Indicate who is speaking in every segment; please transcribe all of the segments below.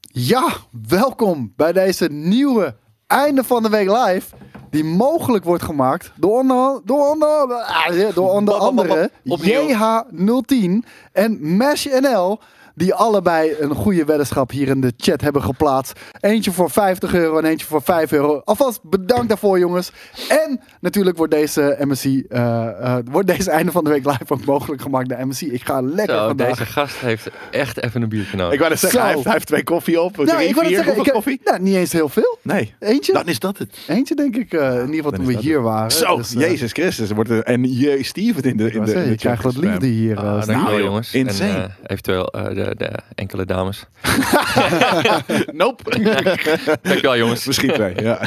Speaker 1: Ja, welkom bij deze nieuwe Einde van de Week Live. Die mogelijk wordt gemaakt door onder, door onder, ah, door onder
Speaker 2: Bam, bam, bam,
Speaker 1: andere
Speaker 2: opnieuw.
Speaker 1: JH010 en MeshNL. Die allebei een goede weddenschap hier in de chat hebben geplaatst. Eentje voor 50 euro en eentje voor 5 euro. Alvast bedankt daarvoor, jongens. En natuurlijk wordt deze MSC, eh, eh, wordt deze einde van de week live ook mogelijk gemaakt door MSC. Ik ga lekker
Speaker 2: Zo,
Speaker 1: vandaag.
Speaker 2: deze gast heeft echt even een biertje nodig.
Speaker 3: Ik wou net zeggen,
Speaker 1: Zo.
Speaker 3: hij heeft, hij heeft twee koffie op.
Speaker 1: Nou,
Speaker 3: drie,
Speaker 1: ik wil
Speaker 3: vier,
Speaker 1: zeggen, ik
Speaker 3: hoeveel
Speaker 1: heb,
Speaker 3: koffie?
Speaker 1: Nou, niet eens heel veel.
Speaker 3: Nee,
Speaker 1: Eentje?
Speaker 2: Nou,
Speaker 3: dan is dat het.
Speaker 1: Eentje denk ik, eh, in ieder geval toen
Speaker 3: is
Speaker 1: we
Speaker 3: dat
Speaker 1: hier waren.
Speaker 3: Zo,
Speaker 1: Dus, eh,
Speaker 3: Jezus Christus. er Wordt er, en je Steven in de,
Speaker 1: ik wou
Speaker 3: in de, in
Speaker 1: zeggen,
Speaker 3: de
Speaker 1: je krijgt wat
Speaker 3: chat.
Speaker 1: liefde hier. eh,
Speaker 2: Ah,
Speaker 1: Stijn.
Speaker 2: dankjewel
Speaker 3: Nou, joh,
Speaker 2: jongens.
Speaker 3: insane.
Speaker 2: En, eh, eventueel eh, de, de enkele dames.
Speaker 3: Nope.
Speaker 2: Dankjewel jongens.
Speaker 3: Misschien twee, ja.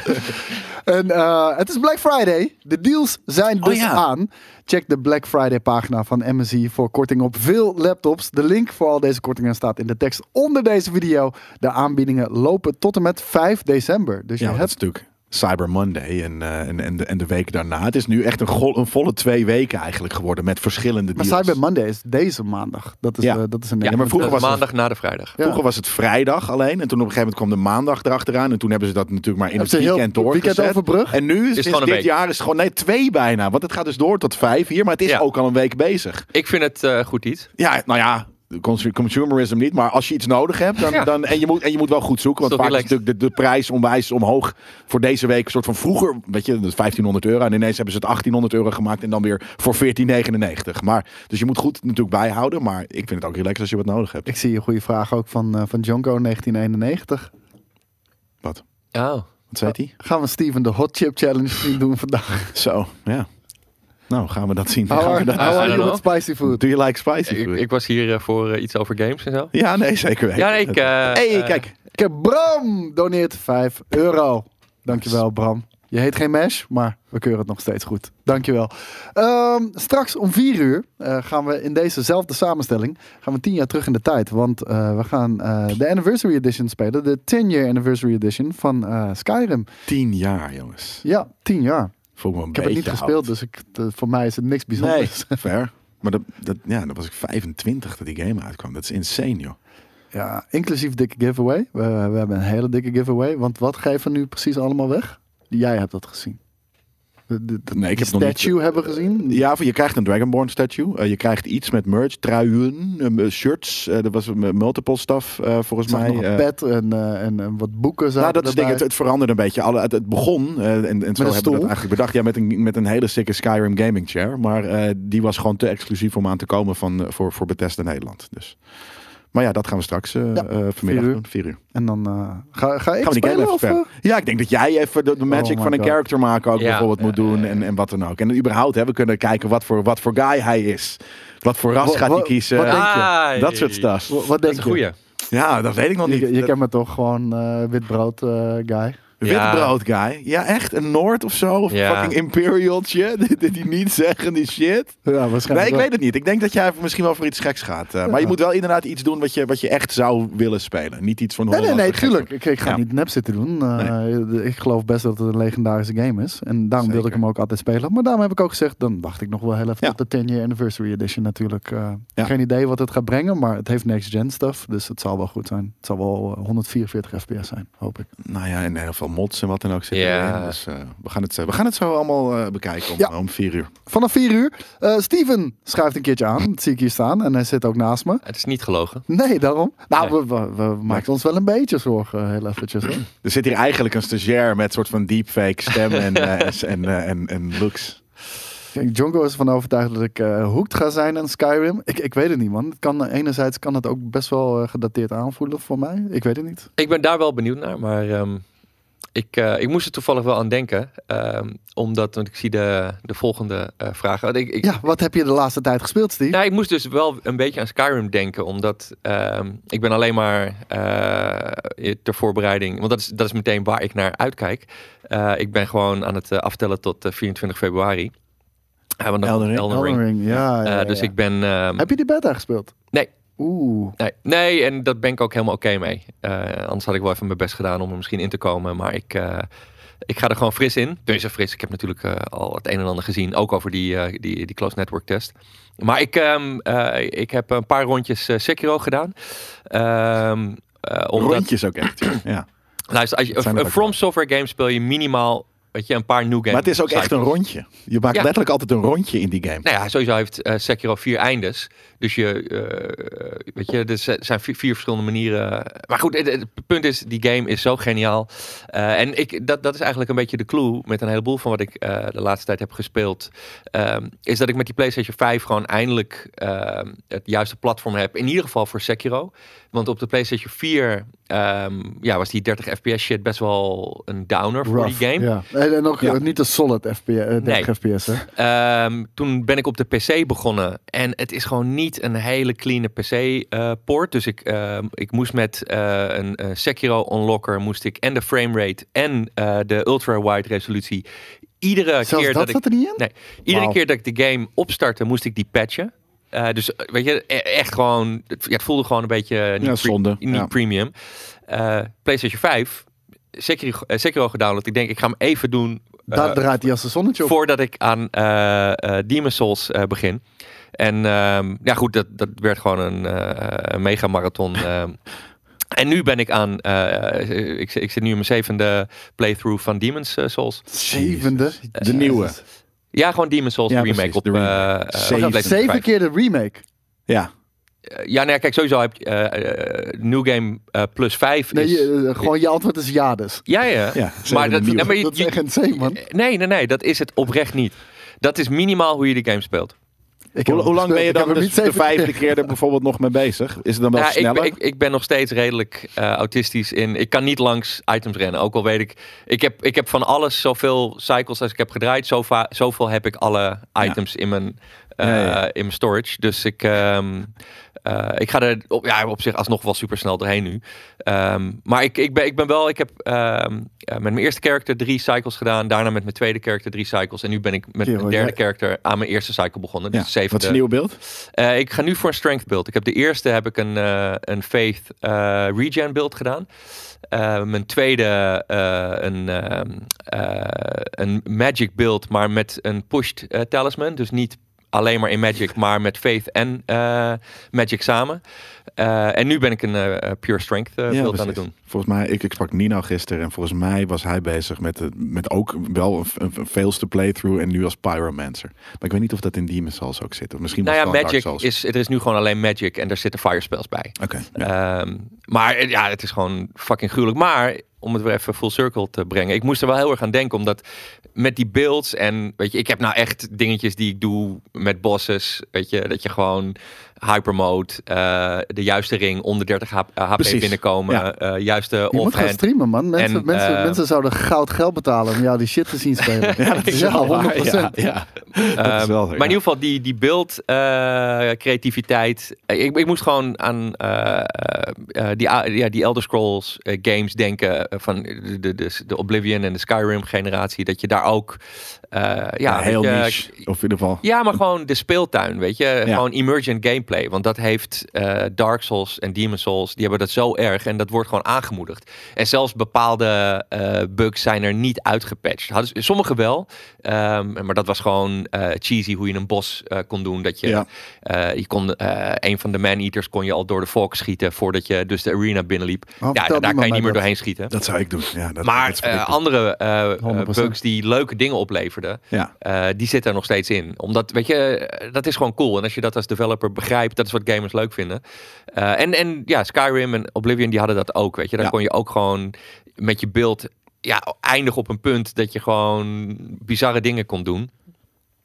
Speaker 1: En eh, het is Black Friday. De deals zijn dus
Speaker 3: Oh, ja.
Speaker 1: aan. Check de Black Friday pagina van MSI voor korting op veel laptops. De link voor al deze kortingen staat in de tekst onder deze video. De aanbiedingen lopen tot en met 5 december. Dus
Speaker 3: Ja,
Speaker 1: je
Speaker 3: maar dat is
Speaker 1: hebt...
Speaker 3: natuurlijk Cyber Monday en, eh, en, en, de, en de week daarna. Het is nu echt een, gol- een volle twee weken eigenlijk geworden met verschillende
Speaker 1: Maar
Speaker 3: deals.
Speaker 1: Cyber Monday is deze maandag. Dat is,
Speaker 3: Ja.
Speaker 1: eh, dat is een
Speaker 3: Ja, maar vroeger
Speaker 2: Dat is
Speaker 3: was het-
Speaker 2: maandag na de vrijdag.
Speaker 1: Ja.
Speaker 3: Vroeger was het vrijdag alleen en toen op een gegeven moment kwam de maandag erachteraan. En toen hebben ze dat natuurlijk maar in
Speaker 1: Hebben
Speaker 3: het
Speaker 1: ze heel
Speaker 3: weekend doorgezet.
Speaker 1: weekend overbrugd?
Speaker 3: En nu is, is
Speaker 2: gewoon een
Speaker 3: dit
Speaker 2: week.
Speaker 3: jaar is het gewoon nee, twee bijna. Want het gaat dus door tot vijf hier, maar het is
Speaker 2: Ja.
Speaker 3: ook al een week bezig.
Speaker 2: Ik vind het eh, goed iets.
Speaker 3: Ja, nou ja, consu- consumerism niet, maar als je iets nodig hebt, dan,
Speaker 2: Ja.
Speaker 3: dan, en, je moet, en je moet wel goed zoeken, want
Speaker 2: Is toch
Speaker 3: vaak is
Speaker 2: relaxed?
Speaker 3: natuurlijk de, de prijs onwijs omhoog voor deze week. Een soort van vroeger, weet je, dat is 1500 euro en ineens hebben ze het 1800 euro gemaakt en dan weer voor 1499. Maar, dus je moet goed natuurlijk bijhouden, maar ik vind het ook relaxed als je wat nodig hebt.
Speaker 1: Ik zie een goede vraag ook van, eh, van Jonko 1991.
Speaker 3: Wat?
Speaker 2: Oh.
Speaker 3: Wat zei hij?
Speaker 1: Gaan we Steven de Hot Chip Challenge zien doen vandaag?
Speaker 2: Oh.
Speaker 3: Zo, ja. Nou, gaan we dat zien.
Speaker 1: How
Speaker 3: Gaan we
Speaker 1: are,
Speaker 3: dat-
Speaker 1: how are
Speaker 2: I don't
Speaker 1: you with
Speaker 2: know.
Speaker 1: spicy food?
Speaker 3: Do you like spicy
Speaker 2: Oh, Ik,
Speaker 3: food?
Speaker 2: ik was hier eh, voor eh, iets over games en zo.
Speaker 3: ja, nee, zeker weten.
Speaker 2: Ja, nee, ik... eh,
Speaker 3: hey,
Speaker 2: eh,
Speaker 3: kijk.
Speaker 1: Kijk, Bram doneert 5 euro. Dankjewel, Bram. Je heet geen Mesh, maar we keuren het nog steeds goed. Dankjewel. Ehm straks om 4 uur eh, gaan we in dezezelfde samenstelling... gaan we 10 jaar terug in de tijd. Want eh, we gaan eh, de Anniversary Edition spelen. De 10-year Anniversary Edition van eh, Skyrim.
Speaker 3: Tien jaar, jongens.
Speaker 1: Ja, 10 jaar.
Speaker 3: Voel me een
Speaker 1: Ik heb het niet gespeeld, dus ik, eh, voor mij is het niks
Speaker 3: Nee,
Speaker 1: bijzonders.
Speaker 3: fair. Maar dat, dat, ja, dan was ik 25 dat die game uitkwam. Dat is insane, joh.
Speaker 1: Ja, inclusief dikke giveaway. We, we hebben een hele dikke giveaway. Want wat geven we nu precies allemaal weg? Jij hebt dat gezien. De, de, de-
Speaker 3: Nee, ik
Speaker 1: die
Speaker 3: heb nog niet- Eh,
Speaker 1: statue hebben we gezien.
Speaker 3: Ja, je krijgt een Dragonborn statue. Eh, je krijgt iets met merch, truien, eh, shirts. Eh, er was een multiple stuff, eh, volgens
Speaker 1: Ik zag
Speaker 3: mij.
Speaker 1: nog
Speaker 3: Eh,
Speaker 1: een pet en, eh, en, en wat boeken zaten
Speaker 3: nou, dat is het ding,
Speaker 1: erbij.
Speaker 3: het, het veranderde een beetje. Alle, het, het begon, eh, en, en zo
Speaker 1: een
Speaker 3: hebben we
Speaker 1: stoel?
Speaker 3: dat eigenlijk bedacht, ja, met, een, met een hele sikke Skyrim gaming chair. Maar eh, die was gewoon te exclusief om aan te komen van, eh, voor, voor Bethesda Nederland. Dus. Maar ja, dat gaan we straks eh,
Speaker 1: Ja,
Speaker 3: eh, vanmiddag
Speaker 1: uur.
Speaker 3: doen, vier uur.
Speaker 1: En dan eh, ga, ga ik
Speaker 3: Gaan we die game
Speaker 1: spelen
Speaker 3: even
Speaker 1: of...
Speaker 3: verder?
Speaker 1: eh?
Speaker 3: Ja, ik denk dat jij even de, de magic
Speaker 1: Oh my
Speaker 3: van een
Speaker 1: God.
Speaker 3: character maken ook
Speaker 2: Ja,
Speaker 3: bijvoorbeeld
Speaker 2: ja,
Speaker 3: moet doen en, en wat dan ook. En überhaupt, hè, we kunnen kijken wat voor, wat voor guy hij is. Wat voor ras
Speaker 1: Wat-
Speaker 3: gaat hij
Speaker 1: wat-
Speaker 3: kiezen.
Speaker 1: wat denk je?
Speaker 2: Ai.
Speaker 3: dat soort stuff.
Speaker 1: Wa- Wat
Speaker 2: Dat
Speaker 1: denk
Speaker 2: is een
Speaker 1: je?
Speaker 2: goeie.
Speaker 3: Ja, dat weet ik nog niet.
Speaker 1: Je, je
Speaker 3: Dat-
Speaker 1: kent me toch gewoon eh wit brood eh, guy.
Speaker 2: Ja.
Speaker 3: Witbrood guy. Ja, echt. Een Noord of zo. Of
Speaker 2: Ja.
Speaker 3: fucking Imperial shit. Die, die niet zeggen, die shit.
Speaker 1: Ja, waarschijnlijk
Speaker 3: Nee, ik
Speaker 1: wel.
Speaker 3: weet het niet. Ik denk dat jij misschien wel voor iets geks gaat. eh, Maar je moet wel inderdaad iets doen wat je, wat je echt zou willen spelen. Niet iets van
Speaker 1: Nee, nee,
Speaker 3: Holland
Speaker 1: nee,
Speaker 3: of gek.
Speaker 1: tuurlijk. Ik, ik ga
Speaker 3: Ja.
Speaker 1: niet nep zitten doen. Eh, de- Ik geloof best dat het een legendarische game is. En daarom wilde ik
Speaker 3: Zeker.
Speaker 1: hem ook altijd spelen. Maar daarom heb ik ook gezegd, dan wacht ik nog wel heel even
Speaker 3: Ja.
Speaker 1: op de 10-year anniversary edition natuurlijk. Eh,
Speaker 3: Ja.
Speaker 1: Geen idee wat het gaat brengen, maar het heeft next-gen stuff. Dus het zal wel goed zijn. Het zal wel eh, 144 fps zijn, hoop ik.
Speaker 3: Nou ja, en heel veel mods en wat dan ook zitten
Speaker 2: Ja.
Speaker 3: erin. Dus eh, we, gaan het, eh, we gaan het zo allemaal eh, bekijken om,
Speaker 1: Ja.
Speaker 3: om vier uur.
Speaker 1: Vanaf 4 uur. eh, Steven schuift een keertje aan. Dat zie ik hier staan. En hij zit ook naast me.
Speaker 2: Het is niet gelogen.
Speaker 1: Nee, daarom. Nou,
Speaker 2: Nee.
Speaker 1: we, we, we maken ons wel een beetje zorgen, eh, heel eventjes. hoor.
Speaker 3: Er zit hier eigenlijk een stagiair met soort van deepfake stem en, eh, en, eh, en, en looks.
Speaker 1: Kijk, Jonko is ervan overtuigd dat ik eh hooked ga zijn aan Skyrim. Ik, ik weet het niet, man. Het kan, eh, enerzijds kan het ook best wel eh, gedateerd aanvoelen voor mij. Ik weet het niet.
Speaker 2: Ik ben daar wel benieuwd naar, maar ehm, ik, eh, ik moest er toevallig wel aan denken. ehm, omdat, want ik zie de, de volgende eh vraag. Want Ik, ik,
Speaker 1: Ja, wat heb je de laatste tijd gespeeld, Steve?
Speaker 2: Nou, ik moest dus wel een beetje aan Skyrim denken, omdat ehm, ik ben alleen maar eh, ter voorbereiding, want dat is, dat is meteen waar ik naar uitkijk. Eh, ik ben gewoon aan het eh, aftellen tot eh, 24 februari. Ja, want dan
Speaker 3: Elden
Speaker 2: Ring.
Speaker 3: Ring.
Speaker 1: Elden Ring, ja. ja,
Speaker 2: Eh,
Speaker 1: ja,
Speaker 2: dus
Speaker 1: ja.
Speaker 2: ik ben... ehm,
Speaker 1: Heb je die beta gespeeld?
Speaker 2: Nee.
Speaker 1: Oeh.
Speaker 2: nee, nee, en dat ben ik ook helemaal oké mee. Eh, anders had ik wel even mijn best gedaan om er misschien in te komen, maar ik... eh, ik ga er gewoon fris in. Tenminste, fris. Ik heb natuurlijk eh, al het een en ander gezien. Ook over die, eh, die, die Close Network test. Maar ik, ehm, eh, ik heb een paar rondjes eh, Sekiro gedaan. Ehm, eh, omdat,
Speaker 3: Rondjes ook echt. Ja.
Speaker 2: luister, als je,
Speaker 3: zijn er
Speaker 2: een
Speaker 3: ook
Speaker 2: From
Speaker 3: wel.
Speaker 2: Software game speel je minimaal weet je, een paar new games.
Speaker 3: Maar het is ook echt een rondje. Je maakt
Speaker 2: Ja.
Speaker 3: letterlijk altijd een rondje in die game.
Speaker 2: Nou ja, sowieso heeft eh Sekiro vier eindes. Dus je, eh, weet je, er z- zijn vier, vier verschillende manieren. Maar goed, het, het punt is, die game is zo geniaal. Eh, en ik, dat, dat is eigenlijk een beetje de clue met een heleboel van wat ik eh, de laatste tijd heb gespeeld. Ehm, is dat ik met die PlayStation 5 gewoon eindelijk ehm, het juiste platform heb. In ieder geval voor Sekiro. Want op de PlayStation 4 ehm, ja, was die 30 fps shit best wel een downer voor
Speaker 1: Rough,
Speaker 2: die game.
Speaker 1: Ja. En, en ook
Speaker 3: Ja.
Speaker 1: eh, niet een solid FPS, eh, 30 FPS, hè?
Speaker 2: Ehm, toen ben ik op de PC begonnen. En het is gewoon niet een hele clean PC-poort. dus ik, ehm, ik moest met eh, een eh, Sekiro Unlocker... moest ik en de framerate en eh, de ultra-wide resolutie... Iedere
Speaker 1: Zelfs dat,
Speaker 2: keer dat ik
Speaker 1: zat er niet in?
Speaker 2: Nee. Iedere
Speaker 1: Wauw.
Speaker 2: keer dat ik de game opstartte, moest ik die patchen. Eh, dus eh, weet je, e- echt gewoon. Het, ja, het voelde gewoon een beetje. eh, Niet,
Speaker 3: Ja, zonde,
Speaker 2: niet
Speaker 3: ja.
Speaker 2: premium. Eh, PlayStation 5, Sekiro, eh, Sekiro gedownload. Ik denk, ik ga hem even doen. eh,
Speaker 1: Daar draait hij als een zonnetje op.
Speaker 2: voordat ik aan eh eh Demon Souls eh, begin. En ehm, ja, goed, dat, dat werd gewoon een eh mega marathon. en nu ben ik aan. eh, ik, zit- ik zit nu in mijn zevende playthrough van Demon's eh, Souls.
Speaker 1: Zevende.
Speaker 3: De nieuwe.
Speaker 2: Ja, gewoon Demon's Souls
Speaker 3: Ja,
Speaker 2: remake
Speaker 3: precies,
Speaker 2: op
Speaker 3: de
Speaker 2: eh
Speaker 3: remake.
Speaker 2: eh,
Speaker 3: Zeven.
Speaker 2: PlayStation
Speaker 1: Zeven
Speaker 2: 5.
Speaker 1: keer de remake.
Speaker 3: Ja.
Speaker 2: Eh, Ja, nee, kijk, sowieso heb je eh, eh, New Game eh, plus 5
Speaker 1: Nee,
Speaker 2: is...
Speaker 1: je, eh, gewoon je antwoord is ja dus.
Speaker 2: ja, ja.
Speaker 3: Ja,
Speaker 2: maar dat,
Speaker 3: zeven nieuwe.
Speaker 2: nee, maar je-
Speaker 1: Dat is
Speaker 2: je-
Speaker 1: echt insane, man.
Speaker 2: nee, nee, nee, dat is het oprecht niet. Dat is minimaal hoe je die game speelt.
Speaker 1: Ik heb
Speaker 3: Hoe,
Speaker 1: hem
Speaker 3: hoe lang ben je
Speaker 1: gespeeld,
Speaker 3: dan
Speaker 1: ik heb hem
Speaker 3: dus
Speaker 1: niet
Speaker 3: de
Speaker 1: zeven keer-
Speaker 3: vijfde keer er bijvoorbeeld nog mee bezig? Is het dan wel
Speaker 2: Ja, ik,
Speaker 3: sneller?
Speaker 2: ben- ik, ik ben nog steeds redelijk eh, autistisch in. Ik kan niet langs items rennen. Ook al weet ik, ik heb, ik heb van alles zoveel cycles als ik heb gedraaid. Zo va- zoveel heb ik alle items in, mijn, eh,
Speaker 3: Ja, ja.
Speaker 2: in mijn storage. Dus ik, ehm, eh, ik ga er op, ja, op zich alsnog wel super snel doorheen nu. Ehm, maar ik, ik, ben, ik ben wel, ik heb ehm, eh, met mijn eerste character drie cycles gedaan. Daarna met mijn tweede character drie cycles. En nu ben ik met
Speaker 1: Kerel,
Speaker 2: mijn derde
Speaker 1: jij-
Speaker 2: character aan mijn eerste cycle begonnen. Dus
Speaker 3: Ja.
Speaker 2: zeven.
Speaker 3: Wat is een nieuw beeld?
Speaker 2: Eh, ik ga nu voor een strength build. Ik heb de eerste heb ik een, eh, een faith eh, regen build gedaan. Eh, mijn tweede eh, een, ehm, eh, een magic build, maar met een pushed eh, talisman. Dus niet alleen maar in magic, maar met faith en eh, magic samen. Eh, en nu ben ik een eh, pure strength eh,
Speaker 3: Ja,
Speaker 2: build aan het doen.
Speaker 3: precies. Volgens mij, ik, ik sprak Nino gisteren en volgens mij was hij bezig met, het- met ook wel een, een, een veelste playthrough en nu als Pyromancer. Maar ik weet niet of dat in Demon's Souls ook zit. Of misschien
Speaker 2: Nou
Speaker 3: was
Speaker 2: ja,
Speaker 3: het wel in Dark
Speaker 2: magic
Speaker 3: Souls.
Speaker 2: is, er is nu gewoon alleen magic en daar zitten fire spells bij.
Speaker 3: Oké, ja.
Speaker 2: Ehm, maar eh, ja, het is gewoon fucking gruwelijk. Maar om het weer even full circle te brengen. Ik moest er wel heel erg aan denken, omdat met die builds en weet je, ik heb nou echt dingetjes die ik doe met bosses, weet je, dat je gewoon hypermode, eh de juiste ring onder 30 HP
Speaker 3: Precies,
Speaker 2: binnenkomen,
Speaker 3: ja.
Speaker 2: eh, juiste
Speaker 1: Je moet gaan
Speaker 2: offhand.
Speaker 1: streamen, man. Mensen,
Speaker 2: En,
Speaker 1: mensen,
Speaker 2: eh,
Speaker 1: mensen zouden goud geld betalen om jou die shit te zien spelen. ja, dat
Speaker 3: is wel waar, Ja, ja. dat is
Speaker 2: Ehm,
Speaker 3: wel,
Speaker 2: maar
Speaker 3: ja.
Speaker 2: in ieder geval, die, die beeld, eh, creativiteit. Eh, Ik, ik moest gewoon aan eh, eh, die, a- ja, die Elder Scrolls eh, games denken. eh, van de, de, de, de Oblivion en de Skyrim generatie. Dat je daar ook... eh, ja,
Speaker 3: ja, heel
Speaker 2: weet je,
Speaker 3: niche. Of in ieder geval.
Speaker 2: ja, maar gewoon de speeltuin, weet je.
Speaker 3: Ja.
Speaker 2: Gewoon emergent gameplay. Want dat heeft eh, Dark Souls en Demon Souls, die hebben dat zo erg. En dat wordt gewoon aangemoedigd. En zelfs bepaalde eh, bugs zijn er niet uitgepatcht. Hadden ze- sommige wel, ehm, maar dat was gewoon eh, cheesy hoe je een bos eh, kon doen. Dat je,
Speaker 3: Ja.
Speaker 2: eh, je kon, eh, een van de man-eaters kon je al door de volk schieten voordat je dus de arena binnenliep.
Speaker 3: Oh,
Speaker 1: vertel
Speaker 2: ja, daar
Speaker 1: niemand
Speaker 2: kan je
Speaker 1: mij
Speaker 2: niet meer
Speaker 1: dat.
Speaker 2: doorheen schieten.
Speaker 3: Dat zou ik doen. Ja, dat,
Speaker 2: maar
Speaker 3: dat is wat
Speaker 2: eh,
Speaker 3: ik doe.
Speaker 2: andere eh, eh
Speaker 1: 100%.
Speaker 2: bugs die leuke dingen opleverden,
Speaker 3: ja.
Speaker 2: eh, die zit er nog steeds in. Omdat, weet je, eh, dat is gewoon cool. En als je dat als developer begrijpt, dat is wat gamers leuk vinden. Eh, en, en ja, Skyrim en Oblivion, die hadden dat ook, weet je. Daar
Speaker 3: Ja.
Speaker 2: kon je ook gewoon met je beeld ja, eindigen op een punt dat je gewoon bizarre dingen kon doen.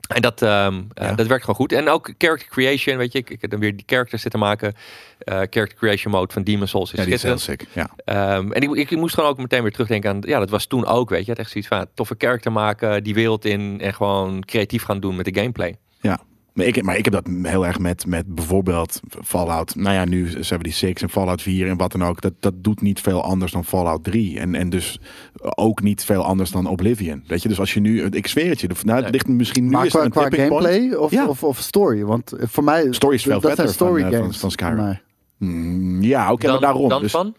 Speaker 2: En dat, ehm, eh,
Speaker 3: Ja.
Speaker 2: dat werkt gewoon goed. En ook character creation, weet je. Ik, ik heb dan weer die characters zitten maken. Eh, character creation mode van Demon's Souls is
Speaker 3: ja, die is heel
Speaker 2: schitterend.
Speaker 3: sick. Ja.
Speaker 2: Ehm, en ik, ik moest gewoon ook meteen weer terugdenken aan... Ja, dat was toen ook, weet je. Je had echt zoiets van ja, toffe karakter maken, die wereld in... en gewoon creatief gaan doen met de gameplay.
Speaker 3: Ja. Maar ik, maar ik heb dat heel erg met, met bijvoorbeeld Fallout. Nou ja, nu 76 en Fallout 4 en wat dan ook. Dat, dat doet niet veel anders dan Fallout 3. En, en dus ook niet veel anders dan Oblivion. Weet je, dus als je nu. Ik zweer het je. de- Nou, het
Speaker 2: Nee.
Speaker 3: ligt misschien nu.
Speaker 1: Maar
Speaker 3: is er
Speaker 1: qua,
Speaker 3: een
Speaker 1: qua
Speaker 3: tipping point.
Speaker 1: gameplay of,
Speaker 3: Ja.
Speaker 1: of, of story? Want eh, voor mij...
Speaker 3: Story is veel
Speaker 1: dat
Speaker 3: vetter
Speaker 1: zijn story
Speaker 3: van, eh,
Speaker 1: games.
Speaker 3: van- van Skyrim.
Speaker 1: voor mij.
Speaker 3: Mm, ja, oké, maar daarom.
Speaker 2: dan
Speaker 3: dus,
Speaker 2: van?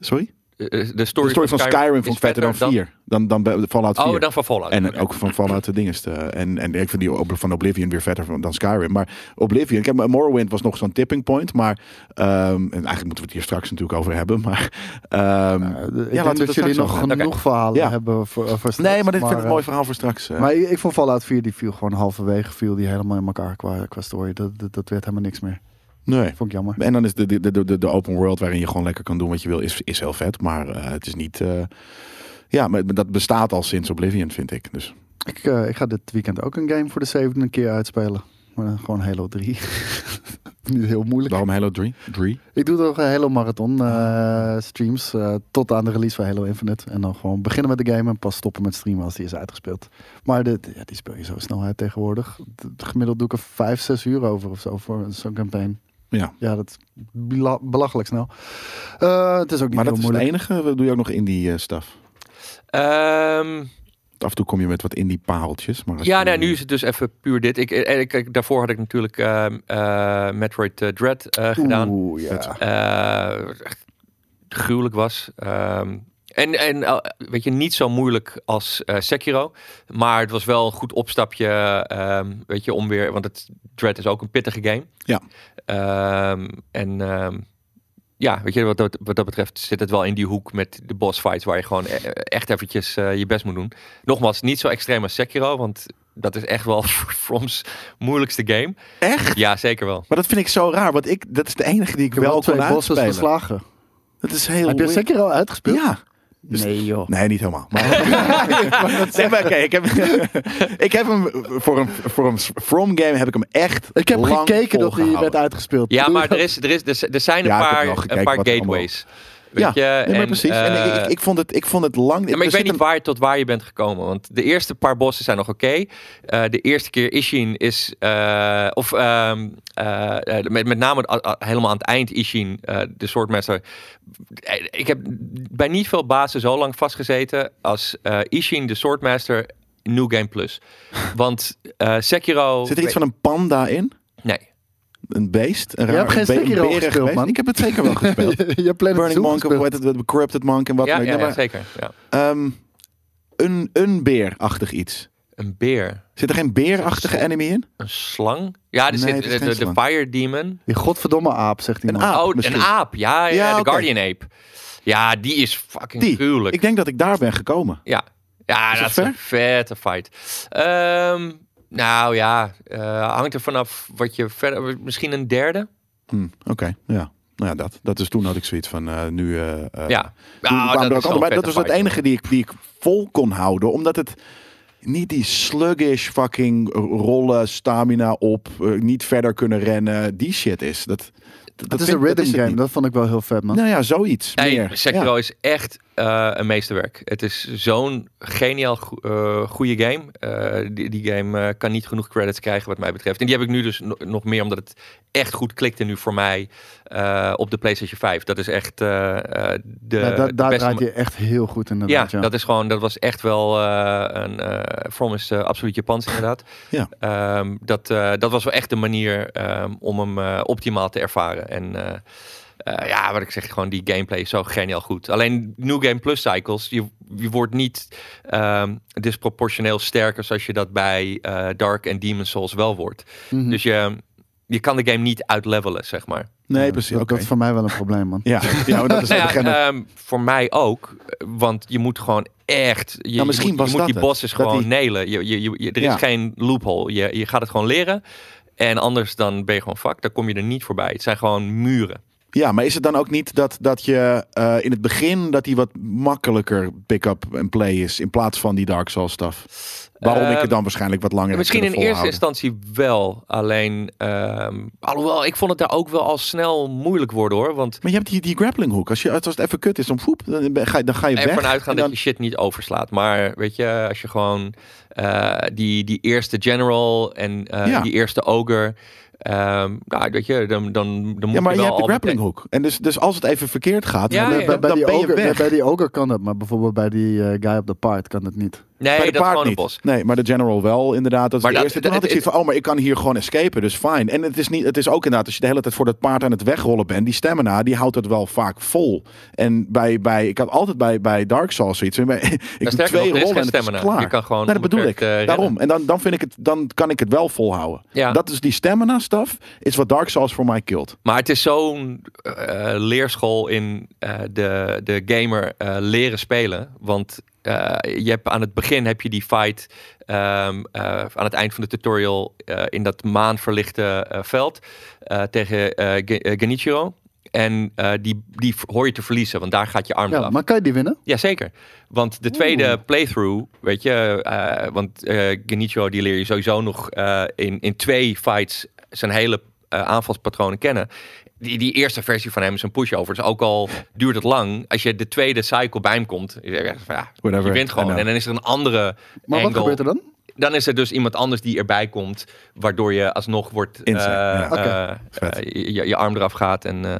Speaker 3: Sorry?
Speaker 2: eh, de
Speaker 3: De
Speaker 2: story,
Speaker 3: story van Skyrim vond ik vetter dan 4. Dan, dan, bij Fallout 4.
Speaker 2: Oh, dan van Fallout.
Speaker 3: En
Speaker 2: Oké.
Speaker 3: ook van Fallout de dinges. te- En, en ik vind die Ob- van Oblivion weer vetter van- dan Skyrim. Maar Oblivion, kijk, Morrowind was nog zo'n tipping point. Maar ehm, en eigenlijk moeten we het hier straks natuurlijk over hebben. Maar ehm,
Speaker 1: Eh, ik ja, denk dat
Speaker 3: straks
Speaker 1: jullie nog
Speaker 3: over hebben.
Speaker 1: genoeg verhalen
Speaker 3: Ja.
Speaker 1: hebben voor, voor straks,
Speaker 3: Nee, maar dit vind ik een
Speaker 1: eh,
Speaker 3: mooi verhaal voor straks. eh.
Speaker 1: Maar ik, ik vond Fallout 4, die viel gewoon halverwege, viel die helemaal in elkaar qua, qua story. Dat, dat, dat werd helemaal niks meer.
Speaker 3: nee.
Speaker 1: Vond ik jammer.
Speaker 3: En dan is de, de, de, de, de open world waarin je gewoon lekker kan doen wat je wil, is, is heel vet. Maar eh, het is niet. eh, ja, maar dat bestaat al sinds Oblivion, vind ik. Dus
Speaker 1: Ik, eh, ik ga dit weekend ook een game voor de zevende keer uitspelen. Maar dan gewoon Halo 3. Niet heel moeilijk.
Speaker 3: waarom Halo 3? 3?
Speaker 1: Ik doe toch een Halo Marathon eh, streams eh, tot aan de release van Halo Infinite. En dan gewoon beginnen met de game en pas stoppen met streamen als die is uitgespeeld. Maar dit, ja, die speel je zo snel uit tegenwoordig. D- Gemiddeld doe ik er 5, 6 uur over of zo voor zo'n campaign.
Speaker 3: Ja.
Speaker 1: Ja, dat is bela- belachelijk snel. Eh, het is ook niet
Speaker 3: Maar
Speaker 1: heel
Speaker 3: dat is
Speaker 1: moeilijk.
Speaker 3: het enige. Doe je ook nog indie eh, stuff? eh,
Speaker 2: Ehm,
Speaker 3: Af en toe kom je met wat indie pareltjes. Maar als
Speaker 2: ja,
Speaker 3: je-
Speaker 2: nou, nu is het dus even puur dit. Ik, eh, ik, ik- daarvoor had ik natuurlijk ehm, eh, Metroid eh, Dread eh, gedaan.
Speaker 1: Oeh, ja.
Speaker 2: eh, echt gruwelijk was. Ehm, en en eh, weet je, niet zo moeilijk als eh, Sekiro. Maar het was wel een goed opstapje. ehm, weet je, om weer. Want het Dread is ook een pittige game.
Speaker 3: Ja.
Speaker 2: Ehm, en. ehm, ja, weet je, wat dat, wat dat betreft zit het wel in die hoek met de boss fights waar je gewoon e- echt eventjes eh, je best moet doen. Nogmaals, niet zo extreem als Sekiro, want dat is echt wel From's moeilijkste game.
Speaker 3: Echt?
Speaker 2: Ja, zeker wel.
Speaker 3: Maar dat vind ik zo raar, want ik, dat is de enige die ik,
Speaker 1: Ik heb
Speaker 3: wel
Speaker 1: wel
Speaker 3: kon
Speaker 1: twee bosses
Speaker 3: uitspelen.
Speaker 1: verslagen.
Speaker 3: Dat is heel
Speaker 1: Heb je
Speaker 3: weird.
Speaker 1: zeker al uitgespeeld?
Speaker 3: Ja. Dus-
Speaker 1: Nee joh.
Speaker 3: Nee, niet helemaal. Maar, nee, maar oké, ik, heb, ik heb hem voor een, voor een From game heb ik hem echt
Speaker 1: Ik heb
Speaker 3: lang
Speaker 1: gekeken dat die
Speaker 3: volgehouden.
Speaker 1: werd uitgespeeld.
Speaker 2: Ja,
Speaker 1: Bedoel je
Speaker 2: maar
Speaker 1: dat-
Speaker 2: er, is, er, is, er z- er zijn een
Speaker 3: Ja, ik heb
Speaker 2: paar,
Speaker 3: wel gekeken
Speaker 2: een paar
Speaker 3: wat er
Speaker 2: gateways. Weet
Speaker 3: ja,
Speaker 2: je?
Speaker 3: nee, maar
Speaker 2: en,
Speaker 3: precies. en ik-
Speaker 2: eh,
Speaker 3: ik, ik, vond het, ik vond het lang.
Speaker 2: ja, maar
Speaker 3: er
Speaker 2: ik weet
Speaker 3: zit
Speaker 2: niet
Speaker 3: een-
Speaker 2: waar, tot waar je bent gekomen. Want de eerste paar bossen zijn nog oké. Eh, de eerste keer Ishin is... eh, of ehm, eh, eh, met, met name a- a- helemaal aan het eind Ishin, eh, de soortmesser. Eh, Ik heb bij niet veel bazen zo lang vastgezeten als eh, Ishin, de soortmaster, New Game Plus. Want eh, Sekiro...
Speaker 3: Zit er iets van een panda in?
Speaker 2: Nee.
Speaker 3: Een beest? Een raar,
Speaker 1: hebt geen
Speaker 3: een be- een
Speaker 1: Sekiro
Speaker 3: berig
Speaker 1: gespeeld,
Speaker 3: beest?
Speaker 1: man.
Speaker 3: Ik heb het zeker wel gespeeld.
Speaker 1: je hebt Planet
Speaker 3: Burning
Speaker 1: Zoo
Speaker 3: Monk, of
Speaker 1: gespeeld.
Speaker 3: hoe heet het, Corrupted Monk en wat
Speaker 2: Ja,
Speaker 3: dan ook.
Speaker 2: ja,
Speaker 3: Nee,
Speaker 2: ja,
Speaker 3: maar,
Speaker 2: zeker. Ja.
Speaker 3: ehm, een, een beerachtig iets.
Speaker 2: Een beer.
Speaker 3: Zit er geen beerachtige enemy in?
Speaker 2: Een slang? Ja, er
Speaker 3: Nee,
Speaker 2: zit
Speaker 3: het is
Speaker 2: de,
Speaker 3: geen
Speaker 2: de
Speaker 3: slang.
Speaker 2: Fire Demon.
Speaker 1: Die godverdomme aap, zegt iemand.
Speaker 3: Een aap.
Speaker 2: oh,
Speaker 3: misschien.
Speaker 2: een aap. Ja, ja,
Speaker 3: Ja,
Speaker 2: de
Speaker 3: oké.
Speaker 2: Guardian Ape. Ja, die is fucking
Speaker 3: Die.
Speaker 2: gruwelijk.
Speaker 3: Ik denk dat ik daar ben gekomen.
Speaker 2: Ja, ja
Speaker 3: Is
Speaker 2: dat
Speaker 3: het
Speaker 2: is
Speaker 3: ver?
Speaker 2: een vette fight. Ehm, nou ja, eh, hangt er vanaf wat je verder... Misschien een derde?
Speaker 3: Hm, Oké, ja. Nou ja, dat. Dat is toen had ik zoiets van eh, nu. eh, eh,
Speaker 2: Ja.
Speaker 3: toen
Speaker 2: Ah,
Speaker 3: kwamen
Speaker 2: is
Speaker 3: er ook
Speaker 2: wel
Speaker 3: andere,
Speaker 2: een
Speaker 3: maar dat
Speaker 2: vette
Speaker 3: was het
Speaker 2: fight, joh.
Speaker 3: enige die ik, die ik vol kon houden. Omdat het niet die sluggish fucking rollen, stamina op, eh, niet verder kunnen rennen, die shit is. Dat, dat,
Speaker 1: Dat,
Speaker 3: vind-
Speaker 1: is een rhythm
Speaker 3: het
Speaker 1: game,
Speaker 3: niet.
Speaker 1: dat vond ik wel heel vet, man.
Speaker 3: Nou ja, zoiets.
Speaker 2: Nee,
Speaker 3: meer.
Speaker 2: Sekiro
Speaker 3: Ja.
Speaker 2: is echt eh, een meesterwerk. Het is zo'n geniaal go- eh, goede game. Eh, die, die game eh, kan niet genoeg credits krijgen wat mij betreft. En die heb ik nu dus no- nog meer omdat het echt goed klikte nu voor mij eh, op de PlayStation 5. Dat is echt eh, eh, de,
Speaker 1: Ja, da-
Speaker 2: de
Speaker 1: Nou, daar
Speaker 2: beste...
Speaker 1: draait je echt heel goed in.
Speaker 2: Ja,
Speaker 1: ja.
Speaker 2: dat is gewoon, dat was echt wel eh, een eh From is eh, absoluut Japans inderdaad.
Speaker 3: Ja.
Speaker 2: Ehm, dat, eh, dat was wel echt de manier ehm, om hem eh, optimaal te ervaren. En eh, eh, ja, wat ik zeg, gewoon die gameplay is zo geniaal goed. Alleen New Game Plus Cycles, je, je wordt niet ehm, disproportioneel sterker zoals je dat bij eh, Dark en Demon Souls wel wordt.
Speaker 1: Mhm.
Speaker 2: Dus je, je kan de game niet uitlevelen, zeg maar.
Speaker 3: Nee, precies.
Speaker 1: Dat,
Speaker 3: Oké.
Speaker 1: dat is voor mij wel een probleem, man.
Speaker 3: Ja, ja maar dat is
Speaker 2: Nou
Speaker 3: het begin.
Speaker 2: ja, ehm, voor mij ook. Want je moet gewoon echt. Je, je
Speaker 3: Nou, misschien
Speaker 2: moet,
Speaker 3: was
Speaker 2: je moet
Speaker 3: dat
Speaker 2: die
Speaker 3: het.
Speaker 2: bosses
Speaker 3: Dat
Speaker 2: gewoon
Speaker 3: die-
Speaker 2: nelen. Je, je, je, je- er is
Speaker 3: Ja.
Speaker 2: geen loophole. Je, je gaat het gewoon leren. En anders dan ben je gewoon fuck. Dan kom je er niet voorbij. Het zijn gewoon muren.
Speaker 3: Ja, maar is het dan ook niet dat, dat je eh, in het begin dat die wat makkelijker pick-up en play is in plaats van die Dark Souls stuff? Waarom ik
Speaker 2: Ehm,
Speaker 3: het dan waarschijnlijk wat langer heb
Speaker 2: Misschien in
Speaker 3: kunnen
Speaker 2: eerste
Speaker 3: volhouden.
Speaker 2: instantie wel. Alleen. ehm, alhoewel, ik vond het daar ook wel al snel moeilijk worden hoor. Want
Speaker 3: Maar je hebt die, die grappling hook. Als, je, als het even kut is, dan, poep, dan, ben- ga, je- dan ga je weg.
Speaker 2: ervan uitgaan
Speaker 3: en
Speaker 2: dat je shit niet overslaat. Maar weet je, als je gewoon eh, die, die eerste general en eh,
Speaker 3: Ja.
Speaker 2: die eerste ogre. ehm, nou, weet je, dan, dan, dan moet
Speaker 3: ja, maar je
Speaker 2: wel
Speaker 3: hebt de
Speaker 2: al
Speaker 3: grappling
Speaker 2: meteen-
Speaker 3: hook. En dus, dus als het even verkeerd gaat,
Speaker 2: Ja,
Speaker 3: dan,
Speaker 2: ja,
Speaker 1: Bij,
Speaker 2: ja.
Speaker 3: dan,
Speaker 1: bij
Speaker 3: dan
Speaker 1: die
Speaker 3: ben je
Speaker 1: ogre,
Speaker 3: weg.
Speaker 1: bij die ogre kan dat, maar bijvoorbeeld bij die eh, guy op de paard kan dat niet.
Speaker 3: Bij
Speaker 2: Nee,
Speaker 3: de
Speaker 2: dat
Speaker 3: paard
Speaker 2: gewoon een
Speaker 3: niet.
Speaker 2: bos.
Speaker 3: Nee, maar de General wel inderdaad. Dat is
Speaker 2: Maar
Speaker 3: de
Speaker 2: dat-
Speaker 3: eerste. Toen
Speaker 2: dat-
Speaker 3: had ik zoiets van, oh, maar ik kan hier gewoon escapen, dus fijn. En het is, niet, het is ook inderdaad, als je de hele tijd voor dat paard aan het wegrollen bent, die stamina, die houdt het wel vaak vol. En bij, bij ik had altijd bij, bij Dark Souls zoiets. van, bij- Ik doe
Speaker 2: Nou, sterker
Speaker 3: twee
Speaker 2: nog, er is
Speaker 3: rollen en
Speaker 2: geen
Speaker 3: het is
Speaker 2: stamina.
Speaker 3: klaar.
Speaker 2: Je kan gewoon
Speaker 3: nee, dat bedoel ik.
Speaker 2: onbeperkt, eh, rennen.
Speaker 3: Daarom. En dan, dan, vind ik het, dan kan ik het wel volhouden.
Speaker 2: Ja.
Speaker 3: Dat is die stamina stuff, is wat Dark Souls voor mij kilt.
Speaker 2: Maar het is zo'n eh, leerschool in eh, de, de gamer eh, leren spelen. Want eh, je hebt aan het begin heb je die fight. ehm, eh, aan het eind van de tutorial eh, in dat maanverlichte eh, veld eh, tegen eh Ge- eh, Genichiro. En eh, die, die hoor je te verliezen, want daar gaat je arm
Speaker 1: Ja,
Speaker 2: af.
Speaker 1: maar kan je die winnen?
Speaker 2: Jazeker. Want de tweede playthrough, weet je, eh, want eh Genichiro die leer je sowieso nog eh, in, in twee fights zijn hele eh, aanvalspatronen kennen. Die, die eerste versie van hem is een pushover. Dus ook al duurt het lang, als je de tweede cycle bij hem komt, je, zegt van, ja,
Speaker 3: Whatever,
Speaker 2: je wint
Speaker 3: I
Speaker 2: gewoon.
Speaker 3: know.
Speaker 2: En dan is er een andere
Speaker 1: Maar
Speaker 2: angle.
Speaker 1: wat gebeurt er dan?
Speaker 2: Dan is er dus iemand anders die erbij komt, waardoor je alsnog wordt eh,
Speaker 3: Insane, ja.
Speaker 2: eh,
Speaker 1: Oké,
Speaker 2: eh,
Speaker 3: vet.
Speaker 2: je, je- je arm eraf gaat en eh,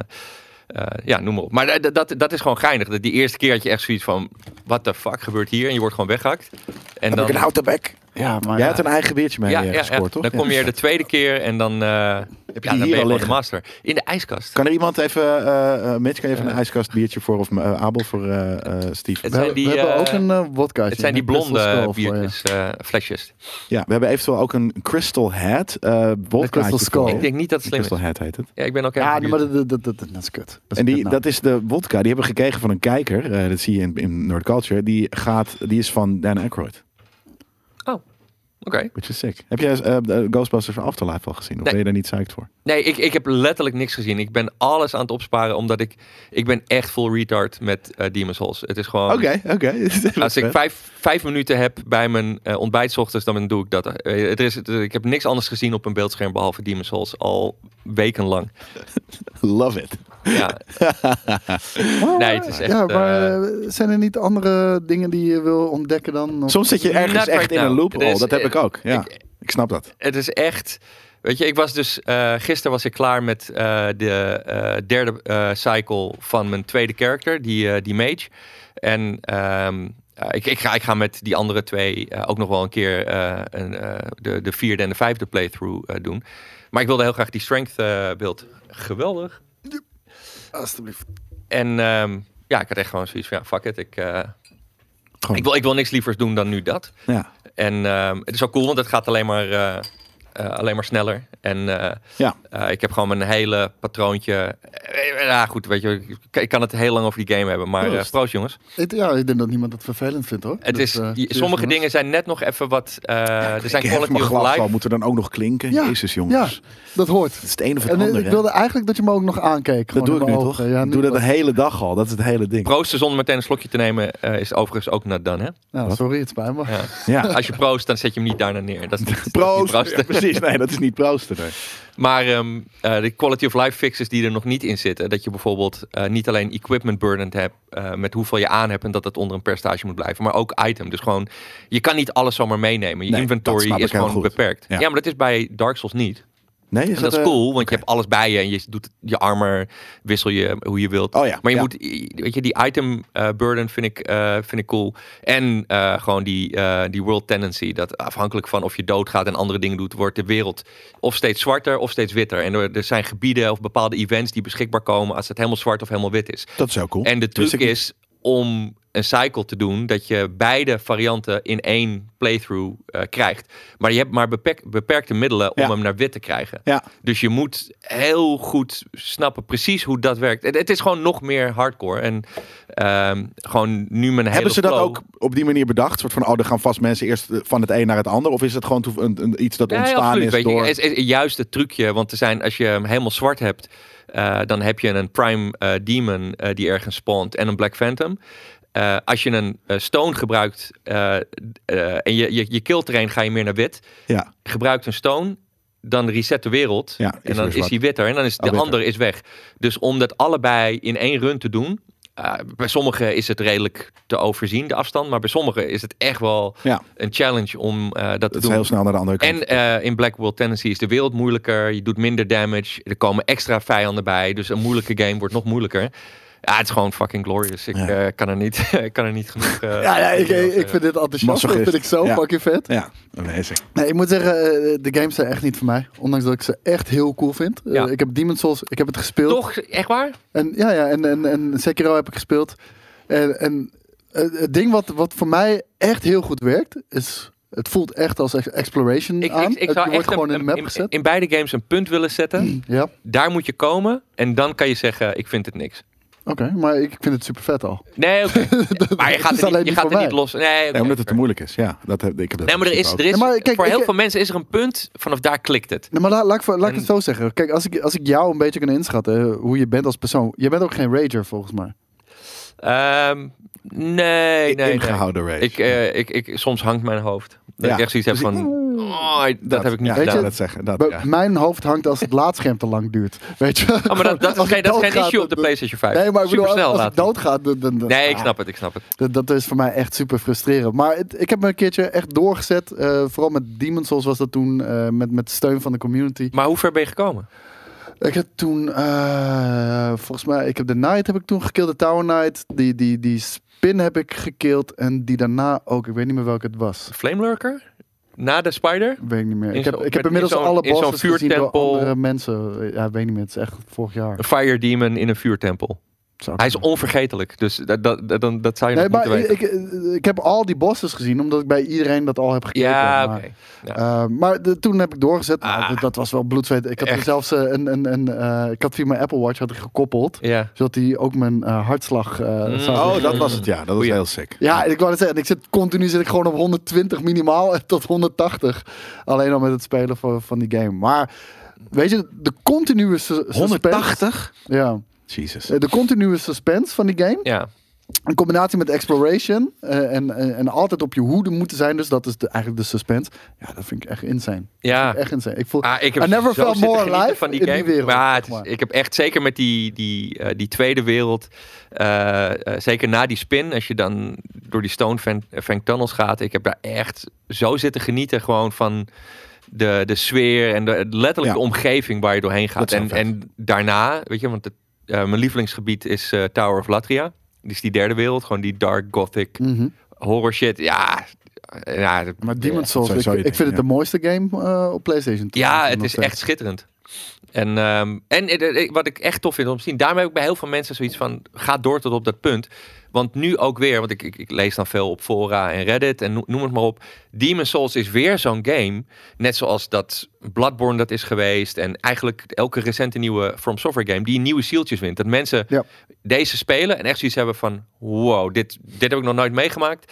Speaker 2: eh, ja, noem maar op. Maar dat, dat, dat is gewoon geinig. Dat die eerste keer had je echt zoiets van, what the fuck gebeurt hier? En je wordt gewoon weggehakt. En
Speaker 3: Dan
Speaker 2: dan,
Speaker 3: heb ik een houten bek.
Speaker 1: Ja, maar
Speaker 3: Jij had een eigen weertje mee
Speaker 2: ja,
Speaker 3: eh,
Speaker 2: ja, ja.
Speaker 3: gescoord, toch?
Speaker 2: dan kom je er de tweede keer en dan, eh,
Speaker 3: Heb je die
Speaker 2: ja, dan ben
Speaker 3: hier
Speaker 2: je
Speaker 3: al
Speaker 2: gewoon de
Speaker 3: liggen?
Speaker 2: master. In de ijskast.
Speaker 3: Kan er iemand even, eh eh Mitch, kan je even een ijskast biertje voor of eh, Abel voor eh, eh, Steve?
Speaker 2: Het
Speaker 1: we,
Speaker 2: zijn
Speaker 1: hebben-
Speaker 2: die,
Speaker 1: we hebben
Speaker 2: eh,
Speaker 1: ook een uh, wodkaatje.
Speaker 2: het zijn die
Speaker 1: Een Crystal
Speaker 2: blonde
Speaker 1: Skull voor je.
Speaker 2: biertjes, eh, flesjes.
Speaker 3: Ja, we hebben eventueel ook een Crystal Head. eh
Speaker 1: Crystal
Speaker 3: wodkaatje
Speaker 1: Skull.
Speaker 3: voor je.
Speaker 2: Ik denk niet dat het slim is.
Speaker 3: Crystal Head heet het.
Speaker 2: Ja, ik ben ook
Speaker 1: Ja,
Speaker 2: echt
Speaker 1: nee, maar dat, dat, dat, dat- dat is kut. Dat is
Speaker 3: En die,
Speaker 1: kut, nou.
Speaker 3: dat is de wodka. Die hebben we gekregen van een kijker. eh, dat zie je in, in Nerd Culture. Die, gaat, die is van Dan Aykroyd.
Speaker 2: Oh, oké.
Speaker 3: Which is sick. Heb jij eh, eh, Ghostbusters Afterlife al gezien? Of
Speaker 2: Nee.
Speaker 3: ben je daar niet psyched voor?
Speaker 2: Nee, ik, ik heb letterlijk niks gezien. Ik ben alles aan het opsparen, omdat ik... Ik ben echt full retard met eh Demon's Souls. Het is gewoon...
Speaker 3: Oké, oké.
Speaker 2: Als ik vijf, vijf minuten heb bij mijn eh ontbijt 's ochtends, dan doe ik dat. Eh, het is, het- ik heb niks anders gezien op een beeldscherm behalve Demon's Souls al wekenlang.
Speaker 3: Love it.
Speaker 2: Ja,
Speaker 1: Maar,
Speaker 2: Nee, het is echt,
Speaker 1: Ja, maar eh, zijn er niet andere dingen die je wil ontdekken dan? Of-
Speaker 3: Soms zit je ergens
Speaker 2: Not
Speaker 3: echt
Speaker 2: right
Speaker 3: in een
Speaker 2: now.
Speaker 3: loophole.
Speaker 2: Er is-
Speaker 3: dat heb ik ook. Ja,
Speaker 2: ik-
Speaker 3: ik, snap dat.
Speaker 2: het is echt. Weet je, ik was dus. eh gisteren was ik klaar met eh, de eh, derde eh, cycle van mijn tweede character, die, eh, die Mage. En ehm, eh, ik, ik, ga, ik ga met die andere twee eh, ook nog wel een keer eh, een, eh, de, de vierde en de vijfde playthrough eh, doen. Maar ik wilde heel graag die strength eh beeld. Geweldig.
Speaker 1: Alsjeblieft.
Speaker 2: En ehm, ja, ik had echt gewoon zoiets van, ja, fuck it. Ik, eh,
Speaker 3: Gewoon.
Speaker 2: ik, wil, ik wil niks lievers doen dan nu dat.
Speaker 3: Ja.
Speaker 2: En ehm, het is ook cool, want het gaat alleen maar, eh, eh, alleen maar sneller. En eh,
Speaker 3: Ja.
Speaker 2: eh, ik heb gewoon mijn hele patroontje. eh, eh, ja, goed, weet je, ik, ik kan het heel lang over die game hebben. Maar eh
Speaker 3: Proost.
Speaker 2: proost, jongens.
Speaker 1: Ik, ja, ik denk dat niemand het vervelend vindt, hoor.
Speaker 2: Het
Speaker 1: Dus,
Speaker 2: is,
Speaker 1: eh,
Speaker 2: je-
Speaker 1: cheers,
Speaker 2: sommige
Speaker 1: jongens.
Speaker 2: dingen zijn net nog even wat... eh, er zijn
Speaker 3: ik heb
Speaker 2: quality
Speaker 3: mijn
Speaker 2: of
Speaker 3: glas
Speaker 2: life.
Speaker 3: al. Moet er dan ook nog klinken?
Speaker 1: Ja,
Speaker 3: Jezus, jongens.
Speaker 1: Ja, dat hoort.
Speaker 3: Het is het een of het
Speaker 1: En eh,
Speaker 3: ander.
Speaker 1: ik
Speaker 3: hè?
Speaker 1: wilde eigenlijk dat je me ook nog aankeek.
Speaker 3: Dat
Speaker 1: gewoon
Speaker 3: doe ik
Speaker 1: in
Speaker 3: nu
Speaker 1: mijn
Speaker 3: toch?
Speaker 1: ogen. Ja,
Speaker 3: ik
Speaker 1: nu
Speaker 3: doe dat de
Speaker 1: pas.
Speaker 3: hele dag al. Dat is het hele ding.
Speaker 2: Proosten zonder meteen een slokje te nemen eh, is overigens ook not done, hè?
Speaker 1: Nou, sorry, het spijt me.
Speaker 2: Ja.
Speaker 3: ja.
Speaker 2: Als je proost, dan zet je hem niet daarna neer. Dat is niet, dat is niet
Speaker 3: Proost.
Speaker 2: proosten.
Speaker 3: Ja, precies, nee, dat is niet proosten. nee.
Speaker 2: Maar ehm, eh, de quality of life fixes die er nog niet in zitten. Dat je bijvoorbeeld eh, niet alleen equipment burden hebt. eh, met hoeveel je aan hebt en dat dat onder een percentage moet blijven. Maar ook item. Dus gewoon, je kan niet alles zomaar meenemen. Je
Speaker 3: Nee, dat
Speaker 2: inventory
Speaker 3: snap
Speaker 2: is
Speaker 3: ik heel
Speaker 2: gewoon
Speaker 3: goed.
Speaker 2: beperkt. Ja.
Speaker 3: Ja.
Speaker 2: maar dat is bij Dark Souls niet.
Speaker 3: Nee, is
Speaker 2: en dat is
Speaker 3: eh,
Speaker 2: cool, want je hebt alles bij je. En je doet je armor, wissel je hoe je wilt.
Speaker 3: Oh ja,
Speaker 2: maar je
Speaker 3: ja.
Speaker 2: moet, weet je, die item eh, burden vind ik, eh, vind ik cool. En eh, gewoon die, eh, die world tendency. Dat afhankelijk van of je doodgaat en andere dingen doet, wordt de wereld of steeds zwarter of steeds witter. En er, er zijn gebieden of bepaalde events die beschikbaar komen als het helemaal zwart of helemaal wit is.
Speaker 3: eh, Dat is ook cool.
Speaker 2: En de
Speaker 3: Wist
Speaker 2: truc
Speaker 3: ik niet.
Speaker 2: is om een cycle te doen dat je beide varianten in één playthrough eh, krijgt. Maar je hebt maar bepek- beperkte middelen om
Speaker 3: Ja.
Speaker 2: hem naar wit te krijgen.
Speaker 3: Ja.
Speaker 2: Dus je moet heel goed snappen precies hoe dat werkt. Het, het is gewoon nog meer hardcore. En ehm, gewoon nu mijn hele
Speaker 3: Hebben ze dat
Speaker 2: flow-
Speaker 3: ook op die manier bedacht? Soort van, oh, er gaan vast mensen eerst eh, van het een naar het ander. Of is dat gewoon toe- een, een- iets dat
Speaker 2: Ja, ja,
Speaker 3: ontstaan
Speaker 2: absoluut,
Speaker 3: is
Speaker 2: weet je.
Speaker 3: door...
Speaker 2: Het is- is juist het trucje, want er zijn, als je hem helemaal zwart hebt, eh, dan heb je een Prime eh, Demon eh, die ergens spawnt en een Black Phantom. Eh, als je een eh, stone gebruikt eh, eh, en je, je, je kilt er een, ga je meer naar wit.
Speaker 3: Ja,
Speaker 2: Gebruikt een stone, dan reset de wereld
Speaker 3: Ja, is
Speaker 2: en
Speaker 3: weer
Speaker 2: dan is
Speaker 3: zwart.
Speaker 2: hij witter en dan is
Speaker 3: Oh,
Speaker 2: de
Speaker 3: witter.
Speaker 2: ander is weg. Dus om dat allebei in één run te doen, eh, bij sommigen is het redelijk te overzien de afstand, maar bij sommigen is het echt wel
Speaker 3: ja,
Speaker 2: een challenge om eh, dat te
Speaker 3: dat is
Speaker 2: doen.
Speaker 3: heel snel naar de andere kant.
Speaker 2: En eh, in Black World Tendency is de wereld moeilijker. Je doet minder damage. Er komen extra vijanden bij. Dus een moeilijke game wordt nog moeilijker. Ja, het is gewoon fucking glorious. Ik
Speaker 3: Ja.
Speaker 2: eh, kan er niet, ik kan er niet genoeg. eh,
Speaker 1: Ja, ja ik,
Speaker 2: over
Speaker 1: ik, ik
Speaker 2: zeggen.
Speaker 1: vind dit enthousiast. Dat
Speaker 3: Masochist.
Speaker 1: vind ik zo
Speaker 3: Ja.
Speaker 1: fucking vet.
Speaker 3: Ja, Oh, amazing.
Speaker 1: Nee, ik moet zeggen, eh, de games zijn echt niet voor mij. Ondanks dat ik ze echt heel cool vind. Eh,
Speaker 2: Ja.
Speaker 1: ik heb Demon's Souls, ik heb het gespeeld.
Speaker 2: Toch? Echt waar?
Speaker 1: En, ja, ja, en, en, en Sekiro heb ik gespeeld. En, en eh, het ding wat, wat voor mij echt heel goed werkt, is... Het voelt echt als ex- exploration
Speaker 2: Ik,
Speaker 1: aan.
Speaker 2: ik, ik
Speaker 1: Het-
Speaker 2: zou
Speaker 1: je wordt
Speaker 2: echt
Speaker 1: gewoon
Speaker 2: een-
Speaker 1: in de map
Speaker 2: in,
Speaker 1: gezet. Hmm.
Speaker 2: in beide games een punt willen zetten.
Speaker 1: ja, oké.
Speaker 2: Daar moet je komen. En dan kan je zeggen, ik vind het niks.
Speaker 1: Maar ik vind het super vet al.
Speaker 2: Nee, oké. maar je
Speaker 1: is
Speaker 2: gaat, er
Speaker 1: alleen
Speaker 2: niet,
Speaker 1: niet
Speaker 2: je gaat
Speaker 1: voor
Speaker 2: er
Speaker 1: mij.
Speaker 2: niet los. Nee, oké,
Speaker 3: Nee, omdat het te
Speaker 2: fair.
Speaker 3: moeilijk is. Ja, dat heb, ik heb dat
Speaker 2: Nee, maar er is, er is
Speaker 1: Ja, maar kijk,
Speaker 2: voor heel
Speaker 1: ik-
Speaker 2: veel mensen is er een punt. Vanaf daar klikt het.
Speaker 1: Nee, maar la- laat, ik voor- laat ik
Speaker 2: En-
Speaker 1: het zo zeggen. Kijk, als ik, als ik jou een beetje kan inschatten eh, hoe je bent als persoon. Je bent ook geen rager volgens mij.
Speaker 2: Ehm, nee, nee, nee.
Speaker 3: ingehouden race.
Speaker 2: Ik, eh, ik, ik, soms hangt mijn hoofd. Dat
Speaker 3: Ja.
Speaker 2: ik echt zoiets heb
Speaker 3: Dus ik-
Speaker 2: van, oh, dat, heb ik niet
Speaker 3: ja,
Speaker 1: Weet
Speaker 2: gedaan.
Speaker 1: je?
Speaker 3: dat zeggen. Dat,
Speaker 1: Bij-
Speaker 3: ja.
Speaker 1: Mijn hoofd hangt als het laadscherm te lang duurt. Weet je?
Speaker 2: Oh, maar dat, dat, is
Speaker 1: Als
Speaker 2: geen,
Speaker 1: ik
Speaker 2: dat is geen
Speaker 1: doodga,
Speaker 2: issue op de
Speaker 1: dan-
Speaker 2: PlayStation 5.
Speaker 1: Nee, maar ik bedoel,
Speaker 2: Supersnel
Speaker 1: als
Speaker 2: laat
Speaker 1: het
Speaker 2: hij.
Speaker 1: doodgaat... Dan, dan, dan-
Speaker 2: Nee, ik
Speaker 1: ah,
Speaker 2: snap het, ik snap het.
Speaker 1: Dat, dat is voor mij echt super frustrerend. Maar het- ik heb me een keertje echt doorgezet. eh, vooral met Demon's Souls was dat toen. eh, met, met steun van de community.
Speaker 2: Maar hoe ver ben je gekomen?
Speaker 1: Ik heb toen, eh, volgens mij, ik heb de Knight heb ik toen gekild, de Tower Knight. Die, die, die Spin heb ik gekild en die daarna ook, ik weet niet meer welke het was.
Speaker 2: Flame Lurker? Na de Spider?
Speaker 1: Weet ik niet meer.
Speaker 2: In
Speaker 1: Ik heb,
Speaker 2: zo'n-
Speaker 1: ik
Speaker 2: met-
Speaker 1: heb inmiddels
Speaker 2: in zo'n-
Speaker 1: alle
Speaker 2: in zo'n
Speaker 1: bosses gezien door
Speaker 2: vuurtempel.
Speaker 1: andere mensen. Ja, ik weet niet meer, het is echt vorig jaar.
Speaker 2: Een Fire Demon in een vuurtempel.
Speaker 1: Zou ik
Speaker 2: Hij is
Speaker 1: zeggen.
Speaker 2: onvergetelijk, dus dat, dat, dat, dan- dat zou je
Speaker 1: Nee,
Speaker 2: nog
Speaker 1: maar
Speaker 2: moeten
Speaker 1: ik,
Speaker 2: weten.
Speaker 1: ik, ik heb al die bosses gezien, omdat ik bij iedereen dat al heb gekeken.
Speaker 2: ja, oké.
Speaker 1: maar, eh, maar de- toen heb ik doorgezet. Nou,
Speaker 2: Ah.
Speaker 1: dat- dat was wel bloedzweet. Ik had er
Speaker 2: Echt.
Speaker 1: zelfs eh, een, een, een eh, ik had via mijn Apple Watch had ik gekoppeld.
Speaker 2: Ja.
Speaker 1: Zodat hij ook mijn eh, hartslag eh,
Speaker 2: Mm.
Speaker 1: zou
Speaker 3: Oh, dat
Speaker 2: Mm.
Speaker 3: was het. Ja, dat was
Speaker 2: Goeie.
Speaker 3: heel sick.
Speaker 1: Ja, ik wou het zeggen. Ik zit, continu zit ik gewoon op 120 minimaal en tot 180. Alleen al met het spelen van, van die game. Maar weet je, de continue su- suspense... Ja. Eh,
Speaker 3: Jesus.
Speaker 1: De continue suspense van die game.
Speaker 2: Ja.
Speaker 1: In combinatie met exploration. eh, en, en, en altijd op je hoede moeten zijn. Dus dat is de, eigenlijk de suspense. Ja, dat vind ik echt insane.
Speaker 2: ja.
Speaker 1: Echt insane. Ik voel...
Speaker 2: Ah, ik heb
Speaker 1: I never
Speaker 2: zo
Speaker 1: felt
Speaker 2: zitten
Speaker 1: more
Speaker 2: genieten
Speaker 1: alive
Speaker 2: van die
Speaker 1: in die
Speaker 2: game.
Speaker 1: wereld,
Speaker 2: maar het
Speaker 1: zeg maar.
Speaker 2: is, ik heb echt zeker met die, die, eh, die tweede wereld, eh, eh, zeker na die spin, als je dan door die Stonefang Tunnels gaat, ik heb daar echt zo zitten genieten gewoon van de, de sfeer en de, letterlijk
Speaker 3: Ja.
Speaker 2: de omgeving waar je doorheen gaat.
Speaker 3: Dat is
Speaker 2: En,
Speaker 3: wel vet.
Speaker 2: en daarna, weet je, want het, eh, mijn lievelingsgebied is eh, Tower of Latria. Dus die derde wereld, gewoon die dark gothic
Speaker 1: Mhm.
Speaker 2: horror shit. Ja, eh, ja dat-
Speaker 1: Maar Demon's Souls, ik,
Speaker 3: sowieso je
Speaker 1: ik
Speaker 3: ding,
Speaker 1: vind het
Speaker 3: ja.
Speaker 1: de mooiste game eh, op PlayStation.
Speaker 2: Ja,
Speaker 1: Nog
Speaker 2: het is
Speaker 1: steeds.
Speaker 2: echt schitterend. En, ehm, en eh, eh, wat ik echt tof vind om te zien, daarmee heb ik bij heel veel mensen zoiets van: ga door tot op dat punt. Want nu ook weer, want ik, ik, ik lees dan veel op fora en Reddit en no- noem het maar op. Demon Souls is weer zo'n game. Net zoals dat Bloodborne dat is geweest. En eigenlijk elke recente nieuwe From Software game die nieuwe zieltjes wint. Dat mensen
Speaker 1: Ja.
Speaker 2: deze spelen en echt zoiets hebben van: wow, dit, dit heb ik nog nooit meegemaakt.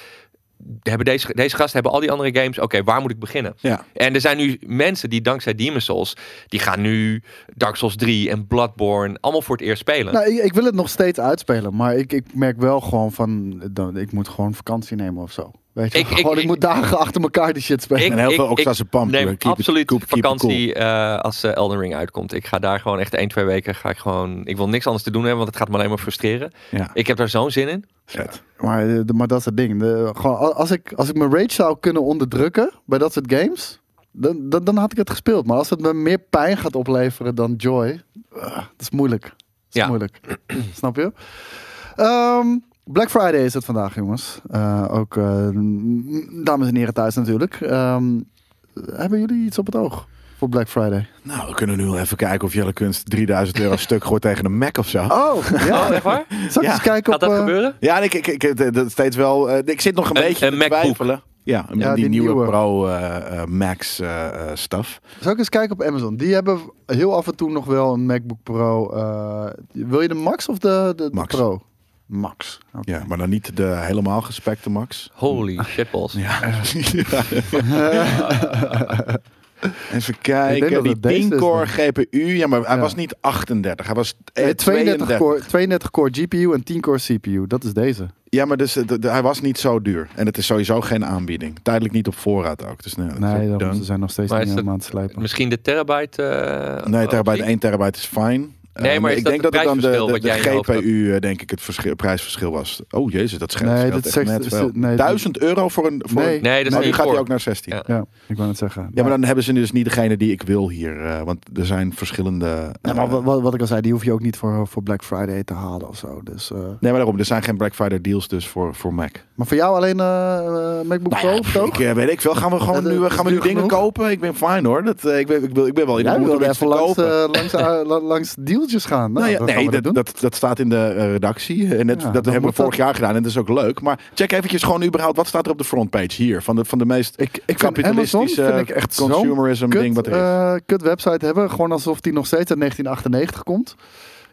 Speaker 2: Hebben deze, deze gasten hebben al die andere games. Oké, waar moet ik beginnen?
Speaker 3: Ja.
Speaker 2: En er zijn nu mensen die dankzij Demon's Souls, die gaan nu Dark Souls 3 en Bloodborne allemaal voor het eerst spelen.
Speaker 1: Nou, ik, ik wil het nog steeds uitspelen, maar ik, ik merk wel gewoon van, dan, ik moet gewoon vakantie nemen of zo. Weet je,
Speaker 2: Ik- ik-
Speaker 1: gewoon, ik,
Speaker 2: ik-
Speaker 1: moet dagen achter elkaar die shit spelen.
Speaker 2: Ik-
Speaker 3: en heel
Speaker 2: ik-
Speaker 3: veel
Speaker 2: ik
Speaker 3: oxazepam. eh,
Speaker 2: Neem
Speaker 3: Keep it-
Speaker 2: absoluut
Speaker 3: keep- keep it cool.
Speaker 2: vakantie eh, als eh, Elden Ring uitkomt. Ik ga daar gewoon echt 1, 2 weken ga ik gewoon. Ik wil niks anders te doen hebben, want het gaat me alleen maar frustreren.
Speaker 3: Ja,
Speaker 2: Ik heb daar zo'n zin in.
Speaker 3: vet.
Speaker 1: Maar, eh, de- maar dat is het ding. De- gewoon, a- als, ik, als ik mijn rage zou kunnen onderdrukken bij dat soort games, dan, dan, dan had ik het gespeeld. Maar als het me meer pijn gaat opleveren dan joy, eh, dat is moeilijk. Dat is
Speaker 2: Ja.
Speaker 1: moeilijk. Snap je? Ehm, Black Friday is het vandaag, jongens. Eh, ook eh, m- dames en heren thuis natuurlijk. Ehm, hebben jullie iets op het oog voor Black Friday?
Speaker 3: Nou, we kunnen nu wel even kijken of Jelle Kunst 3000 euro stuk gooit tegen een Mac of zo.
Speaker 1: Oh, ja.
Speaker 2: Oh, echt waar?
Speaker 1: Zal ik
Speaker 3: Ja.
Speaker 1: eens kijken
Speaker 2: Gaat
Speaker 1: op...
Speaker 2: dat
Speaker 1: eh,
Speaker 2: gebeuren?
Speaker 3: Ja, en ik, ik, ik, het- het steeds wel, eh, ik zit nog een,
Speaker 2: Een-
Speaker 3: beetje
Speaker 2: een
Speaker 3: te
Speaker 2: MacBook.
Speaker 3: twijfelen. Ja,
Speaker 1: Ja,
Speaker 3: die,
Speaker 1: die
Speaker 3: nieuwe,
Speaker 1: nieuwe.
Speaker 3: Pro eh, eh, Max eh, eh, stuff.
Speaker 1: Zal ik eens kijken op Amazon? Die hebben heel af en toe nog wel een MacBook Pro. eh, wil je de Max of de, de, de
Speaker 3: Max.
Speaker 1: Pro? Max. Oké.
Speaker 3: Ja, maar dan niet de helemaal gespekte Max.
Speaker 2: Holy shitballs.
Speaker 3: Ja. Even kijken,
Speaker 1: dat
Speaker 3: die
Speaker 1: het deze is
Speaker 3: 10 core
Speaker 1: dan.
Speaker 3: GPU, ja, maar hij
Speaker 1: Ja.
Speaker 3: was niet 38, hij was eh,
Speaker 1: Nee,
Speaker 3: 32.
Speaker 1: 32, core, 32 core GPU en 10 core CPU. Dat is deze.
Speaker 3: Ja, maar dus, eh, de- de- hij was niet zo duur. En het is sowieso geen aanbieding. Tijdelijk niet op voorraad ook. Dus, nee, dat is ook
Speaker 1: Nee, dan,
Speaker 3: dunk.
Speaker 1: ze zijn nog steeds
Speaker 2: Maar
Speaker 1: niet
Speaker 2: is dat-
Speaker 1: helemaal aan het slijpen.
Speaker 2: Misschien de terabyte. eh,
Speaker 3: nee terabyte,
Speaker 2: optie?
Speaker 3: 1 terabyte is fijn. Eh,
Speaker 2: Nee,
Speaker 3: Eh,
Speaker 2: maar is
Speaker 3: ik
Speaker 2: dat
Speaker 3: denk
Speaker 2: het
Speaker 3: dat het dan
Speaker 2: prijsverschil
Speaker 3: de, de,
Speaker 2: wat jij in
Speaker 3: de
Speaker 2: je hoofd had?
Speaker 3: GPU, eh, denk ik, het verschil, prijsverschil was. Oh jezus, dat scheelt.
Speaker 1: Nee,
Speaker 3: scheelt
Speaker 1: dat
Speaker 3: echt
Speaker 1: zegt-
Speaker 3: net
Speaker 1: is
Speaker 3: wel.
Speaker 1: het- nee, dat-
Speaker 3: 1000 euro voor een. Voor
Speaker 1: Nee.
Speaker 3: een-
Speaker 2: Nee, dat is
Speaker 3: Oh, nu
Speaker 2: niet
Speaker 3: gaat hij
Speaker 2: voor.
Speaker 3: ook naar 16. Ja.
Speaker 2: Ja.
Speaker 1: Ja, ik wou het zeggen.
Speaker 3: maar dan hebben ze dus niet degene die ik wil hier. eh, want er zijn verschillende.
Speaker 1: Ja,
Speaker 3: eh,
Speaker 1: maar wa- wat, wat ik al zei, die hoef je ook niet voor, voor Black Friday te halen of zo. Dus, eh.
Speaker 3: nee, maar daarom. Er zijn geen Black Friday deals dus voor, voor Mac.
Speaker 1: Maar voor jou alleen eh, eh, MacBook
Speaker 3: Nou
Speaker 1: Pro?
Speaker 3: ja,
Speaker 1: of zo?
Speaker 3: ik eh, weet ik veel. Gaan we gewoon
Speaker 1: Dat, eh,
Speaker 3: nu, eh, gaan we nu
Speaker 1: duur
Speaker 3: dingen
Speaker 1: genoeg.
Speaker 3: kopen? Ik ben fijn hoor. Dat, eh, ik, ben, ik, wil, ik ben wel in de
Speaker 1: Jij
Speaker 3: moed om
Speaker 1: wilde
Speaker 3: iets te
Speaker 1: even langs,
Speaker 3: kopen.
Speaker 1: eh, langs, eh, la- langs dealtjes gaan. Nou,
Speaker 3: Nou ja,
Speaker 1: dat gaan
Speaker 3: nee,
Speaker 1: we
Speaker 3: dat,
Speaker 1: doen.
Speaker 3: dat, dat staat in de eh, redactie. En net,
Speaker 1: Ja,
Speaker 3: dat
Speaker 1: dan
Speaker 3: hebben we
Speaker 1: moet dat-
Speaker 3: vorig jaar gedaan. En dat is ook leuk. Maar check eventjes gewoon überhaupt. Wat staat er op de frontpage hier? Van de, van de meest
Speaker 1: ik, ik vind Amazon
Speaker 3: kapitalistische
Speaker 1: vind ik echt zo'n
Speaker 3: consumerism
Speaker 1: kut,
Speaker 3: ding wat er is.
Speaker 1: eh, kut website hebben. Gewoon alsof die nog steeds uit 1998 komt.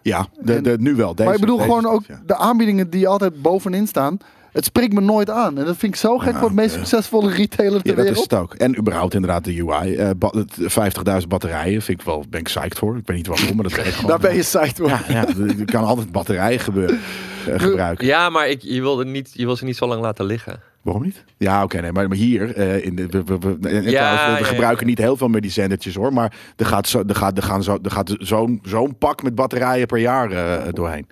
Speaker 3: ja, de,
Speaker 1: en-
Speaker 3: de, nu wel. Deze,
Speaker 1: maar ik bedoel
Speaker 3: deze
Speaker 1: gewoon
Speaker 3: staat,
Speaker 1: ook
Speaker 3: ja.
Speaker 1: de aanbiedingen die altijd bovenin staan. Het spreekt me nooit aan. En dat vind ik zo gek
Speaker 3: Ja,
Speaker 1: voor het meest
Speaker 3: eh,
Speaker 1: succesvolle retailer ter
Speaker 3: Ja, dat is
Speaker 1: wereld.
Speaker 3: het ook. En überhaupt inderdaad de UI. eh, ba- het- 50.000 batterijen vind ik wel, ben ik psyched voor. Ik weet niet waarom, maar dat werkt gewoon.
Speaker 1: Daar ben je site hoor.
Speaker 3: Ja, ja, er kan altijd batterijen gebeuren, eh, gebruiken.
Speaker 2: Ja, maar ik, je, wilde niet, je wil ze niet zo lang laten liggen.
Speaker 3: Waarom niet? Ja, oké, nee, maar, maar hier, eh, in de, we, we- we- en- en
Speaker 2: Ja,
Speaker 3: trouwens, we- we
Speaker 2: ja, ja.
Speaker 3: gebruiken niet heel veel meer die zendertjes hoor, maar er gaat, zo, er gaat, er gaan zo, er gaat zo'n, zo'n pak met batterijen per jaar eh, doorheen.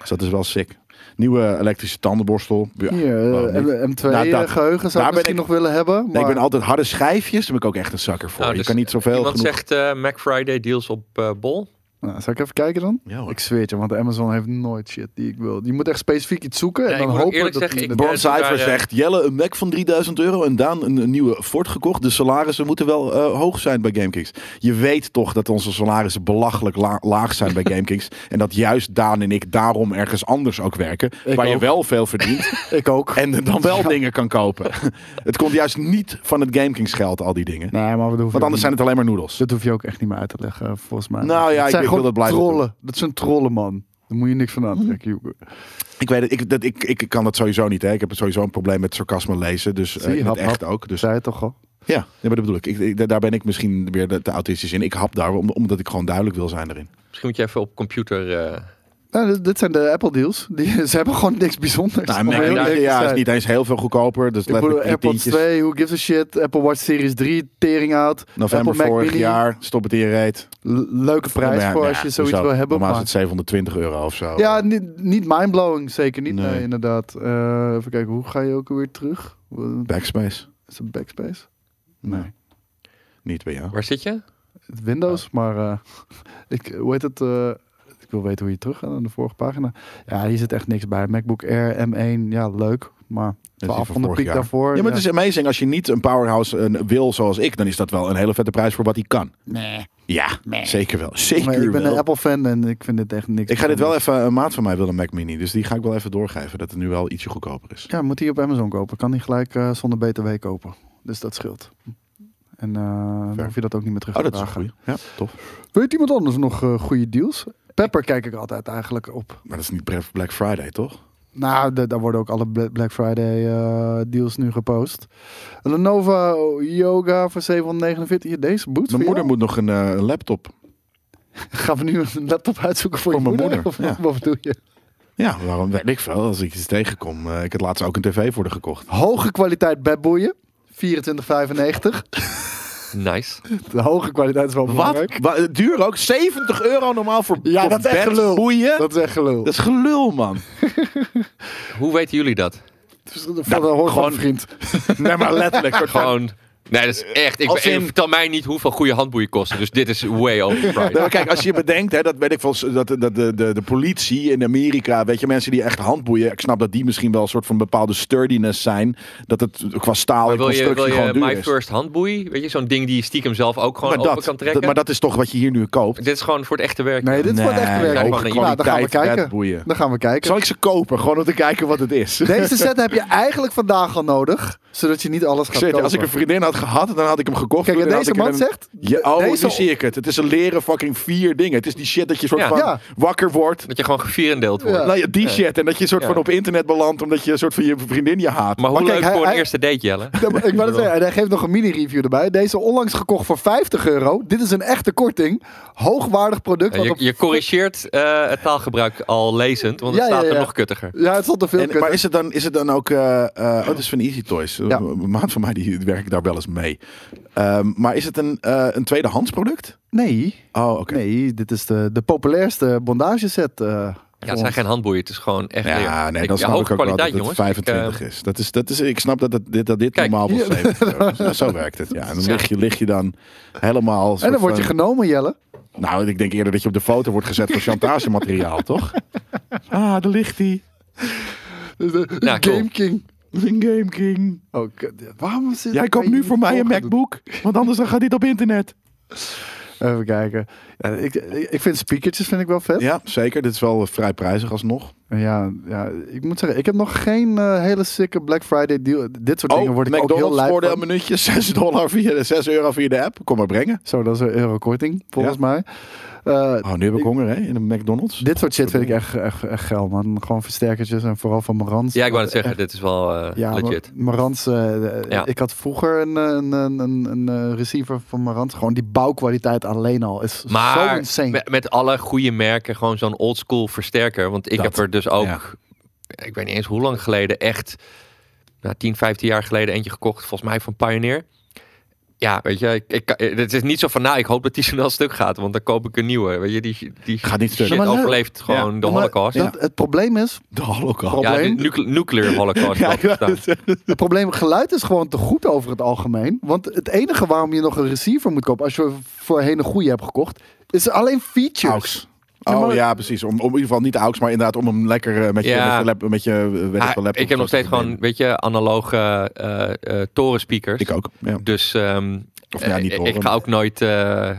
Speaker 3: Dus dat is wel sick. Nieuwe elektrische tandenborstel. Ja,
Speaker 1: Hier, eh,
Speaker 3: waarom niet?
Speaker 1: M2
Speaker 3: Nou, dat-
Speaker 1: eh, geheugen zou ik
Speaker 3: daar ben
Speaker 1: misschien
Speaker 3: ik-
Speaker 1: nog willen hebben.
Speaker 3: Nee,
Speaker 1: Maar
Speaker 3: ik ben altijd harde schijfjes, daar ben ik ook echt een zakker voor.
Speaker 2: Nou,
Speaker 3: Je
Speaker 2: dus
Speaker 3: kan niet zoveel
Speaker 2: Iemand
Speaker 3: genoeg...
Speaker 2: zegt eh, Mac Friday deals op eh, Bol.
Speaker 1: nou, zal ik even kijken dan?
Speaker 3: Ja, hoor.
Speaker 1: Ik zweer het je, want Amazon heeft nooit shit die ik wil. Je moet echt specifiek iets zoeken.
Speaker 2: Ja,
Speaker 1: en
Speaker 2: ik
Speaker 1: dan
Speaker 2: moet ook
Speaker 1: hopen
Speaker 2: eerlijk
Speaker 1: dat
Speaker 2: zeggen,
Speaker 1: die
Speaker 2: ik
Speaker 1: met-
Speaker 3: Born
Speaker 2: Eh, toen
Speaker 3: Cypher
Speaker 2: waren-
Speaker 3: zegt, Jelle, een Mac van 3000 euro en Daan een, een nieuwe Ford gekocht. De salarissen moeten wel eh, hoog zijn bij GameKings. Je weet toch dat onze salarissen belachelijk la- laag zijn bij GameKings. En dat juist Daan en ik daarom ergens anders ook werken.
Speaker 1: Ik
Speaker 3: waar je
Speaker 1: ook.
Speaker 3: wel veel verdient
Speaker 1: Ik ook.
Speaker 3: en dan wel dingen kan kopen. het komt juist niet van het GameKings geld, al die dingen.
Speaker 1: Nee, maar we hoeven
Speaker 3: Want anders zijn het alleen maar noedels.
Speaker 1: Nou, Dat hoef je ook echt niet meer uit te leggen, volgens mij.
Speaker 3: Nou ja,
Speaker 1: Het
Speaker 3: ik-
Speaker 1: zijn
Speaker 3: ik
Speaker 1: gewoon
Speaker 3: wil dat blijven Hm.
Speaker 1: trollen. Dat is een trollenman. Daar moet je niks van aantrekken, Joeke.
Speaker 3: Ik weet het, ik, dat, ik, ik kan dat sowieso niet. Hè. Ik heb sowieso een probleem met sarcasme lezen. Dus eh,
Speaker 1: Zie je,
Speaker 3: in het
Speaker 1: hap, hap.
Speaker 3: echt ook. Dus
Speaker 1: Zei het toch al?
Speaker 3: Ja, ja, maar dat bedoel ik. Ik- ik- Daar ben ik misschien weer de- te autistisch in. Ik hap daar, om- omdat ik gewoon duidelijk wil zijn erin.
Speaker 2: Misschien moet je even op computer... eh,
Speaker 1: Nou, dit, dit zijn de Apple deals. Die, ze hebben gewoon niks bijzonders.
Speaker 3: Nou,
Speaker 1: om
Speaker 3: Mac,
Speaker 1: heel
Speaker 3: ja,
Speaker 1: eerlijk te
Speaker 3: ja, is
Speaker 1: zijn.
Speaker 3: niet eens heel veel goedkoper. Dus
Speaker 1: Ik bedoel,
Speaker 3: letterlijk drie
Speaker 1: AirPods
Speaker 3: tientjes.
Speaker 1: 2, who gives a shit. Apple Watch Series 3, tering out.
Speaker 3: November
Speaker 1: Apple Mac
Speaker 3: vorig
Speaker 1: Mini.
Speaker 3: jaar, stop het in je reet.
Speaker 1: Le- Leuke prijs
Speaker 3: Ja,
Speaker 1: voor
Speaker 3: nou
Speaker 1: als je
Speaker 3: ja,
Speaker 1: zoiets
Speaker 3: hoezo?
Speaker 1: wil hebben.
Speaker 3: Normaal is
Speaker 1: maar-
Speaker 3: het 720 euro of zo.
Speaker 1: Ja, niet, niet mindblowing, zeker niet. Nee,
Speaker 3: Nee.
Speaker 1: inderdaad. Eh, even kijken, hoe ga je ook weer terug? Wat-
Speaker 3: Backspace.
Speaker 1: Is het backspace?
Speaker 3: Nee. Niet bij jou.
Speaker 2: waar zit je?
Speaker 1: Het Windows, maar eh, ik, hoe heet het? eh, ik wil weten hoe je terug gaat aan de vorige pagina. Ja, hier zit echt niks bij. MacBook Air M1, ja, leuk. Maar
Speaker 3: die van
Speaker 1: 1200
Speaker 3: vorig
Speaker 1: piek
Speaker 3: jaar.
Speaker 1: daarvoor.
Speaker 3: Ja, maar het is amazing. Als je niet een powerhouse eh, wil zoals ik, dan is dat wel een hele vette prijs voor wat hij kan.
Speaker 1: Nee,
Speaker 3: Ja, zeker wel. Zeker
Speaker 1: maar ik ben
Speaker 3: wel.
Speaker 1: een Apple-fan en ik vind dit echt niks.
Speaker 3: Ik ga dit wel even... Een maat van mij wil een Mac Mini, dus die ga ik wel even doorgeven. Dat het nu wel ietsje goedkoper is.
Speaker 1: Ja, moet hij op Amazon kopen. Kan hij gelijk eh, zonder BTW kopen. Dus dat scheelt. En eh, dan
Speaker 3: Fair.
Speaker 1: hoef je dat ook niet meer terug
Speaker 3: Oh,
Speaker 1: te
Speaker 3: dat is een
Speaker 1: vragen.
Speaker 3: goeie. Ja, tof.
Speaker 1: Weet iemand anders nog eh, goede deals? Pepper kijk ik altijd eigenlijk op.
Speaker 3: Maar dat is niet Black Friday, toch?
Speaker 1: Nou, de- daar worden ook alle Bla- Black Friday eh, deals nu gepost. Lenovo Yoga voor 749. Hier, Deze boet
Speaker 3: Mijn
Speaker 1: voor
Speaker 3: moeder
Speaker 1: jou?
Speaker 3: moet nog een eh, een laptop.
Speaker 1: Gaan we nu een laptop uitzoeken voor,
Speaker 3: Voor
Speaker 1: je
Speaker 3: mijn
Speaker 1: moeder?
Speaker 3: moeder,
Speaker 1: Of wat bedoel je?
Speaker 3: Ja, waarom weet ik veel. Als ik iets tegenkom. eh, ik had laatst ook een tv voor haar gekocht.
Speaker 1: Hoge kwaliteit bedboeien. 24,95.
Speaker 2: Nice.
Speaker 1: De hoge kwaliteit is wel belangrijk.
Speaker 3: Wat? Wa- het Duur ook 70 euro normaal voor
Speaker 1: Ja,
Speaker 3: voor
Speaker 1: dat is echt
Speaker 3: bed,
Speaker 1: gelul.
Speaker 3: boeien. Dat,
Speaker 1: Dat is echt gelul.
Speaker 3: is gelul, man.
Speaker 2: Hoe weten jullie dat?
Speaker 1: van de hoor van
Speaker 3: Nou, gewoon-
Speaker 1: een vriend.
Speaker 3: nee, maar letterlijk. soort van-
Speaker 2: Gewoon... Nee, dat is echt... Ik
Speaker 3: Als
Speaker 2: ben,
Speaker 3: in-
Speaker 2: Vertel mij niet hoeveel goede handboeien kosten. Dus dit is way overpriced.
Speaker 3: Nee, maar kijk, als je bedenkt, hè, dat weet ik wel, dat, dat de, de, de politie in Amerika, weet je, mensen die echt handboeien, ik snap dat die misschien wel een soort van bepaalde sturdiness zijn, dat het qua staal
Speaker 2: Maar
Speaker 3: en
Speaker 2: wil je,
Speaker 3: constructie
Speaker 2: wil je
Speaker 3: gewoon duur
Speaker 2: My
Speaker 3: is.
Speaker 2: First handboei? Weet je, zo'n ding die je stiekem zelf ook gewoon
Speaker 3: maar,
Speaker 2: open
Speaker 3: dat,
Speaker 2: kan
Speaker 3: dat-
Speaker 2: trekken?
Speaker 3: maar dat is toch wat je hier nu koopt.
Speaker 2: Dit is gewoon voor het echte werk.
Speaker 1: Nee, dit is wordt echt
Speaker 3: Nee,
Speaker 1: werk.
Speaker 3: hoge
Speaker 1: Nou, dan gaan we
Speaker 3: kwaliteit
Speaker 1: kijken.
Speaker 3: bedboeien.
Speaker 1: Dan gaan we kijken.
Speaker 3: Zal ik ze kopen, gewoon om te kijken wat het is?
Speaker 1: Deze set heb je eigenlijk vandaag al nodig. Zodat je niet alles gaat
Speaker 3: Ik zweer het,
Speaker 1: kopen.
Speaker 3: als ik een vriendin had gehad, dan had ik hem gekocht.
Speaker 1: Kijk, en
Speaker 3: en dan
Speaker 1: deze
Speaker 3: had ik
Speaker 1: man
Speaker 3: hem-
Speaker 1: zegt...
Speaker 3: Ja, oh,
Speaker 1: deze-
Speaker 3: nu zie ik het. Het is een leren fucking vier dingen. Het is die shit dat je soort
Speaker 2: Ja.
Speaker 3: van
Speaker 1: Ja.
Speaker 3: wakker wordt.
Speaker 2: Dat je gewoon gevierendeeld wordt.
Speaker 1: Ja.
Speaker 3: Nou ja, die shit. En dat je soort
Speaker 2: Ja.
Speaker 3: van op internet belandt omdat je soort van je vriendin je haat.
Speaker 2: Maar hoe
Speaker 1: Maar kijk,
Speaker 2: leuk
Speaker 1: hij-
Speaker 2: voor een
Speaker 1: hij-
Speaker 2: eerste date, Jelle.
Speaker 1: Ja, maar Ik wou het zeggen, en hij geeft nog een mini-review erbij. Deze onlangs gekocht voor 50 euro. Dit is een echte korting. Hoogwaardig product.
Speaker 2: Ja,
Speaker 1: want
Speaker 2: Je,
Speaker 1: op-
Speaker 2: je corrigeert eh, het taalgebruik al lezend, want het
Speaker 1: Ja, ja,
Speaker 2: staat er
Speaker 1: ja.
Speaker 2: nog kuttiger.
Speaker 1: ja, het stond er veel
Speaker 3: En-
Speaker 1: kut.
Speaker 3: maar is het dan, is het dan ook... eh, eh, oh, het is van Easy Toys.
Speaker 1: Ja.
Speaker 3: Een maat van mij die werkt daar wel eens. alles mee. Ehm, maar is het een, eh, een tweedehands product?
Speaker 1: Nee,
Speaker 3: Oh, oké.
Speaker 1: nee, dit is de, de populairste bondageset. eh,
Speaker 2: Ja, het zijn geen handboeien. Het is gewoon echt
Speaker 3: Ja,
Speaker 2: leer.
Speaker 3: nee,
Speaker 2: Ik- ja,
Speaker 3: dan snap ik
Speaker 2: hoge
Speaker 3: ook wel dat
Speaker 2: kwaliteit,
Speaker 3: het
Speaker 2: jongens.
Speaker 3: 25
Speaker 2: Ik, eh,
Speaker 3: is. Dat is, dat is. Ik snap dat, het, dit, dat dit
Speaker 2: Kijk,
Speaker 3: normaal was
Speaker 1: hier-
Speaker 3: 70 euro. Zo- Zo werkt het. Ja, en dan
Speaker 2: Ja.
Speaker 3: lig je, lig je dan helemaal... soort eh,
Speaker 1: en dan word je
Speaker 3: van-
Speaker 1: genomen, Jelle.
Speaker 3: Nou, ik denk eerder dat je op de foto wordt gezet voor chantagemateriaal, toch? Ah, daar ligt hij.
Speaker 2: Ja,
Speaker 1: Game
Speaker 2: cool.
Speaker 1: King.
Speaker 3: Een Game King.
Speaker 1: Oh, kut. waarom zit
Speaker 3: Jij
Speaker 1: ik
Speaker 3: koopt
Speaker 1: bij
Speaker 3: nu
Speaker 1: jullie
Speaker 3: voor mij een
Speaker 1: voorgedoe?
Speaker 3: MacBook, want anders dan gaat dit op internet.
Speaker 1: Even kijken. Ja, ik, ik ik vind speakertjes vind ik wel vet. Ja.
Speaker 3: Ja, zeker. Dit is wel eh, vrij prijzig alsnog.
Speaker 1: Ja, ik moet zeggen, ik heb nog geen eh, hele sikke Black Friday deal. Dit soort dingen word ik ook heel
Speaker 3: Oh, McDonald's
Speaker 1: lijp van.
Speaker 3: voordeelminuutje, 6, dollar via, 6 euro via de app. Kom maar brengen.
Speaker 1: Zo, dat is een eurokorting, volgens mij. Eh,
Speaker 3: Oh, nu heb ik honger, hè, in de McDonald's.
Speaker 1: dit soort shit vind ik echt, echt, echt geil, man. Gewoon versterkertjes en vooral van Marantz.
Speaker 2: Ja, ik wou het zeggen. Dit is wel eh,
Speaker 1: Ja,
Speaker 2: legit.
Speaker 1: Ma- Marantz. eh, eh,
Speaker 2: Ja.
Speaker 1: Ik had vroeger een, eh, een, een, een, een, eh, receiver van Marantz. Gewoon die bouwkwaliteit alleen al is zo
Speaker 2: Maar
Speaker 1: insane.
Speaker 2: met, met alle goede merken gewoon zo'n oldschool versterker. Want ik
Speaker 3: Dat,
Speaker 2: heb er dus ook,
Speaker 3: ja.
Speaker 2: ik weet niet eens hoe lang geleden, echt nou, 10, 15 jaar geleden eentje gekocht. Volgens mij van Pioneer. Ja, weet je, ik, ik, kan- eh, het is niet zo van, nou, ik hoop dat die snel stuk gaat. Want dan koop ik een nieuwe. Weet je, die, die
Speaker 3: Gaat niet stuk.
Speaker 2: shit
Speaker 3: nou-
Speaker 1: Maar leuk.
Speaker 2: overleeft gewoon de
Speaker 1: Maar
Speaker 2: holocaust.
Speaker 1: dat- Het probleem is,
Speaker 3: De holocaust.
Speaker 2: Ja, de
Speaker 1: probleem.
Speaker 2: nucle- nuclear holocaust.
Speaker 3: Ja,
Speaker 2: had
Speaker 3: ik wou
Speaker 2: bestaan.
Speaker 3: het zeggen.
Speaker 1: Het probleem, geluid is gewoon te goed over het algemeen. Want het enige waarom je nog een receiver moet kopen, als je voorheen een goede hebt gekocht, is alleen features.
Speaker 3: Aux.
Speaker 1: Ja,
Speaker 3: Oh
Speaker 1: maar-
Speaker 3: ja, precies. Om, om in ieder geval niet de aux, maar inderdaad om hem lekker eh, met je,
Speaker 2: Ja.
Speaker 3: met je, lap, met je, eh, weet ik
Speaker 2: Ah,
Speaker 3: veel, laptop
Speaker 2: ik heb nog
Speaker 3: zo te
Speaker 2: steeds gewoon,
Speaker 3: nemen.
Speaker 2: weet je, analoge eh, eh, torenspeakers.
Speaker 3: Ik ook. Ja.
Speaker 2: Dus ehm,
Speaker 3: Of nou ja,
Speaker 2: eh,
Speaker 3: niet
Speaker 2: ik
Speaker 3: horen.
Speaker 2: ga ook nooit. eh, eh,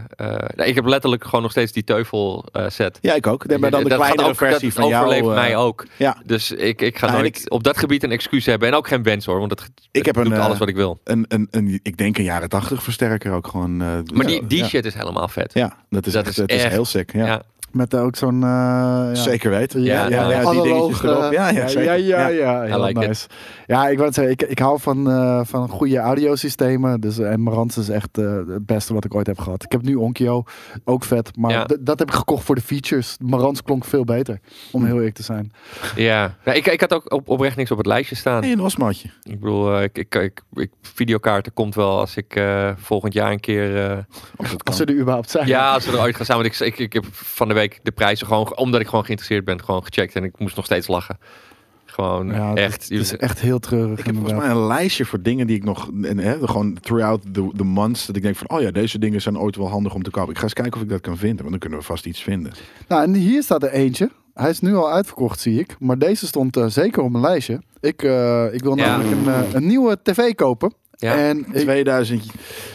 Speaker 2: nee, ik heb letterlijk gewoon nog steeds die teufel eh, set.
Speaker 3: Ja, ik ook. Nee, maar dan de
Speaker 2: Dat gaat
Speaker 3: kleinere
Speaker 2: over-
Speaker 3: versie
Speaker 2: dat
Speaker 3: van jou.
Speaker 2: overleeft
Speaker 3: eh,
Speaker 2: mij ook.
Speaker 3: Ja,
Speaker 2: Dus ik, ik ga
Speaker 3: Nou, en
Speaker 2: nooit op dat gebied een excuus hebben. En ook geen wens hoor, want dat
Speaker 3: Ik heb
Speaker 2: doet
Speaker 3: een, eh,
Speaker 2: alles wat ik wil.
Speaker 3: een, een, een, ik denk een jaren tachtig versterker ook gewoon. eh,
Speaker 2: Maar
Speaker 3: ja,
Speaker 2: die, die
Speaker 3: ja.
Speaker 2: shit is helemaal vet.
Speaker 3: Ja, dat is,
Speaker 2: Dat
Speaker 3: echt,
Speaker 2: is
Speaker 3: het is
Speaker 2: echt-
Speaker 3: heel sick. Ja.
Speaker 2: Ja.
Speaker 1: Met eh, ook zo'n. eh, ja.
Speaker 3: Zeker weten.
Speaker 1: Ja,
Speaker 2: ja, ja,
Speaker 3: die dingetjes
Speaker 1: eh,
Speaker 3: erop. Ja, ja, zeker.
Speaker 1: ja, ja, ja,
Speaker 3: Ja.
Speaker 1: heel
Speaker 2: like it.
Speaker 1: nice. Ja, ik wou het zeggen, ik, ik hou van, eh, van goede audiosystemen. Dus, eh, en Marantz is echt eh, het beste wat ik ooit heb gehad. Ik heb nu Onkyo, ook vet. Maar
Speaker 2: Ja.
Speaker 1: d- dat heb ik gekocht voor de features. Marantz klonk veel beter, om heel eerlijk te zijn.
Speaker 2: ja. Nou, ik, ik had ook op, oprecht niks op het lijstje staan.
Speaker 3: Hey, een osmaatje.
Speaker 2: Ik bedoel, eh, ik, ik, ik, ik- videokaarten komt wel als ik eh, volgend jaar een keer. eh,
Speaker 3: Als dat kan.
Speaker 1: Als ze er überhaupt zijn.
Speaker 2: Ja, als we er ooit gaan samen. Want ik, ik, ik heb van de week de prijzen gewoon, omdat ik gewoon geïnteresseerd ben, gewoon gecheckt. En ik moest nog steeds lachen. Gewoon
Speaker 1: Ja, het-
Speaker 2: echt.
Speaker 1: Het is echt heel treurig.
Speaker 3: Ik heb
Speaker 1: inderdaad.
Speaker 3: volgens mij een lijstje voor dingen die ik nog, en, hè, gewoon throughout the, the months, dat ik denk van, oh ja, deze dingen zijn ooit wel handig om te kopen. Ik ga eens kijken of ik dat kan vinden, want dan kunnen we vast iets vinden.
Speaker 1: Nou, en hier staat er eentje. Hij is nu al uitverkocht, zie ik. Maar deze stond eh, zeker op mijn lijstje. Ik, eh, ik wil
Speaker 2: Ja.
Speaker 1: namelijk een, eh, een nieuwe tv kopen.
Speaker 2: Ja.
Speaker 1: En ik,
Speaker 3: 2000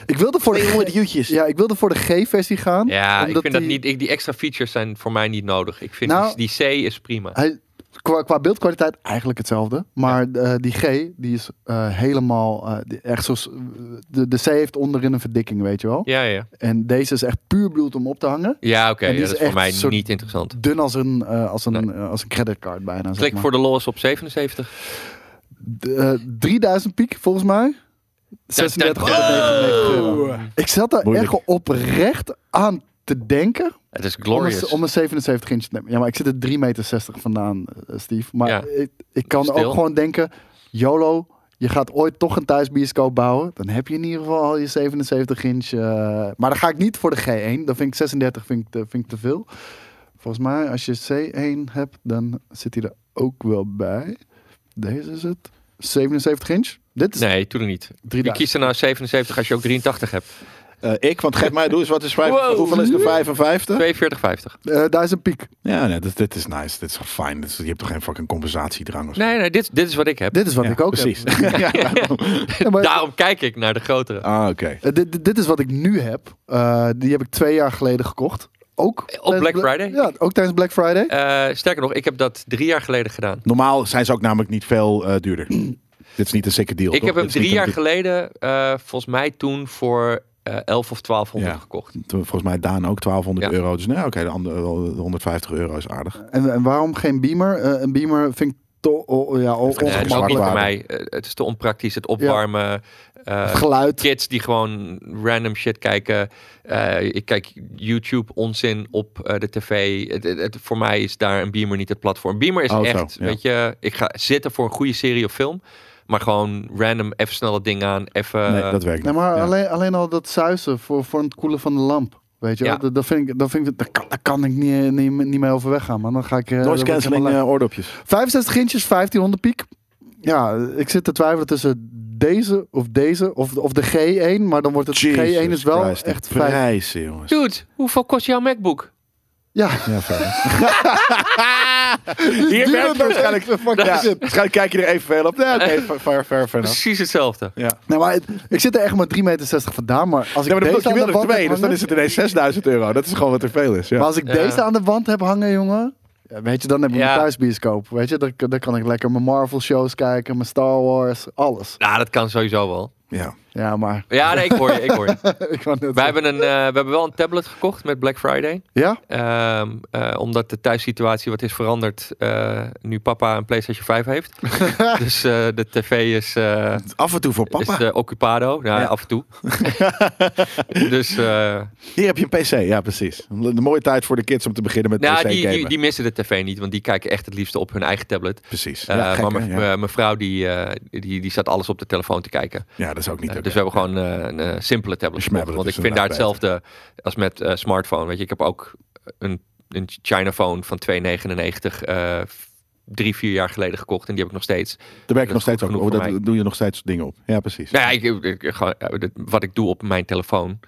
Speaker 1: ik wilde voor de,
Speaker 3: jutjes.
Speaker 1: ja, ik wilde voor de G-versie gaan.
Speaker 2: Ja, ik
Speaker 1: omdat
Speaker 2: vind dat
Speaker 1: die-
Speaker 2: niet. Ik, die extra features zijn voor mij niet nodig. Ik vind
Speaker 1: Nou-
Speaker 2: die, die C is prima.
Speaker 1: Hij, qua, qua beeldkwaliteit eigenlijk hetzelfde. Maar eh, die G, die is eh, helemaal... eh, die- echt zoals, de, de C heeft onderin een verdikking, weet je wel.
Speaker 2: Ja, ja.
Speaker 1: En deze is echt puur bedoeld om op te hangen.
Speaker 2: Ja, oké.
Speaker 1: En die
Speaker 2: ja,
Speaker 1: is
Speaker 2: dat is voor
Speaker 1: echt
Speaker 2: mij
Speaker 1: soort-
Speaker 2: niet interessant.
Speaker 1: Dun als een, eh, als een, eh, als een creditcard bijna. zeg
Speaker 2: Klik
Speaker 1: maar.
Speaker 2: voor de los op 77.
Speaker 1: D- eh, 3000 piek volgens mij. 36
Speaker 2: Oh!
Speaker 1: euro. Ik zat daar
Speaker 3: Moeilijk.
Speaker 1: echt oprecht aan te denken
Speaker 2: Het is
Speaker 1: om een,
Speaker 2: glorious.
Speaker 1: om een 77 inch te nemen. Ja, maar ik zit er 3,60 meter vandaan, eh, Steve. Maar
Speaker 2: Ja.
Speaker 1: ik, ik kan
Speaker 2: Stil.
Speaker 1: ook gewoon denken, YOLO, je gaat ooit toch een thuisbioscoop bouwen. Dan heb je in ieder geval al je 77 inch. eh, maar dan ga ik niet voor de G1. Dan vind ik 36 vind ik te, vind ik te veel. Volgens mij, als je C1 hebt, dan zit hij er ook wel bij. Deze is het. 77 inch. Dit is
Speaker 2: Nee, toen niet. Wie
Speaker 1: 3000.
Speaker 2: kiest er nou 77 als je ook 83 hebt?
Speaker 3: eh, ik, want geef mij, doe eens wat is vijf,
Speaker 2: Wow.
Speaker 3: hoeveel is de 55?
Speaker 2: 42,50.
Speaker 1: Eh, daar is een piek.
Speaker 3: Ja, nee, dit, dit is nice, dit is fijn. Dit is- Je hebt toch geen fucking compensatiedrang of zo?
Speaker 2: Nee, nee, dit, dit is wat ik heb.
Speaker 1: Dit is wat
Speaker 3: Ja,
Speaker 1: ik ook
Speaker 3: Precies.
Speaker 1: heb.
Speaker 3: Ja, daarom.
Speaker 1: Ja, maar-
Speaker 2: Daarom kijk ik naar de grotere.
Speaker 3: ah, oké.
Speaker 1: Eh, dit, dit- dit is wat ik nu heb. Eh, die heb ik twee jaar geleden gekocht. Ook tijdens
Speaker 2: Black
Speaker 1: Bla-
Speaker 2: Friday?
Speaker 1: Ja, ook tijdens Black Friday.
Speaker 2: Eh, sterker nog, ik heb dat drie jaar geleden gedaan.
Speaker 3: Normaal zijn ze ook namelijk niet veel eh, duurder. dit is niet een sikke deal,
Speaker 2: Ik
Speaker 3: toch?
Speaker 2: heb hem
Speaker 3: Dit is niet
Speaker 2: drie jaar
Speaker 3: een-
Speaker 2: geleden, eh, volgens mij toen voor eh 11 of 1200
Speaker 3: Ja.
Speaker 2: gekocht.
Speaker 3: Toen, Volgens mij Daan ook 1200
Speaker 2: Ja. Eh,
Speaker 3: euro. Dus nou, oké, de andere wel, de 150 euro is aardig.
Speaker 1: En, en waarom geen beamer? Eh, een beamer vind ik to- oh, ja, on-
Speaker 3: Het
Speaker 2: Eh,
Speaker 3: is
Speaker 2: het is ook
Speaker 1: ongemakkelijk.
Speaker 2: niet voor
Speaker 3: zwaar
Speaker 2: mij. Eh, het is te onpraktisch. Het opwarmen. eh,
Speaker 1: Het Geluid.
Speaker 2: kids die gewoon random shit kijken. Eh, ik kijk YouTube onzin op eh, de tv. Het, het- het- voor mij is daar een beamer niet het platform. Beamer is
Speaker 3: Oh, zo,
Speaker 2: echt,
Speaker 3: ja.
Speaker 2: weet je, ik ga zitten voor een goede serie of film. Maar gewoon random, even snel dat ding aan. Even,
Speaker 3: nee, dat werkt
Speaker 1: Nee,
Speaker 3: niet.
Speaker 1: maar
Speaker 3: Ja.
Speaker 1: alleen, alleen al dat zuizen voor, voor het koelen van de lamp. Weet je wel?
Speaker 2: Ja.
Speaker 1: Dat, dat vind ik, dat vind ik, dat kan, daar kan ik niet, niet, niet mee over weggaan, man. Dan ga ik... eh,
Speaker 3: Noise
Speaker 1: dan word ik
Speaker 3: cancelling
Speaker 1: helemaal
Speaker 3: eh, oordopjes.
Speaker 1: lui. 65 inches, 1500 piek. Ja, ik zit te twijfelen tussen deze of deze of, of de G1. Maar dan wordt het G1 is wel
Speaker 3: Christ, de
Speaker 1: echt vijf.
Speaker 3: prijzen, jongens.
Speaker 2: Dude, hoeveel kost jouw MacBook?
Speaker 1: Ja,
Speaker 3: Ja, fijn.
Speaker 1: duurder
Speaker 3: Hier werkt
Speaker 1: dan
Speaker 3: waarschijnlijk...
Speaker 1: ik. Fuck
Speaker 3: Ja,
Speaker 1: that shit.
Speaker 3: waarschijnlijk kijk je er evenveel op. Ja, oké, fair, fair, fair, enough.
Speaker 2: Precies hetzelfde.
Speaker 3: Ja.
Speaker 1: Nee, maar het- ik zit er echt maar 3,60 meter vandaan. Maar als ik
Speaker 3: Ja, maar dan
Speaker 1: deze
Speaker 3: je
Speaker 1: aan de
Speaker 3: wil er
Speaker 1: wand
Speaker 3: twee,
Speaker 1: heb
Speaker 3: dus dan
Speaker 1: hangen-
Speaker 3: is het ineens 6000 euro. Dat is gewoon wat er veel is.
Speaker 1: Maar
Speaker 3: Ja.
Speaker 1: als ik
Speaker 2: Ja.
Speaker 1: deze aan de wand heb hangen, jongen. ja, Weet je, dan heb ik
Speaker 2: Ja.
Speaker 1: een thuisbioscoop. Weet je, dan, dan kan ik lekker mijn Marvel-shows kijken, mijn Star Wars, alles.
Speaker 2: Nou, dat kan sowieso wel.
Speaker 3: Ja.
Speaker 1: Ja, maar.
Speaker 2: Ja, nee, ik hoor je. Ik hoor je.
Speaker 1: ik wou net
Speaker 2: Wij
Speaker 1: zeggen.
Speaker 2: hebben, een, eh, we hebben wel een tablet gekocht met Black Friday.
Speaker 1: Ja?
Speaker 2: Ehm, eh, omdat de thuissituatie wat is veranderd. eh, nu papa een PlayStation 5 heeft. dus eh, de tv is, eh,
Speaker 3: Af en toe voor
Speaker 2: is eh, occupado. Ja,
Speaker 3: Ja.
Speaker 2: af en toe. dus eh
Speaker 3: Hier heb je een PC, ja precies. Een mooie tijd voor de kids om te beginnen met
Speaker 2: nou,
Speaker 3: PC
Speaker 2: die, die,
Speaker 3: gamen.
Speaker 2: die missen de tv niet. Want die kijken echt het liefste op hun eigen tablet.
Speaker 3: Precies.
Speaker 2: Eh,
Speaker 3: Ja, gek,
Speaker 2: maar
Speaker 3: hè?
Speaker 2: mijn
Speaker 3: ja.
Speaker 2: mijn- mijn vrouw die, eh, die, die staat alles op de telefoon te kijken.
Speaker 3: Ja, dat is ook niet
Speaker 2: Eh,
Speaker 3: leuk.
Speaker 2: dus we hebben gewoon eh, een eh, simpele tablet. gekocht,
Speaker 3: Een smabbelet
Speaker 2: Want ik
Speaker 3: is
Speaker 2: vind daar
Speaker 3: inderdaad
Speaker 2: hetzelfde als met eh, smartphone. Weet je, ik heb ook een, een China phone van 2,99 eh, f- drie, vier jaar geleden gekocht. En die heb ik nog steeds.
Speaker 3: Daar ben ik
Speaker 2: dat
Speaker 3: nog
Speaker 2: is
Speaker 3: steeds
Speaker 2: goed
Speaker 3: ook
Speaker 2: genoeg
Speaker 3: oh,
Speaker 2: voor
Speaker 3: Dat doe je nog steeds dingen op. Ja, precies.
Speaker 2: Nou ja, ik, ik- ik- gewoon, eh, dat- wat ik doe op mijn telefoon,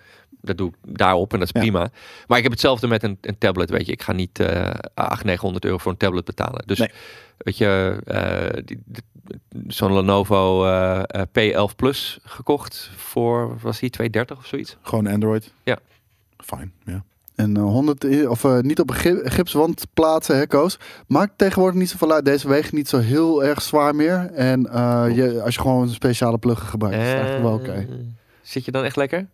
Speaker 2: dat doe ik daarop en dat is
Speaker 3: Ja.
Speaker 2: prima. Maar ik heb hetzelfde met een, een tablet, weet je. Ik ga niet eh 800, 900 euro voor een tablet betalen. Dus
Speaker 3: Nee.
Speaker 2: weet je, eh, die- die- zo'n Lenovo eh, eh, P11 Plus gekocht voor, wat was die 230 of zoiets?
Speaker 3: Gewoon Android.
Speaker 2: Ja.
Speaker 3: Fijn, ja.
Speaker 1: En eh, 100, i- of eh, niet op een gi- gipswand plaatsen, hè, Koos. Maakt tegenwoordig niet zoveel uit. Deze wegen niet zo heel erg zwaar meer. En eh, je, als je gewoon speciale pluggen gebruikt,
Speaker 3: Oh,
Speaker 1: is het eigenlijk wel oké.
Speaker 2: Eh, Zit je dan echt lekker?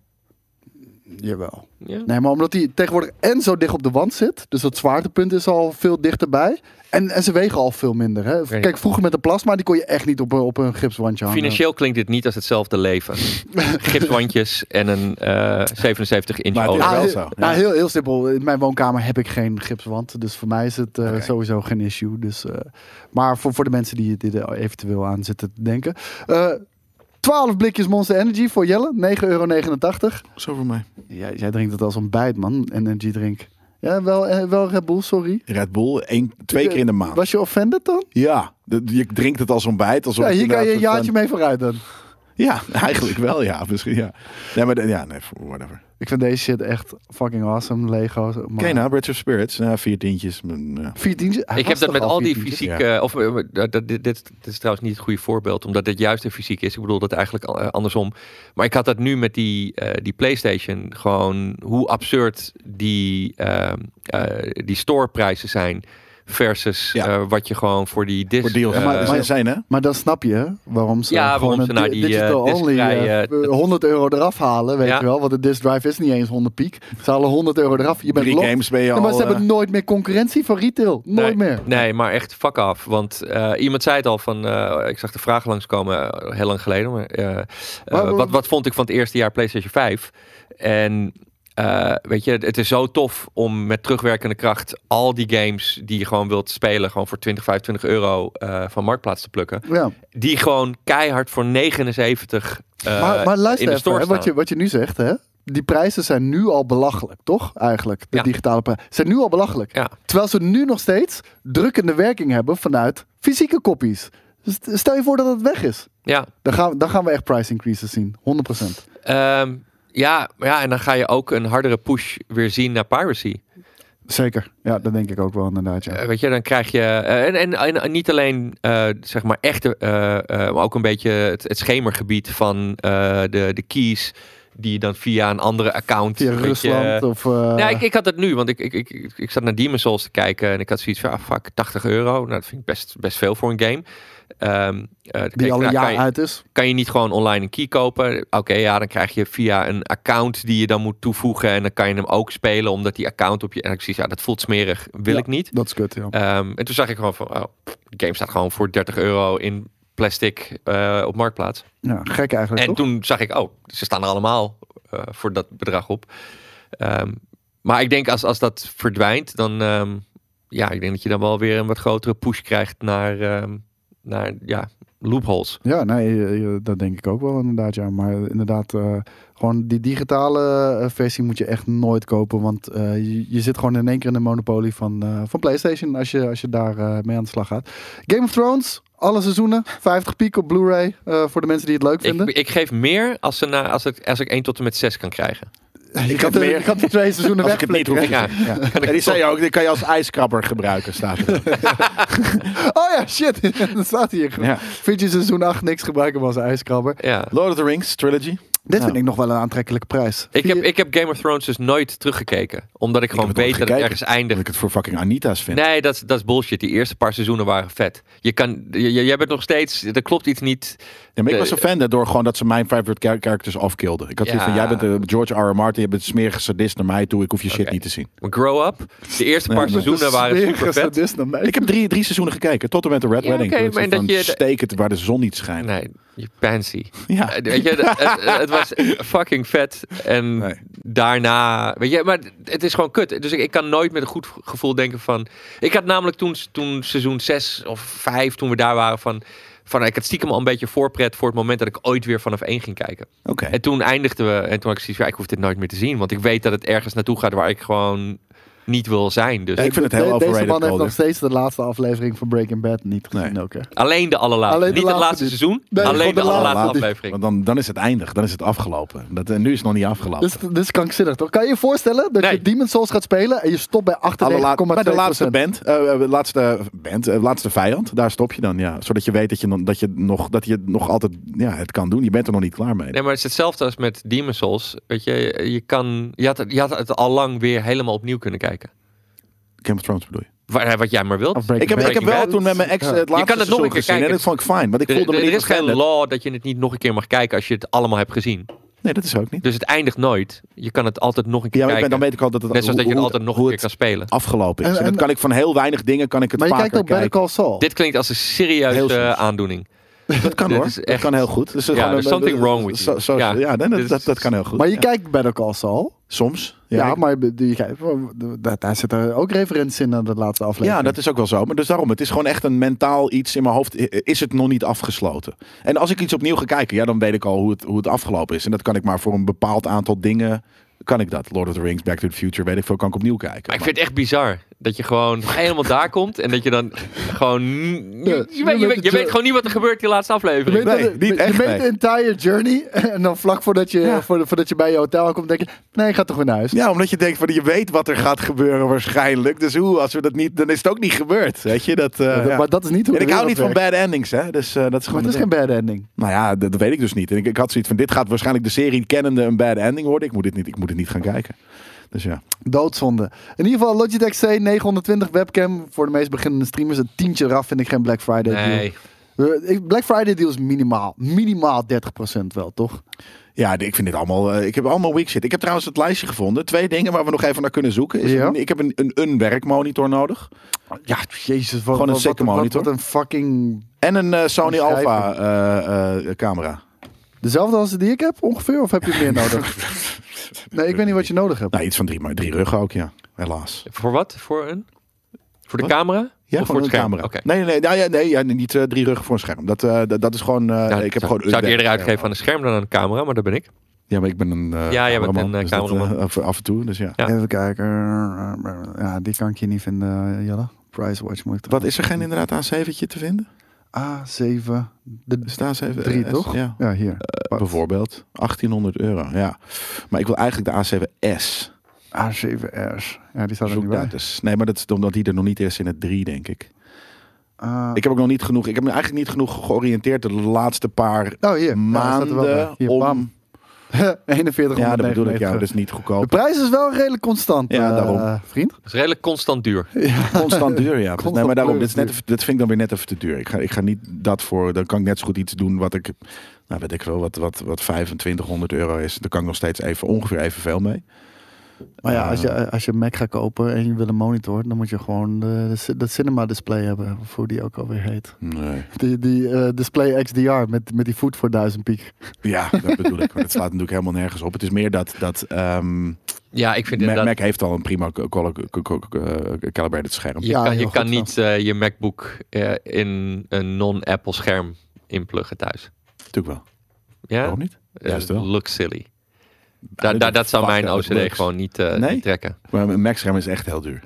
Speaker 1: Jawel.
Speaker 2: Ja.
Speaker 1: Nee, maar omdat hij tegenwoordig en zo dicht op de wand zit. Dus dat zwaartepunt is al veel dichterbij. En, en ze wegen al veel minder. Hè?
Speaker 2: Oké.
Speaker 1: Kijk, vroeger met de plasma, die kon je echt niet op, een- op een gipswandje hangen.
Speaker 3: nou.
Speaker 2: Financieel klinkt dit niet als hetzelfde leven. Gipswandjes en een eh 77 inch
Speaker 3: Maar het is
Speaker 1: Ah,
Speaker 2: oven.
Speaker 3: wel
Speaker 1: heel,
Speaker 3: zo, ja.
Speaker 1: nou, heel, heel simpel. In mijn woonkamer heb ik geen gipswand. Dus voor mij is het eh,
Speaker 3: Oké.
Speaker 1: sowieso geen issue. Dus, eh, maar voor, voor de mensen die dit eventueel aan zitten te denken. Eh 12 blikjes Monster Energy voor Jelle. 9,89 euro.
Speaker 3: Zo voor mij.
Speaker 1: Jij, jij drinkt het als ontbijt, man. Energy drink. Ja, wel, eh, wel Red Bull, sorry.
Speaker 3: Red Bull, één, twee keer in de maand.
Speaker 1: Was je offended dan?
Speaker 3: Ja, de- je drinkt het als ontbijt. Alsof
Speaker 1: Ja,
Speaker 3: het
Speaker 1: hier kan je een
Speaker 3: inderdaad
Speaker 1: jaartje
Speaker 3: een-
Speaker 1: mee vooruit dan.
Speaker 3: Ja, eigenlijk wel, ja. Misschien, ja. Nee, maar de- ja, nee, whatever.
Speaker 1: Ik vind deze shit echt fucking awesome, Lego. Maar...
Speaker 3: Oké, nou, Bridge of Spirits. Nou, vier tientjes. mm, ja.
Speaker 1: Vier tientjes? Hij
Speaker 2: Ik
Speaker 1: was
Speaker 2: heb dat
Speaker 1: toch
Speaker 2: met al die
Speaker 1: vier tientjes?
Speaker 2: fysieke. Of, eh, dat- dat- dit, dit is trouwens niet het goede voorbeeld, omdat dit juist de fysiek is. Ik bedoel dat eigenlijk al, eh, andersom. Maar ik had dat nu met die, eh, die PlayStation. Gewoon hoe absurd die, ehm, eh, die storeprijzen zijn. Versus
Speaker 3: Ja.
Speaker 2: eh, wat je gewoon voor die disc.
Speaker 3: Voor deals.
Speaker 2: eh,
Speaker 3: maar, maar zijn, hè?
Speaker 1: Maar dan snap je waarom ze
Speaker 2: Ja,
Speaker 1: gewoon
Speaker 2: waarom
Speaker 1: een
Speaker 2: ze nou
Speaker 1: di-
Speaker 2: die, eh,
Speaker 1: digital
Speaker 2: disc
Speaker 1: only eh,
Speaker 2: vrij, eh,
Speaker 1: 100 euro eraf halen, weet
Speaker 2: Ja.
Speaker 1: je wel. Want de disk drive is niet eens 100 piek. Ze halen 100 euro eraf. Je bent
Speaker 3: Drie
Speaker 1: locked.
Speaker 3: games ben je
Speaker 1: Ja, maar
Speaker 3: al,
Speaker 1: ze hebben
Speaker 3: eh,
Speaker 1: nooit meer concurrentie van retail. Nooit
Speaker 2: nee,
Speaker 1: meer.
Speaker 2: Nee, maar echt fuck af. Want eh, iemand zei het al van. eh, ik zag de vraag langskomen eh, heel lang geleden. Maar, eh, eh,
Speaker 1: maar-
Speaker 2: wat, wat vond ik van het eerste jaar PlayStation 5? En. eh, weet je, het is zo tof om met terugwerkende kracht al die games die je gewoon wilt spelen, gewoon voor 20, 25 euro eh, van marktplaats te plukken.
Speaker 1: Ja.
Speaker 2: Die gewoon keihard voor 79 eh,
Speaker 1: Maar, maar luister
Speaker 2: in de
Speaker 1: even,
Speaker 2: store
Speaker 1: hè, wat, je,
Speaker 2: staan.
Speaker 1: wat je nu zegt, hè. Die prijzen zijn nu al belachelijk, toch? Eigenlijk, de
Speaker 2: Ja.
Speaker 1: digitale prijzen. Zijn nu al belachelijk.
Speaker 2: Ja.
Speaker 1: Terwijl ze nu nog steeds drukkende werking hebben vanuit fysieke kopies. Dus st- stel je voor dat het weg is.
Speaker 2: ja.
Speaker 1: Dan gaan, we- dan gaan we echt price increases zien. 100%.
Speaker 2: Ehm, ja, ja, en dan ga je ook een hardere push weer zien naar piracy.
Speaker 1: Zeker. Ja, dat denk ik ook wel inderdaad. Ja.
Speaker 2: Eh, weet je, dan krijg je. eh, en, en, en, en niet alleen eh, zeg maar echte, eh, eh, maar ook een beetje het, het schemergebied van eh, de, de keys. Die je dan via een andere account.
Speaker 1: Via
Speaker 2: weet je-
Speaker 1: Rusland of... eh,
Speaker 2: Nee, Nou, ik, ik had dat nu, want ik, ik, ik, ik- ik zat naar Demon's Souls te kijken en ik had zoiets van, ah, fuck, 80 euro. Nou, dat vind ik best, best veel voor een game. Ehm, eh, dan keek
Speaker 1: die
Speaker 2: ik,
Speaker 1: al
Speaker 2: nou,
Speaker 1: een
Speaker 2: kan
Speaker 1: jaar
Speaker 2: je-
Speaker 1: uit is.
Speaker 2: kan je niet gewoon online een key kopen? Oké, ja, dan krijg je via een account die je dan moet toevoegen. En dan kan je hem ook spelen, omdat die account op je... En ik zie, ja, dat voelt smerig, wil
Speaker 1: Ja,
Speaker 2: ik niet.
Speaker 1: Dat is kut, ja.
Speaker 2: Ehm, en toen zag ik gewoon van, oh, de game staat gewoon voor 30 euro in plastic eh, op Marktplaats.
Speaker 1: ja gek eigenlijk,
Speaker 2: En
Speaker 1: toch?
Speaker 2: toen zag ik, oh, ze staan er allemaal eh, voor dat bedrag op. Ehm, maar ik denk als, als dat verdwijnt, dan ehm, ja, ik denk dat je dan wel weer een wat grotere push krijgt naar, ehm, naar ja, loopholes.
Speaker 1: Ja, nee, je- je- dat denk ik ook wel inderdaad. Ja. Maar inderdaad, eh, gewoon die digitale eh, versie moet je echt nooit kopen. Want eh, je, je zit gewoon in één keer in de monopolie van, eh, van PlayStation als je, als je daar eh, mee aan de slag gaat. Game of Thrones, alle seizoenen, 50 piek op Blu-ray eh, voor de mensen die het leuk
Speaker 2: Ik,
Speaker 1: vinden.
Speaker 2: ik geef meer als, ze na, als, het, als ik 1 tot en met 6 kan krijgen.
Speaker 1: je
Speaker 3: eh, ik
Speaker 1: kan
Speaker 3: had
Speaker 1: de,
Speaker 3: meer.
Speaker 1: je kan de twee seizoenen
Speaker 3: Als ik het niet
Speaker 1: wegflikkeren.
Speaker 3: hoef.
Speaker 2: Ja, Kan ik
Speaker 3: En die
Speaker 2: toch-
Speaker 3: zei ook, die kan je als ijskrabber gebruiken, staat er.
Speaker 1: Oh ja, shit, dat staat hier.
Speaker 3: Ja.
Speaker 1: Vind je seizoen 8 niks gebruiken was ijskrabber.
Speaker 2: ja.
Speaker 3: Lord of the Rings trilogy.
Speaker 1: Dit
Speaker 3: Ja.
Speaker 1: vind ik nog wel een aantrekkelijke prijs.
Speaker 2: Ik heb,
Speaker 1: Vier-
Speaker 2: ik heb Game of Thrones dus nooit teruggekeken. Omdat ik gewoon
Speaker 3: heb het
Speaker 2: weet dat
Speaker 3: nooit
Speaker 2: het ergens
Speaker 3: gekeken. Dat
Speaker 2: eindigt.
Speaker 3: ik het voor fucking Anita's vind.
Speaker 2: Nee, dat, is- dat is bullshit. Die eerste paar seizoenen waren vet. Je kan, je, je- jij bent nog steeds, er klopt iets niet.
Speaker 3: Ja, maar ik was
Speaker 2: Nee.
Speaker 3: een fan daardoor gewoon dat ze mijn favorite char- characters afkilden. Ik had zoiets van,
Speaker 2: Ja.
Speaker 3: jij bent eh, George R. R. Martin, je bent een smerige sadist naar mij toe, ik hoef je shit
Speaker 2: Oké.
Speaker 3: niet te zien.
Speaker 2: Maar grow up, de eerste paar
Speaker 3: Ja, maar-
Speaker 2: seizoenen waren
Speaker 1: Smerige
Speaker 2: super vet.
Speaker 1: sadist dan mij.
Speaker 3: Ik heb drie, drie seizoenen gekeken, tot en met de Red
Speaker 2: Ja,
Speaker 3: Wedding.
Speaker 2: oké,
Speaker 3: Toen ik
Speaker 2: maar
Speaker 3: zo
Speaker 2: dat
Speaker 3: van,
Speaker 2: je-
Speaker 3: steek het waar de zon niet schijnt.
Speaker 2: Nee, je pansy.
Speaker 3: Ja.
Speaker 2: Eh, Weet je, het, het- het was fucking vet. En
Speaker 3: Nee.
Speaker 2: daarna, weet je, maar het is gewoon kut. Dus ik, ik kan nooit met een goed gevoel denken van... Ik had namelijk toen, toen seizoen 6 of 5, toen we daar waren, van... van ik had stiekem al een beetje voorpret voor het moment dat ik ooit weer vanaf 1 ging kijken.
Speaker 3: Oké.
Speaker 2: En toen eindigden we. En toen had ik zoiets van, ja, ik hoef dit nooit meer te zien. Want ik weet dat het ergens naartoe gaat waar ik gewoon niet wil zijn. Dus
Speaker 3: Ik vind het heel
Speaker 1: De- Deze
Speaker 3: overrated,
Speaker 1: man heeft
Speaker 3: Calder.
Speaker 1: nog steeds de laatste aflevering van Breaking Bad niet gezien
Speaker 3: Nee.
Speaker 1: ook, hè?
Speaker 2: alleen de allerlaatste.
Speaker 1: Alleen de
Speaker 2: niet het
Speaker 1: laatste
Speaker 2: laatste
Speaker 1: dit.
Speaker 2: seizoen.
Speaker 1: Nee,
Speaker 2: alleen
Speaker 1: gewoon
Speaker 2: de
Speaker 1: de
Speaker 2: allerlaatste
Speaker 1: laatste.
Speaker 2: aflevering.
Speaker 3: Want dan, dan is het eindig, dan is het afgelopen. Dat, en nu is het nog niet afgelopen.
Speaker 1: Dus dit is krankzinnig, toch? Kan je je voorstellen dat
Speaker 2: Nee.
Speaker 1: je Demon's Souls gaat spelen en je stopt bij
Speaker 3: Allerlaat- bij de laatste
Speaker 1: 98,2%?
Speaker 3: band, eh, eh, laatste, band eh, laatste vijand, daar stop je dan. Ja. Zodat je weet dat je, dan, dat je, nog, dat je nog altijd ja, het kan doen. Je bent er nog niet klaar mee.
Speaker 2: Nee, maar het is hetzelfde als met Demon Souls. Weet je, je, kan, je, had, het- je had het al lang weer helemaal opnieuw kunnen kijken.
Speaker 3: Game of Thrones bedoel je?
Speaker 2: Waar, wat jij maar wilt.
Speaker 1: Of Breaking
Speaker 3: Ik heb, ik heb
Speaker 2: Breaking
Speaker 3: wel
Speaker 2: Bad.
Speaker 3: toen met mijn ex
Speaker 1: Ja.
Speaker 3: eh, het
Speaker 2: Je
Speaker 3: laatste
Speaker 2: kan het nog een
Speaker 3: seizoen
Speaker 2: keer
Speaker 3: gezien en
Speaker 2: kijken.
Speaker 3: dat vond ik fijn. Want ik
Speaker 2: Er,
Speaker 3: voelde me
Speaker 2: er
Speaker 3: niet
Speaker 2: is geen
Speaker 3: offended.
Speaker 2: law dat je het niet nog een keer mag kijken als je het allemaal hebt gezien.
Speaker 3: Nee, dat is ook niet.
Speaker 2: Dus het eindigt nooit. Je kan het altijd nog een keer
Speaker 3: Ja, maar ik
Speaker 2: kijken.
Speaker 3: ben, dan weet ik al dat het,
Speaker 2: Net zoals dat je het altijd nog een
Speaker 3: hoe
Speaker 2: keer kan
Speaker 3: het
Speaker 2: spelen.
Speaker 3: afgelopen is.
Speaker 1: En-
Speaker 3: En,
Speaker 1: en-
Speaker 3: dat kan ik van heel weinig dingen kan ik het
Speaker 1: Maar je
Speaker 3: vaker
Speaker 1: kijkt ook Better
Speaker 3: kijken.
Speaker 1: Call Saul.
Speaker 2: Dit klinkt als een serieuze
Speaker 3: Heel soms.
Speaker 2: eh, aandoening.
Speaker 3: Dat kan
Speaker 2: Dit
Speaker 3: hoor.
Speaker 2: is
Speaker 3: Dat
Speaker 2: echt-
Speaker 3: kan heel goed. Dus
Speaker 2: Ja,
Speaker 3: gewoon
Speaker 2: there's
Speaker 3: een-
Speaker 2: something
Speaker 3: een-
Speaker 2: wrong with
Speaker 3: zo-
Speaker 2: you.
Speaker 3: zo-
Speaker 2: Ja.
Speaker 3: Ja, nee, dat,
Speaker 2: Dit
Speaker 3: dat,
Speaker 2: is-
Speaker 3: dat kan heel goed.
Speaker 1: Maar je
Speaker 3: Ja.
Speaker 1: kijkt Better Call Saul.
Speaker 3: Soms.
Speaker 1: Ja,
Speaker 3: Ja,
Speaker 1: maar je- je kijkt- daar- daar zitten ook referenties in naar de laatste
Speaker 3: Ja,
Speaker 1: aflevering.
Speaker 3: dat is ook wel zo. Maar dus daarom, het is gewoon echt een mentaal iets in mijn hoofd. I- Is het nog niet afgesloten? En als ik iets opnieuw ga kijken, ja, dan weet ik al hoe het, hoe het afgelopen is. En dat kan ik maar voor een bepaald aantal dingen. Kan ik dat? Lord of the Rings, Back to the Future, weet ik veel, kan ik opnieuw kijken.
Speaker 2: Maar ik vind het echt bizar dat je gewoon helemaal daar komt en dat je dan gewoon. Je,
Speaker 1: je
Speaker 2: weet, je,
Speaker 1: bent
Speaker 2: weet, je
Speaker 1: het,
Speaker 2: weet
Speaker 1: eh,
Speaker 2: gewoon niet wat er gebeurt die laatste
Speaker 1: Je weet
Speaker 2: aflevering.
Speaker 3: Nee,
Speaker 1: dat-
Speaker 3: niet
Speaker 1: je
Speaker 3: echt,
Speaker 1: weet
Speaker 3: nee.
Speaker 1: de entire journey en dan vlak voordat je,
Speaker 3: Ja.
Speaker 1: voor- voordat je bij je hotel komt, denk je, nee, ik ga toch weer naar huis.
Speaker 3: Ja, omdat je denkt van je weet wat er gaat gebeuren waarschijnlijk. Dus hoe, als we dat niet, dan is het ook niet gebeurd. Weet je dat? eh,
Speaker 1: Ja, dat-
Speaker 3: ja.
Speaker 1: Maar dat is niet hoe
Speaker 3: En ik
Speaker 1: de
Speaker 3: hou niet
Speaker 1: wereld
Speaker 3: van
Speaker 1: werkt.
Speaker 3: bad endings, hè? Dus eh, dat is
Speaker 1: Maar
Speaker 3: gewoon.
Speaker 1: het is
Speaker 3: een
Speaker 1: geen bad ending.
Speaker 3: ding. Nou ja, dat, dat weet ik dus niet. En ik, ik had zoiets van: dit gaat waarschijnlijk de serie kennende een bad ending worden. Ik moet dit niet, ik moet dit niet gaan kijken. Dus ja.
Speaker 1: Doodzonde. In ieder geval Logitech C 920 webcam. Voor de meest beginnende streamers een tientje eraf vind ik geen Black Friday deal.
Speaker 2: Nee.
Speaker 1: Eh, ik- Black Friday deal is minimaal. Minimaal 30% wel, toch?
Speaker 3: Ja, ik vind dit allemaal. eh, ik heb allemaal weak shit. Ik heb trouwens het lijstje gevonden. Twee dingen waar we nog even naar kunnen zoeken. Is
Speaker 1: Ja.
Speaker 3: een- ik heb een, een, een werkmonitor nodig.
Speaker 1: Ja, jezus. Wat,
Speaker 3: Gewoon een sikke
Speaker 1: wat-
Speaker 3: monitor.
Speaker 1: Wat een fucking...
Speaker 3: En een eh, Sony
Speaker 1: Een schrijver.
Speaker 3: Alpha eh, eh, camera.
Speaker 1: Dezelfde als die ik heb ongeveer? Of heb je meer nodig? Nee, ik weet niet wat je nodig hebt.
Speaker 3: Nou, iets van drie, maar drie ruggen ook, ja. Helaas.
Speaker 2: Voor wat? Voor een? Voor de
Speaker 3: Wat?
Speaker 2: camera?
Speaker 3: Ja,
Speaker 2: of
Speaker 3: voor
Speaker 2: voor
Speaker 3: een
Speaker 2: het scherm?
Speaker 3: camera.
Speaker 2: Oké.
Speaker 3: Nee, nee, nee, nou, ja, nee ja, niet eh, drie ruggen voor een scherm. Dat, eh, dat, dat is gewoon. eh,
Speaker 2: Nou,
Speaker 3: ik heb
Speaker 2: zou,
Speaker 3: gewoon.
Speaker 2: zou ik eerder uitgeven aan een scherm dan aan een camera, maar dat ben ik.
Speaker 3: Ja, maar ik ben een. eh,
Speaker 2: Ja, jij bent een,
Speaker 3: cameraman,
Speaker 2: eh,
Speaker 3: dus dat, eh,
Speaker 2: cameraman.
Speaker 3: af- af en toe, dus ja.
Speaker 2: Ja.
Speaker 1: Even kijken. Ja, die kan ik hier niet vinden, Jelle. Pricewatch moet ik
Speaker 3: Wat is er geen inderdaad A7 te vinden?
Speaker 1: A7. De
Speaker 3: Is het A7?
Speaker 1: 3,
Speaker 3: S?
Speaker 1: toch?
Speaker 3: Ja.
Speaker 1: Ja, hier.
Speaker 2: Eh,
Speaker 1: Wat?
Speaker 3: Bijvoorbeeld 1800 euro, ja. Maar ik wil eigenlijk de A7S.
Speaker 1: A7S. Ah, Ja, die staat er niet
Speaker 3: Zoek
Speaker 1: bij.
Speaker 3: dat eens. Nee, maar dat is omdat die er nog niet is in het 3, denk ik.
Speaker 1: Ah,
Speaker 3: Ik heb ook nog niet genoeg. Ik heb me eigenlijk niet genoeg georiënteerd de laatste paar
Speaker 1: oh, hier. Ja, staat er wel bij.
Speaker 3: maanden.
Speaker 1: Hier, bam.
Speaker 3: om,
Speaker 1: 4199.
Speaker 3: ja, dat bedoel ik. Ja, dat is niet
Speaker 1: De
Speaker 3: goedkoop.
Speaker 1: prijs is wel redelijk constant,
Speaker 3: Ja,
Speaker 1: eh,
Speaker 3: daarom.
Speaker 1: vriend.
Speaker 2: Dat is redelijk constant duur.
Speaker 3: Constant duur, ja.
Speaker 1: Constant
Speaker 3: nee, maar daarom.
Speaker 1: duur.
Speaker 3: Dit is net, even- dat vind ik dan weer net even te duur. Ik ga, ik ga niet dat voor. Dan kan ik net zo goed iets doen wat ik. Nou, weet ik wel, wat, wat, wat 2500 euro is. Daar kan ik nog steeds even ongeveer evenveel mee.
Speaker 1: Maar ja,
Speaker 3: Eh,
Speaker 1: als je, als je een Mac gaat kopen en je wil een monitor, dan moet je gewoon de, de, dat cinema display hebben, of hoe die ook alweer heet.
Speaker 3: Nee.
Speaker 1: Die, die eh, display XDR met, met die voet voor 1000 piek.
Speaker 3: Ja, dat bedoel ik. Maar dat slaat natuurlijk helemaal nergens op. Het is meer dat. dat ehm,
Speaker 2: Ja, ik vind
Speaker 3: Mac,
Speaker 2: inderdaad.
Speaker 3: Mac heeft al een prima co- co- co- co- co- calibrated scherm.
Speaker 2: je
Speaker 1: Ja,
Speaker 2: kan, je
Speaker 1: heel
Speaker 2: kan
Speaker 1: goed
Speaker 2: niet eh, je MacBook eh, in een non-Apple scherm inpluggen thuis.
Speaker 3: Natuurlijk wel.
Speaker 2: Ja?
Speaker 3: Waarom niet?
Speaker 2: Eh,
Speaker 3: Juist wel.
Speaker 2: Look silly. Da,
Speaker 3: Uit
Speaker 2: da-
Speaker 3: de
Speaker 2: dat zou mijn
Speaker 3: fuck out
Speaker 2: OCD
Speaker 3: looks.
Speaker 2: gewoon niet, eh,
Speaker 3: Nee?
Speaker 2: niet trekken.
Speaker 3: Maar een Mac-scherm is echt heel duur.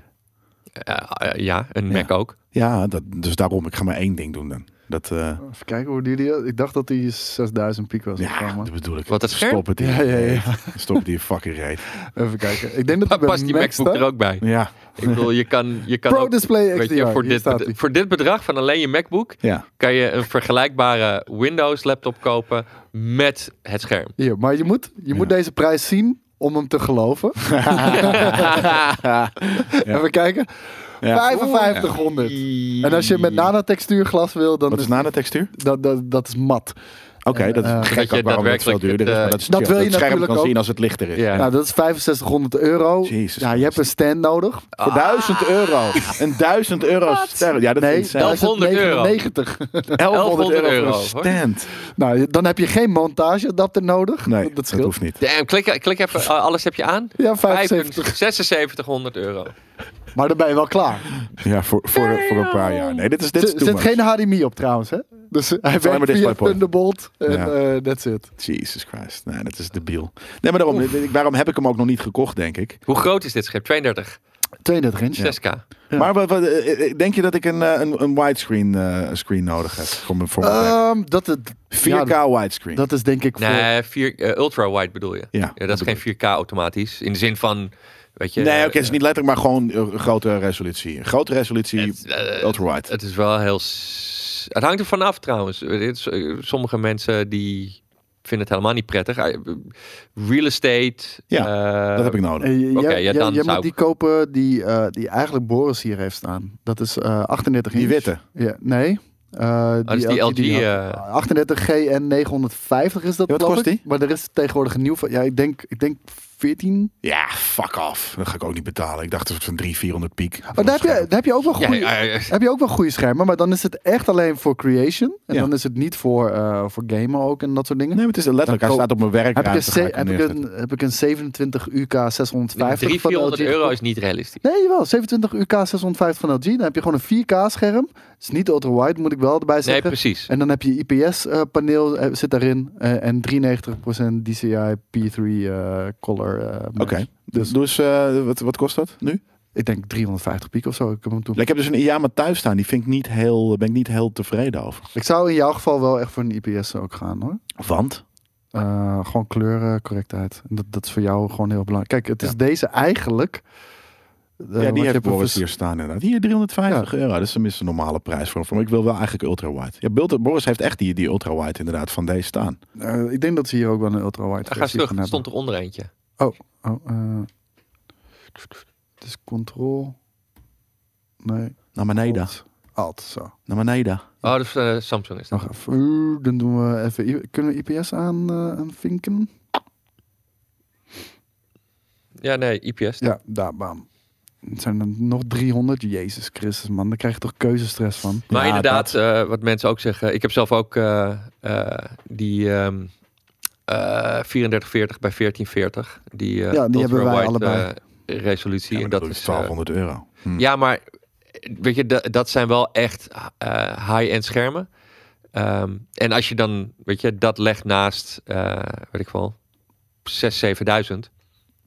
Speaker 2: Eh, eh, ja, een
Speaker 3: Ja.
Speaker 2: Mac ook.
Speaker 3: Ja, dat, dus daarom. Ik ga maar één ding doen dan. Dat, eh,
Speaker 1: Even kijken hoe duur die Ik dacht dat die 6000 piek was.
Speaker 3: ja,
Speaker 1: gekomen.
Speaker 3: dat bedoel ik.
Speaker 2: Wat, dat scherm?
Speaker 3: Stop het hier.
Speaker 1: Ja, ja, ja.
Speaker 3: Stop het hier fucking reet.
Speaker 1: Even kijken. Ik denk dat
Speaker 2: Maar
Speaker 1: die bij
Speaker 2: past die
Speaker 1: Max
Speaker 2: MacBook
Speaker 1: staat.
Speaker 2: er ook bij?
Speaker 3: Ja,
Speaker 2: Ik bedoel, je kan, je kan
Speaker 1: Pro
Speaker 2: ook,
Speaker 1: Display
Speaker 2: weet
Speaker 1: XDR.
Speaker 2: je, voor,
Speaker 1: hier
Speaker 2: dit,
Speaker 1: staat
Speaker 2: bed-
Speaker 1: die.
Speaker 2: voor dit bedrag van alleen je MacBook
Speaker 3: ja.
Speaker 2: kan je een vergelijkbare Windows laptop kopen met het scherm.
Speaker 1: Hier, maar je moet, je moet deze prijs zien om hem te geloven. Even kijken.
Speaker 3: Ja.
Speaker 1: 5500. En als je met nanotextuurglas wil, dan
Speaker 3: Wat
Speaker 1: is
Speaker 3: is na de textuur?
Speaker 1: dat, dat, dat is mat.
Speaker 3: Oké, dat is
Speaker 1: Eh,
Speaker 3: gek
Speaker 2: dat je
Speaker 3: ook waarom het veel
Speaker 2: daadwerkelijk
Speaker 3: duurder is.
Speaker 2: het,
Speaker 3: Maar
Speaker 2: eh,
Speaker 3: dat is
Speaker 1: dat
Speaker 3: chill.
Speaker 1: wil je
Speaker 3: het scherm
Speaker 1: natuurlijk
Speaker 3: kan
Speaker 1: ook.
Speaker 3: zien als het lichter is.
Speaker 2: Ja.
Speaker 1: Nou, dat is 6500 euro.
Speaker 3: Jezus
Speaker 1: ja, je hebt een stand nodig.
Speaker 3: Voor 1000 euro. Een 1000 euro ster. Ja, dat
Speaker 1: Nee,
Speaker 3: is insane.
Speaker 2: 1100 euro.
Speaker 1: 1199.
Speaker 3: 1100 euro
Speaker 2: euro,
Speaker 3: voor een stand.
Speaker 1: nou, je- dan heb je geen montageadapter nodig.
Speaker 3: Nee,
Speaker 1: dat,
Speaker 3: dat,
Speaker 1: scheelt.
Speaker 3: hoeft niet.
Speaker 2: Damn, klik, klik even, eh, alles heb je aan.
Speaker 1: Ja, 75.
Speaker 2: 7600 euro.
Speaker 1: Maar dan ben je wel klaar.
Speaker 3: Ja, voor, voor, voor een paar jaar. Nee, dit is, dit
Speaker 1: Er
Speaker 3: is too
Speaker 1: zit
Speaker 3: much.
Speaker 1: geen HDMI op trouwens, hè? Dus hij
Speaker 3: alleen maar
Speaker 1: werkt via
Speaker 3: DisplayPort.
Speaker 1: Thunderbolt en
Speaker 3: Ja.
Speaker 1: eh, that's it.
Speaker 3: Jesus Christ. Nee, dat is debiel. Nee, maar daarom, ik- daarom heb ik hem ook nog niet gekocht, denk ik.
Speaker 2: Hoe groot is dit schip? 32,
Speaker 1: 32 inch.
Speaker 2: 6K.
Speaker 3: Maar wat, wat, eh, eh, denk je dat ik een, eh, een, een widescreen eh, screen nodig heb? Voor mijn, voor mijn werk?
Speaker 1: Ehm, dat, het,
Speaker 3: 4K
Speaker 1: ja, dat-
Speaker 3: widescreen.
Speaker 1: dat is denk ik voor...
Speaker 2: Nee, vier, eh, ultra-wide bedoel je.
Speaker 3: Ja,
Speaker 2: dat
Speaker 3: bedoel
Speaker 2: is geen 4K automatisch. In de zin van, weet je...
Speaker 3: nee, oké,
Speaker 2: eh,
Speaker 3: het is niet letterlijk, maar gewoon eh, grote resolutie. Een Grote resolutie,
Speaker 2: Het, eh,
Speaker 3: ultrawide.
Speaker 2: Het is wel heel. s- Het hangt er vanaf trouwens. Dit is, eh, Sommige mensen die vinden het helemaal niet prettig. Eh, Real estate.
Speaker 3: Ja,
Speaker 2: eh,
Speaker 3: dat heb ik nodig.
Speaker 1: Eh, je-
Speaker 2: Oké,
Speaker 1: jij- jij-
Speaker 2: ja, dan
Speaker 1: jij
Speaker 2: zou
Speaker 1: moet
Speaker 2: ik-
Speaker 1: die kopen die, eh, die eigenlijk Boris hier heeft staan. Dat is eh 38 inch.
Speaker 3: Die witte.
Speaker 1: Ja, nee. Eh,
Speaker 2: Oh, dat is die
Speaker 1: had-
Speaker 2: LG.
Speaker 1: had.
Speaker 2: eh,
Speaker 1: 38 GN 950 is dat,
Speaker 3: Ja, wat
Speaker 1: geloof
Speaker 3: kost
Speaker 1: ik.
Speaker 3: die?
Speaker 1: Maar er is tegenwoordig een nieuw van... Ja, ik denk, ik denk 14.
Speaker 3: Ja, fuck off. Dat ga ik ook niet betalen. Ik dacht dat het van 300, 400 piek.
Speaker 1: Maar Oh, daar heb, je, daar heb je ook wel
Speaker 2: ja,
Speaker 1: goede...
Speaker 2: eh, eh,
Speaker 1: heb je ook wel goede schermen, maar dan is het echt alleen voor creation. En
Speaker 3: Ja.
Speaker 1: dan is het niet voor, eh, voor gamen ook en dat soort dingen.
Speaker 3: Nee, maar het is letterlijk. Hij
Speaker 1: Dan
Speaker 3: staat op mijn werk.
Speaker 1: heb, ik een, ze- heb, ik een, heb ik een 27 UK 650
Speaker 2: 300,
Speaker 1: van
Speaker 2: 400
Speaker 1: LG
Speaker 2: euro
Speaker 1: gekocht?
Speaker 2: is niet realistisch.
Speaker 1: Nee, jawel. 27 UK 650 van LG. Dan heb je gewoon een 4K scherm. Het is niet ultra-wide, moet ik wel erbij
Speaker 2: Nee,
Speaker 1: zeggen.
Speaker 2: precies.
Speaker 1: en dan heb je IPS-paneel zit daarin. eh, en 93% DCI P3 eh, color. eh, match.
Speaker 3: Oké. Dus, dus eh, wat, wat kost dat nu?
Speaker 1: Ik denk 350 piek of zo. Ik, heb hem toen...
Speaker 3: Ik heb dus een Iyama thuis staan. Die vind ik niet heel, eh, ben ik niet heel tevreden over.
Speaker 1: ik zou in jouw geval wel echt voor een IPS ook gaan hoor.
Speaker 3: Want?
Speaker 1: Eh, gewoon kleurencorrectheid. En Dat, dat is voor jou gewoon heel belangrijk. Kijk, het is deze eigenlijk. eh, want
Speaker 3: ja,
Speaker 1: je
Speaker 3: die heeft
Speaker 1: hebt een
Speaker 3: Boris
Speaker 1: vers-
Speaker 3: hier staan inderdaad. Hier 350 euro. Dat is tenminste een normale prijs voor hem. Maar ik wil wel eigenlijk ultra-wide. Ja, Bult- Boris heeft echt die, die ultra-wide inderdaad van deze staan.
Speaker 1: Eh, ik denk dat ze hier ook wel een ultra-wide
Speaker 2: Daar ga eens
Speaker 1: versie
Speaker 2: terug.
Speaker 1: gaan
Speaker 2: Er
Speaker 1: hebben.
Speaker 2: stond er onder eentje.
Speaker 1: Oh, eh. Het is control. Nee.
Speaker 3: Naar beneden.
Speaker 1: alt. Alt, zo.
Speaker 3: Naar beneden.
Speaker 2: Oh, dus eh, Samsung is dat.
Speaker 1: Nog even. Oeh, eh, Dan doen we even... I- Kunnen we IPS aan, eh, aanvinken?
Speaker 2: Ja, nee, IPS.
Speaker 1: Ja, daar, bam. Het zijn er nog 300. Jezus Christus, man. Daar krijg je toch keuzestress van.
Speaker 2: Maar
Speaker 3: Ja,
Speaker 2: inderdaad, eh, wat mensen ook zeggen. Ik heb zelf ook eh, eh, die ehm eh 3440 bij 1440. Die, eh,
Speaker 1: Ja, die hebben wij
Speaker 2: ultra-wide,
Speaker 1: allebei.
Speaker 2: eh, resolutie.
Speaker 3: Ja, maar
Speaker 2: en
Speaker 3: dat
Speaker 2: dat
Speaker 3: is
Speaker 2: is, eh,
Speaker 3: 1200 euro. Hm.
Speaker 2: ja, maar weet je, da- dat zijn wel echt eh, high-end schermen. Ehm, en als je dan, weet je, dat legt naast, eh, weet ik wel, 6, 7000.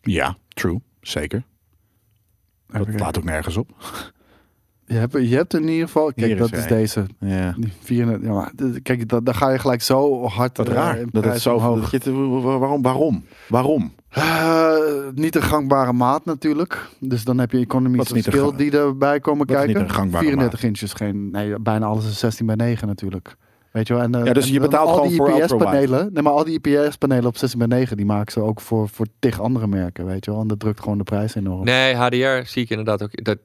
Speaker 3: ja, true. Zeker. Dat
Speaker 1: Even kijken.
Speaker 3: laat ook nergens op.
Speaker 1: Je hebt, je hebt in ieder geval... Kijk,
Speaker 3: Hier is
Speaker 1: dat
Speaker 3: er
Speaker 1: is
Speaker 3: een.
Speaker 1: deze.
Speaker 3: Ja.
Speaker 1: Die 400, ja, maar, dit- kijk, dat, daar ga je gelijk zo hard
Speaker 3: Wat
Speaker 1: eh,
Speaker 3: raar.
Speaker 1: in
Speaker 3: dat het
Speaker 1: prijs
Speaker 3: zo
Speaker 1: omhoog.
Speaker 3: dat je het- eh, wa- wa- waarom? Waarom? Waarom?
Speaker 1: Eh, niet een gangbare maat natuurlijk. Dus dan heb je
Speaker 3: Wat
Speaker 1: economies
Speaker 3: is
Speaker 1: of
Speaker 3: niet een
Speaker 1: skill
Speaker 3: gang-
Speaker 1: die erbij komen
Speaker 3: Wat is
Speaker 1: kijken.
Speaker 3: niet een gangbare
Speaker 1: 34 inches, geen, nee, bijna alles is 16 bij 9 natuurlijk. Weet je wel? En, eh,
Speaker 3: Ja, dus
Speaker 1: en
Speaker 3: je
Speaker 1: dan
Speaker 3: betaalt
Speaker 1: al
Speaker 3: gewoon
Speaker 1: die
Speaker 3: voor
Speaker 1: IPS
Speaker 3: ultrawide.
Speaker 1: panelen. Nee, maar al die IPS panelen op 16 bij 9 die maken ze ook voor, voor tig andere merken, weet je wel? En dat drukt gewoon de prijs enorm.
Speaker 2: Nee, HDR zie ik inderdaad ook. Dat,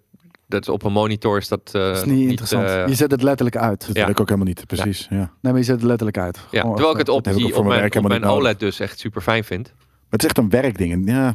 Speaker 2: dat is op een monitor is dat. eh,
Speaker 1: dat is
Speaker 2: nog
Speaker 1: niet, interessant.
Speaker 2: eh,
Speaker 1: je zet het letterlijk uit.
Speaker 3: Dat
Speaker 2: Ja.
Speaker 3: wil ik ook helemaal niet. Precies. Ja.
Speaker 1: Nee, maar je zet het letterlijk uit.
Speaker 2: ja,
Speaker 1: Gewoon
Speaker 2: terwijl ik het
Speaker 1: even-
Speaker 2: op,
Speaker 3: heb ik
Speaker 2: die-
Speaker 3: ook voor
Speaker 2: op
Speaker 3: mijn
Speaker 2: mijn,
Speaker 3: werk
Speaker 2: op mijn
Speaker 3: helemaal niet
Speaker 2: OLED dus echt super fijn vind.
Speaker 3: Maar het is echt een werkding. En ja,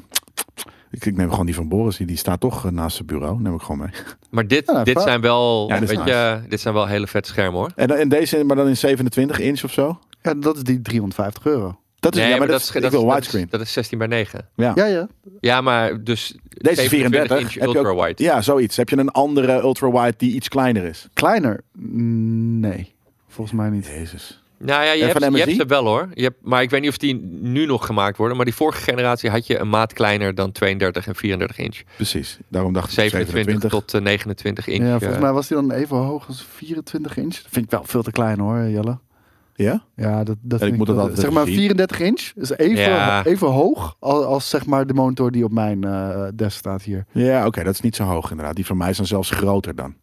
Speaker 3: ik, ik neem gewoon die van Boris. Die, die staat toch eh, naast het bureau. Neem ik gewoon mee.
Speaker 2: Maar dit,
Speaker 1: Ja, nou,
Speaker 2: dit
Speaker 1: va-
Speaker 2: zijn wel,
Speaker 3: Ja, dit
Speaker 2: weet
Speaker 3: is
Speaker 2: je, dit zijn wel hele vette schermen hoor.
Speaker 3: En, dan- en deze, maar dan in 27 inch of zo.
Speaker 1: Ja, dat is die 350 euro.
Speaker 3: Dat is,
Speaker 2: Nee,
Speaker 3: ja, maar dat,
Speaker 2: is-
Speaker 3: is,
Speaker 2: dat
Speaker 3: ik wil
Speaker 2: is- dat is-
Speaker 3: widescreen.
Speaker 2: Dat is 16 bij 9.
Speaker 1: Ja, ja.
Speaker 2: Ja, maar dus
Speaker 3: Deze
Speaker 2: 34
Speaker 3: is 34.
Speaker 2: inch
Speaker 3: Heb je ook-
Speaker 2: ultra-wide.
Speaker 3: Ja, zoiets. Heb je een andere ultrawide die iets kleiner is?
Speaker 1: Kleiner? Nee, Mm, volgens mij niet.
Speaker 3: Jezus.
Speaker 2: Nou ja, je,
Speaker 3: En
Speaker 2: hebt,
Speaker 3: van
Speaker 2: je hebt
Speaker 3: MSI?
Speaker 2: ze wel hoor. Je hebt, maar ik weet niet of die nu nog gemaakt worden. Maar die vorige generatie had je een maat kleiner dan 32 en 34 inch.
Speaker 3: Precies. Daarom dacht ik
Speaker 2: 27,
Speaker 3: 27.
Speaker 2: tot eh, 29 inch.
Speaker 1: Ja,
Speaker 2: eh.
Speaker 1: volgens mij was die dan even hoog als 24 inch. Dat vind ik wel veel te klein hoor, Jelle.
Speaker 3: Ja?
Speaker 1: Ja, dat, dat
Speaker 3: ik
Speaker 1: vind
Speaker 3: moet het
Speaker 1: wel-
Speaker 3: altijd
Speaker 1: Zeg
Speaker 3: even
Speaker 1: maar
Speaker 3: zien.
Speaker 1: 34 inch is even,
Speaker 2: Ja.
Speaker 1: even hoog als, als zeg maar de monitor die op mijn eh, desk staat hier.
Speaker 3: Ja, oké. dat is niet zo hoog inderdaad. Die van mij is dan zelfs groter dan.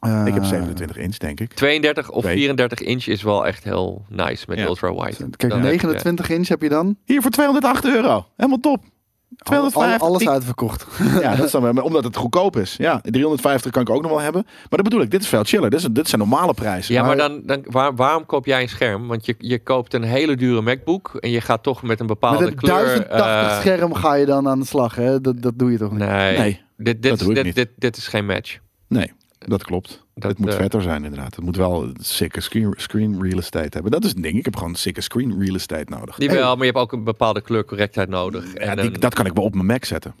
Speaker 1: Eh, Ah.
Speaker 3: ik heb 27 inch, denk ik.
Speaker 2: 32 of
Speaker 3: Twee.
Speaker 2: 34 inch is wel echt heel nice met
Speaker 3: Ja.
Speaker 2: ultra wide.
Speaker 1: Eh, Kijk,
Speaker 2: Dan heb je-
Speaker 1: 29 inch heb je dan.
Speaker 3: Hier voor 208 euro. Helemaal top.
Speaker 1: Al-
Speaker 3: 250.
Speaker 1: alles uitverkocht.
Speaker 3: Ja, dat is dan, wel- maar omdat het goedkoop is. Ja, 350 kan ik ook nog wel hebben. Maar dat bedoel ik, dit is veel chiller. Dit, is, dit zijn normale prijzen.
Speaker 2: Ja, maar dan, dan waar- waarom koop jij een scherm? Want je, je koopt een hele dure MacBook en je gaat toch met een bepaalde
Speaker 1: Met een
Speaker 2: kleur.
Speaker 1: 1080
Speaker 2: eh,
Speaker 1: scherm ga je dan aan de slag, hè? Dat, dat doe je toch niet?
Speaker 2: nee,
Speaker 3: Nee,
Speaker 2: dit, dit,
Speaker 3: dat doe ik
Speaker 2: dit,
Speaker 3: niet.
Speaker 2: dit, dit is geen match.
Speaker 3: nee, dat klopt.
Speaker 2: Dat,
Speaker 3: het moet
Speaker 2: eh,
Speaker 3: vetter zijn inderdaad. Het moet wel een sikke screen, screen real estate hebben. Dat is het ding. Ik heb gewoon sikke screen real estate nodig.
Speaker 2: Die wel, maar je hebt ook een bepaalde kleurcorrectheid nodig.
Speaker 3: Ja,
Speaker 2: en
Speaker 3: die-
Speaker 2: een-
Speaker 3: dat kan ik wel op mijn Mac zetten.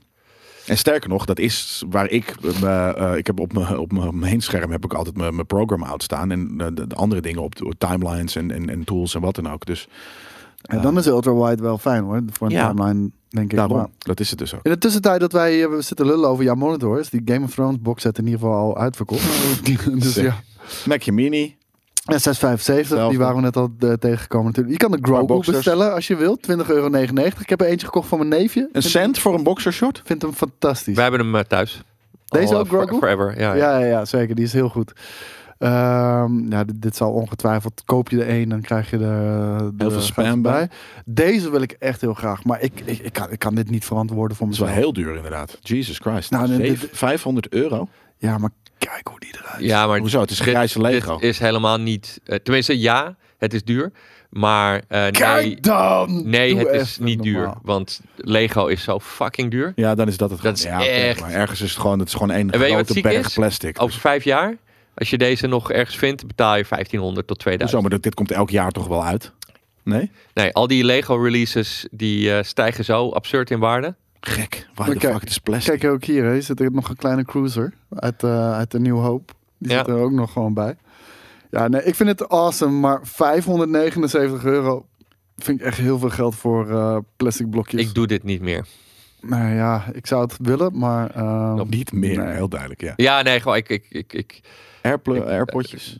Speaker 3: En sterker nog, dat is waar ik. eh, eh, ik heb op mijn op mijn main scherm heb ik altijd mijn mijn program uitstaan. En eh, de, de andere dingen op de- timelines en, en, en tools en wat dan ook. Dus
Speaker 1: Ja, dan is ultra-wide wel fijn hoor, voor een
Speaker 3: Ja.
Speaker 1: timeline denk ik.
Speaker 3: daarom,
Speaker 1: Maar
Speaker 3: dat is het dus ook.
Speaker 1: In de tussentijd dat wij eh, we zitten lullen over jouw monitor, is die Game of Thrones box set in ieder geval al uitverkocht. dus
Speaker 3: Sick.
Speaker 1: ja.
Speaker 3: Macje Mini.
Speaker 1: Ja, 6,75.
Speaker 3: Zelfde.
Speaker 1: Die waren we net al eh, tegengekomen natuurlijk. Je kan de
Speaker 3: Paar
Speaker 1: Grogu
Speaker 3: boxers.
Speaker 1: bestellen als je wilt. 20,99 euro. Ik heb er eentje gekocht van mijn neefje.
Speaker 3: Een
Speaker 1: Vind-
Speaker 3: cent voor een boxershort?
Speaker 1: Vind hem fantastisch.
Speaker 2: Wij hebben hem eh, thuis.
Speaker 1: Deze
Speaker 2: Al,
Speaker 1: ook,
Speaker 2: eh, for-
Speaker 1: Grogu?
Speaker 2: Forever, ja. ja.
Speaker 1: ja, ja, ja, zeker. Die is heel goed. Ehm, ja, dit, dit zal ongetwijfeld. Koop je de een, dan krijg je de, de
Speaker 3: Heel veel spam bij.
Speaker 1: Deze wil ik echt heel graag. Maar ik, ik, ik, kan, ik kan dit niet verantwoorden voor
Speaker 3: Dat is wel
Speaker 1: mezelf.
Speaker 3: heel duur inderdaad. Jesus Christ.
Speaker 1: Nou, dit-
Speaker 3: Zeven- 500 euro?
Speaker 1: Ja, maar kijk hoe die eruit
Speaker 2: Ja, maar
Speaker 3: Hoezo? Het is grijze Lego.
Speaker 2: Dit is helemaal niet. eh, tenminste, ja, het is duur. Maar eh,
Speaker 1: Kijk
Speaker 2: nee,
Speaker 1: dan!
Speaker 2: nee
Speaker 1: Doe
Speaker 2: het is
Speaker 1: even
Speaker 2: niet duur.
Speaker 1: normaal.
Speaker 2: Want Lego is zo fucking duur.
Speaker 3: Ja, dan is dat het.
Speaker 2: Dat
Speaker 3: gewoon.
Speaker 2: is
Speaker 3: ja, oké,
Speaker 2: echt-
Speaker 3: Maar ergens is het gewoon, het is gewoon één
Speaker 2: En weet je wat
Speaker 3: grote
Speaker 2: ziek
Speaker 3: berg
Speaker 2: is?
Speaker 3: plastic.
Speaker 2: Over vijf jaar, als je deze nog ergens vindt, betaal je 1500 tot
Speaker 3: Hoezo?
Speaker 2: 2000.
Speaker 3: Maar dit- dit komt elk jaar toch wel uit? Nee?
Speaker 2: Nee, al die Lego releases die eh, stijgen zo absurd in waarde.
Speaker 3: Gek. Waar
Speaker 1: Maar
Speaker 3: de
Speaker 1: kijk-
Speaker 3: fuck het is plastic?
Speaker 1: Kijk ook hier, hè. zit er nog een kleine cruiser uit, eh uit de New Hope. Die
Speaker 2: Ja.
Speaker 1: zit er ook nog gewoon bij. Ja, nee, ik vind het awesome, maar 579 euro vind ik echt heel veel geld voor eh, plastic blokjes.
Speaker 2: Ik doe dit niet meer.
Speaker 1: Nou ja, ik zou het willen, maar... ehm,
Speaker 3: Niet meer,
Speaker 1: Nee.
Speaker 3: heel duidelijk, ja.
Speaker 2: Ja, nee, gewoon, ik, ik, ik, ik
Speaker 3: Airpl- Airpodjes?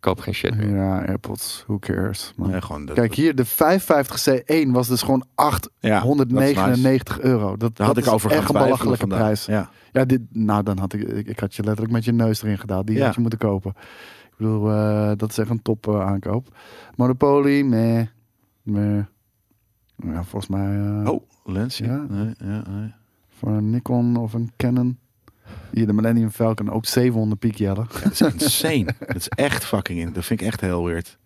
Speaker 2: koop geen shit
Speaker 3: Dus
Speaker 2: meer.
Speaker 1: Ja, AirPods, who cares. man.
Speaker 3: Nee, gewoon dat,
Speaker 1: Kijk hier, de 550C1 was dus gewoon
Speaker 3: ja,
Speaker 1: 899 euro. Dat,
Speaker 3: Daar
Speaker 1: dat
Speaker 3: had ik
Speaker 1: is
Speaker 3: over gaan
Speaker 1: echt een
Speaker 3: twijfelen
Speaker 1: belachelijke
Speaker 3: vandaag.
Speaker 1: prijs.
Speaker 3: Ja.
Speaker 1: Ja, dit, nou dan had ik, ik, ik had je letterlijk met je neus erin gedaan. Die
Speaker 3: Ja.
Speaker 1: had je moeten kopen. Ik bedoel, eh, dat is echt een top eh, aankoop. Monopoly, meh, meh. Ja, volgens mij eh,
Speaker 3: Oh, lens, ja.
Speaker 1: Ja.
Speaker 3: Nee, ja, nee.
Speaker 1: voor een Nikon of een Canon. Hier, de Millennium Falcon, ook 700 piek jellen.
Speaker 3: Ja, dat is insane. dat is echt fucking in. Dat vind ik echt heel weird.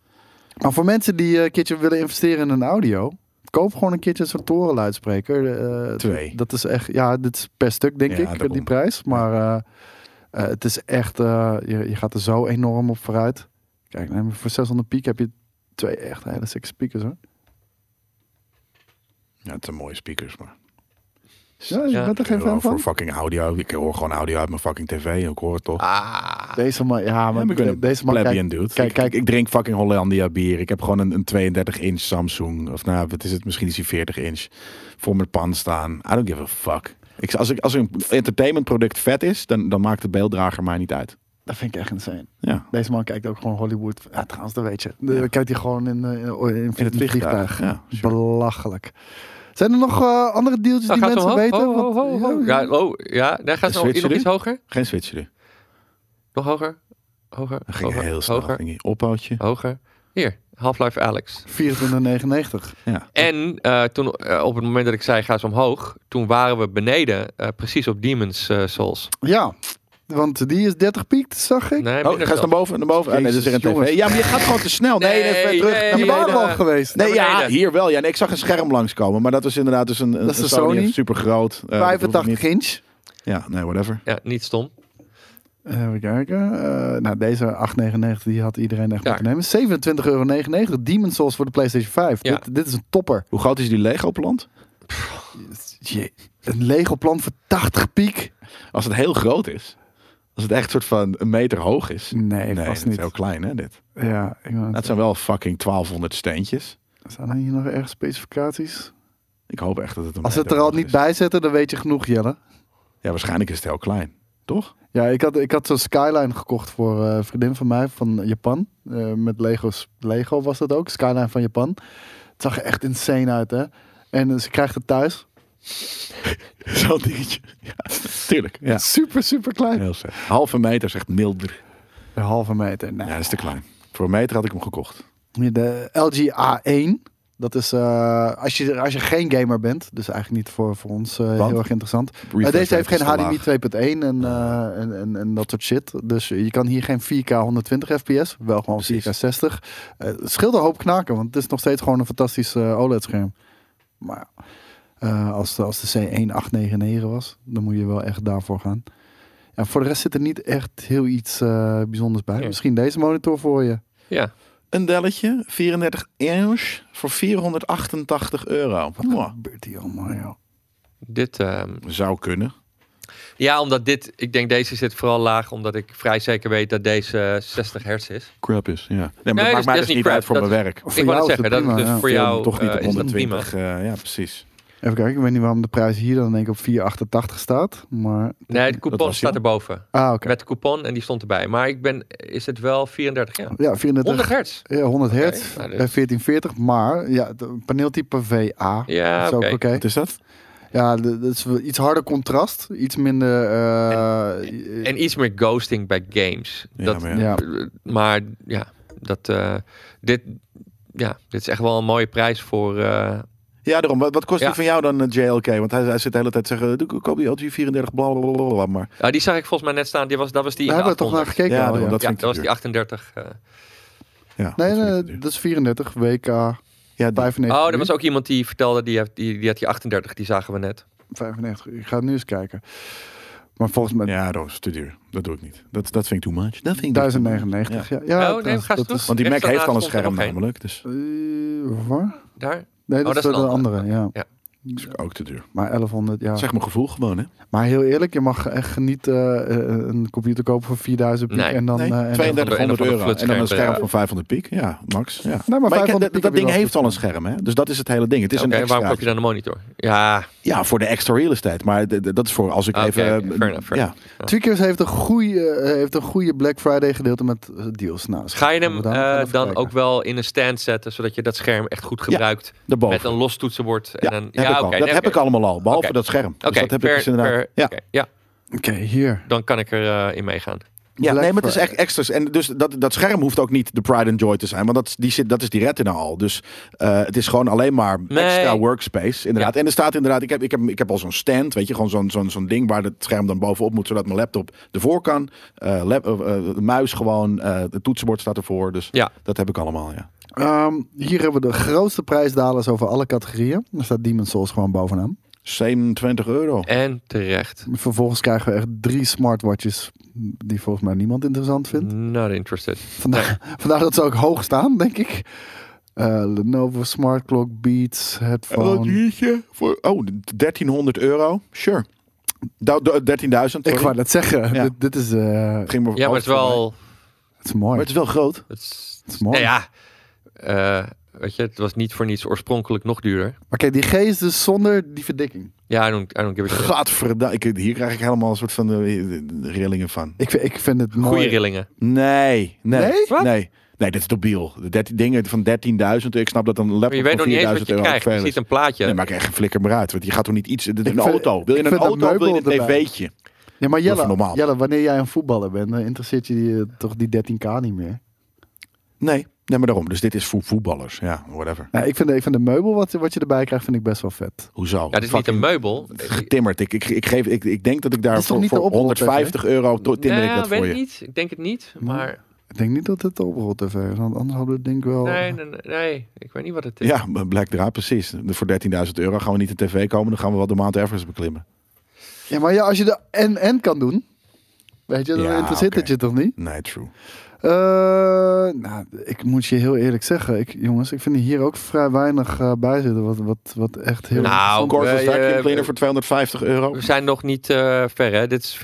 Speaker 1: Maar voor mensen die eh, een keertje willen investeren in een audio... Koop gewoon een keertje zo'n torenluidspreker. eh,
Speaker 3: Twee.
Speaker 1: Dat is echt, ja, dit is per stuk denk
Speaker 3: Ja,
Speaker 1: ik,
Speaker 3: daarom.
Speaker 1: die prijs. Maar eh, eh, het is echt, eh, je, je gaat er zo enorm op vooruit. Kijk, nee, maar voor 600 piek heb je twee echt hele sick speakers hoor.
Speaker 3: Ja, het zijn mooie speakers, maar...
Speaker 1: Ja, je
Speaker 2: Ja.
Speaker 1: bent er geen
Speaker 3: Euro
Speaker 1: fan
Speaker 3: voor
Speaker 1: van?
Speaker 3: fucking audio. Ik hoor gewoon audio uit mijn fucking tv. Ik hoor het toch.
Speaker 2: Ah,
Speaker 1: Deze man, ja, maar,
Speaker 3: maar ik ben een
Speaker 1: deze man,
Speaker 3: Plebeian
Speaker 1: kijk,
Speaker 3: dude.
Speaker 1: kijk,
Speaker 3: ik,
Speaker 1: kijk.
Speaker 3: ik, ik drink fucking Hollandia bier. Ik heb gewoon een, een 32 inch Samsung. Of nou, wat is het? Misschien is die 40 inch. Voor mijn pan staan. I don't give a fuck. Ik, als, ik, als een entertainment product vet is, dan, dan maakt de beelddrager mij niet uit.
Speaker 1: dat vind ik echt insane.
Speaker 3: Ja.
Speaker 1: Deze man kijkt ook gewoon Hollywood. Ja, trouwens, dat weet je. De,
Speaker 3: Ja.
Speaker 1: Kijkt hij gewoon in, eh, in, in het
Speaker 3: In het
Speaker 1: vliegtuig.
Speaker 3: vliegtuig. Ja, sure.
Speaker 1: Belachelijk. Zijn er nog eh, andere deeltjes
Speaker 2: nou,
Speaker 1: die
Speaker 2: gaat ze
Speaker 1: mensen
Speaker 2: omhoog?
Speaker 1: weten?
Speaker 2: Ho, ho, ho,
Speaker 1: Want-
Speaker 2: ho.
Speaker 1: ja,
Speaker 2: Ja, oh, ja. Daar gaat ze nog,
Speaker 3: Switchen
Speaker 2: nog iets
Speaker 3: doen?
Speaker 2: hoger?
Speaker 3: Geen switcherie.
Speaker 2: Nog hoger? Hoger?
Speaker 3: Dat ging
Speaker 2: hoger?
Speaker 3: heel snel.
Speaker 2: Hoger?
Speaker 3: Ging die ophoutje.
Speaker 2: Hoger? Hier, Half-Life Alex.
Speaker 1: 24,99.
Speaker 3: Ja.
Speaker 2: En eh, toen, eh, op het moment dat ik zei ga ze omhoog, toen waren we beneden, eh, precies op Demon's eh, Souls.
Speaker 1: Ja, want die is 30 piek, zag ik.
Speaker 2: Nee,
Speaker 3: Oh,
Speaker 2: minder
Speaker 3: ga eens naar
Speaker 2: zelfs.
Speaker 3: boven, naar boven. Ah, nee, dat
Speaker 1: Jezus,
Speaker 3: is weer een tv.
Speaker 1: jongens.
Speaker 3: Ja, maar je gaat gewoon te snel. Nee, nee,
Speaker 2: Nee,
Speaker 3: ver
Speaker 2: nee,
Speaker 3: terug. naar
Speaker 1: Die
Speaker 2: nee,
Speaker 3: beneden.
Speaker 1: waren we al
Speaker 2: eh,
Speaker 1: geweest.
Speaker 3: Nee,
Speaker 2: Naar
Speaker 3: ja,
Speaker 2: beneden.
Speaker 3: hier wel. Ja, nee, ik zag een scherm langskomen, maar dat was inderdaad dus een, een,
Speaker 1: Dat is
Speaker 3: een eh,
Speaker 1: de Sony.
Speaker 3: super groot.
Speaker 1: 85 inch.
Speaker 3: Ja, nee, whatever.
Speaker 2: Ja, niet stom.
Speaker 1: Even kijken. Eh, nou, deze 8,99 die had iedereen echt
Speaker 2: Ja.
Speaker 1: moeten nemen. 27,99 euro. Demon's Souls voor de PlayStation 5.
Speaker 2: Ja.
Speaker 1: Dit, dit is een topper.
Speaker 3: Hoe groot is die Lego plant?
Speaker 1: Je- Een Lego plan voor 80 piek.
Speaker 3: Als het heel groot is. Als het echt soort van een meter hoog is.
Speaker 1: Nee,
Speaker 3: nee,
Speaker 1: vast
Speaker 3: dat is
Speaker 1: niet.
Speaker 3: heel klein hè dit.
Speaker 1: Ja, ik wou net
Speaker 3: Dat zijn wel fucking 1200 steentjes.
Speaker 1: zeggen, Staan er hier nog ergens specificaties?
Speaker 3: Ik hoop echt dat het een
Speaker 1: Als ze het
Speaker 3: meter
Speaker 1: er al
Speaker 3: hoog
Speaker 1: niet
Speaker 3: is.
Speaker 1: bij zetten, dan weet je genoeg, Jelle.
Speaker 3: Ja, waarschijnlijk is het heel klein. Toch?
Speaker 1: Ja, ik had, ik had zo'n Skyline gekocht voor eh, een vriendin van mij van Japan. Eh, met Lego's. Lego was dat ook, Skyline van Japan. Het zag er echt insane uit, hè? En eh, ze krijgt het thuis.
Speaker 3: Zo'n dingetje. Ja, tuurlijk. Ja.
Speaker 1: Super, super klein.
Speaker 3: Heel slecht. Halve meter zegt milder.
Speaker 1: Een halve meter. Nee.
Speaker 3: Ja, dat is te klein. Voor een meter had ik hem gekocht.
Speaker 1: De LG A1. Dat is eh, als, je, als je geen gamer bent, dus eigenlijk niet voor, voor ons eh,
Speaker 3: Want?
Speaker 1: heel erg interessant.
Speaker 3: Refresh
Speaker 1: Eh, deze heeft
Speaker 3: rate
Speaker 1: geen
Speaker 3: is te
Speaker 1: HDMI
Speaker 3: laag.
Speaker 1: 2.1 en, eh, en, en, en dat soort shit. Dus je kan hier geen 4K 120 fps, wel gewoon
Speaker 3: Precies.
Speaker 1: 4K 60. Eh, het scheelt een hoop knaken, want het is nog steeds gewoon een fantastisch eh, OLED-scherm. Maar eh, als, de, als de C1899 was, dan moet je wel echt daarvoor gaan. En voor de rest zit er niet echt heel iets eh, bijzonders bij.
Speaker 2: Ja.
Speaker 1: Misschien deze monitor voor je.
Speaker 2: Ja,
Speaker 3: Een delletje, 34 inch, voor 488 euro.
Speaker 1: Wat
Speaker 3: Mwah.
Speaker 1: gebeurt hier allemaal, joh?
Speaker 2: dit, ehm,
Speaker 3: Zou kunnen.
Speaker 2: ja, omdat dit, ik denk deze zit vooral laag, omdat ik vrij zeker weet dat deze 60 hertz is.
Speaker 3: Crap is, ja. Nee, maar dat
Speaker 2: Nee,
Speaker 3: maakt
Speaker 2: dus dat
Speaker 3: mij dus
Speaker 2: is
Speaker 3: niet
Speaker 2: niet
Speaker 3: uit voor
Speaker 2: crap,
Speaker 3: mijn werk.
Speaker 1: Voor
Speaker 2: ik wou
Speaker 1: jou
Speaker 2: net
Speaker 1: is het
Speaker 2: zeggen, dat,
Speaker 1: prima,
Speaker 2: dus
Speaker 1: ja.
Speaker 2: voor
Speaker 3: Film
Speaker 2: jou
Speaker 3: toch niet
Speaker 2: eh,
Speaker 3: op
Speaker 2: is dat prima.
Speaker 3: 120. eh, ja, precies.
Speaker 1: Even kijken, ik weet niet waarom de prijs hier dan denk ik op 4,88 staat. Maar...
Speaker 2: Nee, het
Speaker 3: Dat
Speaker 2: coupon
Speaker 3: was
Speaker 2: staat
Speaker 3: heel.
Speaker 2: erboven.
Speaker 1: Ah, oké.
Speaker 2: Met de coupon en die stond erbij. Maar ik ben, is het wel 34? Ja.
Speaker 1: Ja, 34
Speaker 2: 100 hertz.
Speaker 1: Ja, 100 hertz
Speaker 2: Oké, nou,
Speaker 1: bij
Speaker 2: dus-
Speaker 1: 1440, maar ja, het, eh, paneeltype VA.
Speaker 2: Ja,
Speaker 1: Dat is ook
Speaker 2: oké.
Speaker 1: oké.
Speaker 3: Wat is dat?
Speaker 1: Ja, de- dat is wel iets harder contrast, iets minder. eh, eh,
Speaker 2: En iets meer ghosting bij games.
Speaker 3: Ja,
Speaker 2: dat,
Speaker 3: maar
Speaker 1: ja.
Speaker 3: ja.
Speaker 2: Maar ja, dat, eh, dit, ja, dit is echt wel een mooie prijs voor. eh,
Speaker 3: Ja, daarom. Wat, wat kost
Speaker 2: Ja.
Speaker 3: die van jou dan, eh, JLK? Want hij, hij zit de hele tijd te zeggen, doe, koop die LG 34, bla, bla, bla, bla, Maar
Speaker 2: ah, die zag ik volgens mij net staan. Die was, dat was die.
Speaker 1: Daar hebben we toch naar
Speaker 2: 800.
Speaker 1: gekeken.
Speaker 3: Ja,
Speaker 1: al,
Speaker 3: daarom,
Speaker 1: ja.
Speaker 3: dat
Speaker 2: ja,
Speaker 3: vind ik
Speaker 2: dat
Speaker 3: te
Speaker 2: was die
Speaker 3: duur.
Speaker 2: 38. eh.
Speaker 3: ja,
Speaker 1: Nee, nee,
Speaker 3: dat vind ik te duur.
Speaker 1: dat is 34, WK
Speaker 3: ja, die-
Speaker 1: 95.
Speaker 2: oh, er
Speaker 1: uur.
Speaker 2: was ook iemand die vertelde, die, heeft- die, die had die 38, die zagen we net.
Speaker 1: 95. uur. Ik ga het nu eens kijken. Maar volgens mij
Speaker 3: ja, dat is te duur. Dat doe ik niet. Dat, dat vind ik too much. Dat vind ik
Speaker 1: 1099. Ja, ja,
Speaker 2: oh, nee,
Speaker 1: trouwens,
Speaker 2: ga
Speaker 1: dat
Speaker 2: ze terug.
Speaker 1: is.
Speaker 3: Want die Mac
Speaker 2: Rechts
Speaker 3: heeft al een
Speaker 2: daarnaast komt er
Speaker 3: scherm
Speaker 2: nog één.
Speaker 3: namelijk. Dus
Speaker 1: eh, waar?
Speaker 2: Daar?
Speaker 1: Nee, dat,
Speaker 2: Oh, dat
Speaker 1: is
Speaker 2: is
Speaker 1: wel de
Speaker 2: een
Speaker 1: andere.
Speaker 2: andere.
Speaker 1: ja.
Speaker 2: Ja.
Speaker 3: dat is ook te duur.
Speaker 1: Maar 1100, ja.
Speaker 3: Zeg mijn gevoel gewoon, hè?
Speaker 1: Maar heel eerlijk, je mag echt niet eh, eh, een computer kopen voor 4000 piek
Speaker 2: Nee.
Speaker 1: en dan.
Speaker 3: Nee,
Speaker 1: eh, en dan-
Speaker 3: 3200
Speaker 2: een of
Speaker 3: euro.
Speaker 2: andere eh,
Speaker 3: En dan
Speaker 2: flutscherm,
Speaker 3: een scherm
Speaker 2: ja.
Speaker 3: van 500 piek. Ja, max. Ja.
Speaker 1: maar
Speaker 3: ik-
Speaker 1: 500 piek heb
Speaker 3: dat, dat
Speaker 1: je
Speaker 3: ding
Speaker 1: wel
Speaker 3: heeft al een scherm, hè? Dus dat is het hele ding. Het is
Speaker 2: Oké,
Speaker 3: een
Speaker 2: waarom
Speaker 3: extra.
Speaker 2: koop je dan een monitor? Ja,
Speaker 3: Ja, voor de extra real estate. Maar d- d- dat is voor als ik
Speaker 2: Oké,
Speaker 3: even... eh,
Speaker 2: oké, fair enough, fair
Speaker 3: ja.
Speaker 1: Tweakers heeft een goede, heeft een goede Black Friday gedeelte met eh, deals. Nou, dus
Speaker 2: ga je hem
Speaker 1: we daar nog
Speaker 2: eh,
Speaker 1: wel even
Speaker 2: dan
Speaker 1: kijken.
Speaker 2: ook wel in een stand zetten, zodat je dat scherm echt goed gebruikt?
Speaker 3: Daarboven.
Speaker 2: Met een los toetsenbord. En
Speaker 3: Ja,
Speaker 2: een,
Speaker 3: heb ik al.
Speaker 2: oké,
Speaker 3: dat
Speaker 2: nee,
Speaker 3: heb
Speaker 2: oké.
Speaker 3: ik allemaal al, behalve
Speaker 2: Oké.
Speaker 3: dat scherm. Dus
Speaker 2: Oké,
Speaker 3: dat heb
Speaker 2: fair-
Speaker 3: ik dus inderdaad.
Speaker 2: fair-
Speaker 3: ja.
Speaker 2: oké, ja,
Speaker 1: Oké, hier.
Speaker 2: dan kan ik er eh, in meegaan.
Speaker 3: Ja,
Speaker 1: Black
Speaker 3: nee, maar het is
Speaker 1: Friday.
Speaker 3: echt extra's. En dus dat, dat scherm hoeft ook niet de pride and joy te zijn. Want dat, is- die zit, dat is die retina al. Dus eh, het is gewoon alleen maar
Speaker 2: Nee.
Speaker 3: extra workspace. Inderdaad.
Speaker 2: Ja.
Speaker 3: En er staat inderdaad, ik heb, ik heb, ik heb al zo'n stand. Weet je, gewoon zo'n zo'n zo'n ding waar het scherm dan bovenop moet. Zodat mijn laptop ervoor kan. Eh, lap- eh, eh, de muis gewoon. eh het toetsenbord staat ervoor. Dus
Speaker 2: Ja.
Speaker 3: dat heb ik allemaal, ja.
Speaker 1: Ehm, hier hebben we de grootste prijsdalers over alle categorieën. Daar staat Demon's Souls gewoon bovenaan.
Speaker 3: 27 euro.
Speaker 2: En terecht.
Speaker 1: Vervolgens krijgen we echt drie smartwatches die volgens mij niemand interessant vindt.
Speaker 2: Not interested.
Speaker 1: Vandaar, vandaar dat ze ook hoog staan, denk ik. Eh, Lenovo Smart Clock, Beats,
Speaker 3: Een
Speaker 1: headphone.
Speaker 3: biertje voor oh 1300 euro. Sure. Da- da- 13.000.
Speaker 1: Ik wou
Speaker 3: sorry.
Speaker 1: dat zeggen.
Speaker 3: Ja.
Speaker 1: Dit, dit is, eh,
Speaker 3: Het ging me
Speaker 2: Ja, maar het is
Speaker 3: voorbij.
Speaker 2: wel...
Speaker 1: het is mooi.
Speaker 3: Maar het is wel groot.
Speaker 2: Het is,
Speaker 1: Het is mooi.
Speaker 2: Nou ja, eh, weet je, het was niet voor niets oorspronkelijk nog duurder.
Speaker 1: Maar kijk, die G is dus zonder die verdikking.
Speaker 2: Ja, I don't, I don't give a shit.
Speaker 3: Gadverda- ik Hier krijg ik helemaal een soort van eh, rillingen van.
Speaker 1: Ik, vind- ik vind het mooi.
Speaker 2: Goeie rillingen.
Speaker 3: Nee, nee,
Speaker 1: Nee?
Speaker 3: nee. Nee, dit is debiel. De 13 dingen van 13.000. Ik snap dat dan een
Speaker 2: Maar
Speaker 3: laptop
Speaker 2: je weet nog
Speaker 3: van
Speaker 2: niet eens
Speaker 3: 4000
Speaker 2: wat je
Speaker 3: euro
Speaker 2: krijgt. Je
Speaker 3: verder
Speaker 2: ziet
Speaker 3: is.
Speaker 2: een plaatje.
Speaker 3: Nee, maar ik echt een flikker maar uit. Want je gaat toch niet iets... Dit is
Speaker 1: Ik
Speaker 3: een
Speaker 1: vind-
Speaker 3: auto. Wil je
Speaker 1: ik
Speaker 3: een
Speaker 1: vind dat
Speaker 3: auto, wil je
Speaker 1: meubel
Speaker 3: een
Speaker 1: erbij.
Speaker 3: tv'tje?
Speaker 1: Ja, maar
Speaker 3: Dat
Speaker 1: Jelle,
Speaker 3: is normaal.
Speaker 1: Jelle, wanneer jij een voetballer bent, dan interesseert je die, eh, toch die 13k niet meer.
Speaker 3: Nee, nee, maar daarom. Dus dit is voor voetballers. Ja, whatever.
Speaker 1: Nou, ik, vind, de- ik vind de meubel wat, wat je erbij krijgt, vind ik best wel vet.
Speaker 3: Hoezo?
Speaker 2: ja, dit is niet een
Speaker 3: Fucking
Speaker 2: meubel.
Speaker 3: Getimmerd. Ik, ik, ik, geef, ik, ik denk dat ik daar
Speaker 1: Dat is toch
Speaker 3: voor,
Speaker 1: niet de
Speaker 3: voor
Speaker 1: oprol-tv?
Speaker 3: 150 euro to- timmer
Speaker 2: nee,
Speaker 3: ik dat
Speaker 2: weet
Speaker 3: voor
Speaker 2: ik
Speaker 3: je.
Speaker 2: niet. Ik denk het niet. Maar
Speaker 1: Ik denk niet dat het oprol tv is, want anders hadden we het denk ik wel...
Speaker 2: nee, nee, nee, nee, ik weet niet wat het is.
Speaker 3: Ja, maar Black Draad, precies. De- Voor 13.000 euro gaan we niet een tv komen. Dan gaan we wel de Mount Everest beklimmen.
Speaker 1: Ja, maar ja, als je de en-en kan doen, weet je, dan
Speaker 3: Ja,
Speaker 1: interesseert
Speaker 3: oké.
Speaker 1: het je toch niet?
Speaker 3: Nee, true.
Speaker 1: Eh, nou, ik moet je heel eerlijk zeggen, ik, jongens, ik vind hier ook vrij weinig eh, bij zitten. Wat, wat, wat echt heel.
Speaker 2: Nou,
Speaker 3: Kort
Speaker 2: we, eh,
Speaker 3: cleaner voor 250 euro.
Speaker 2: we zijn nog niet eh, ver, hè? Dit is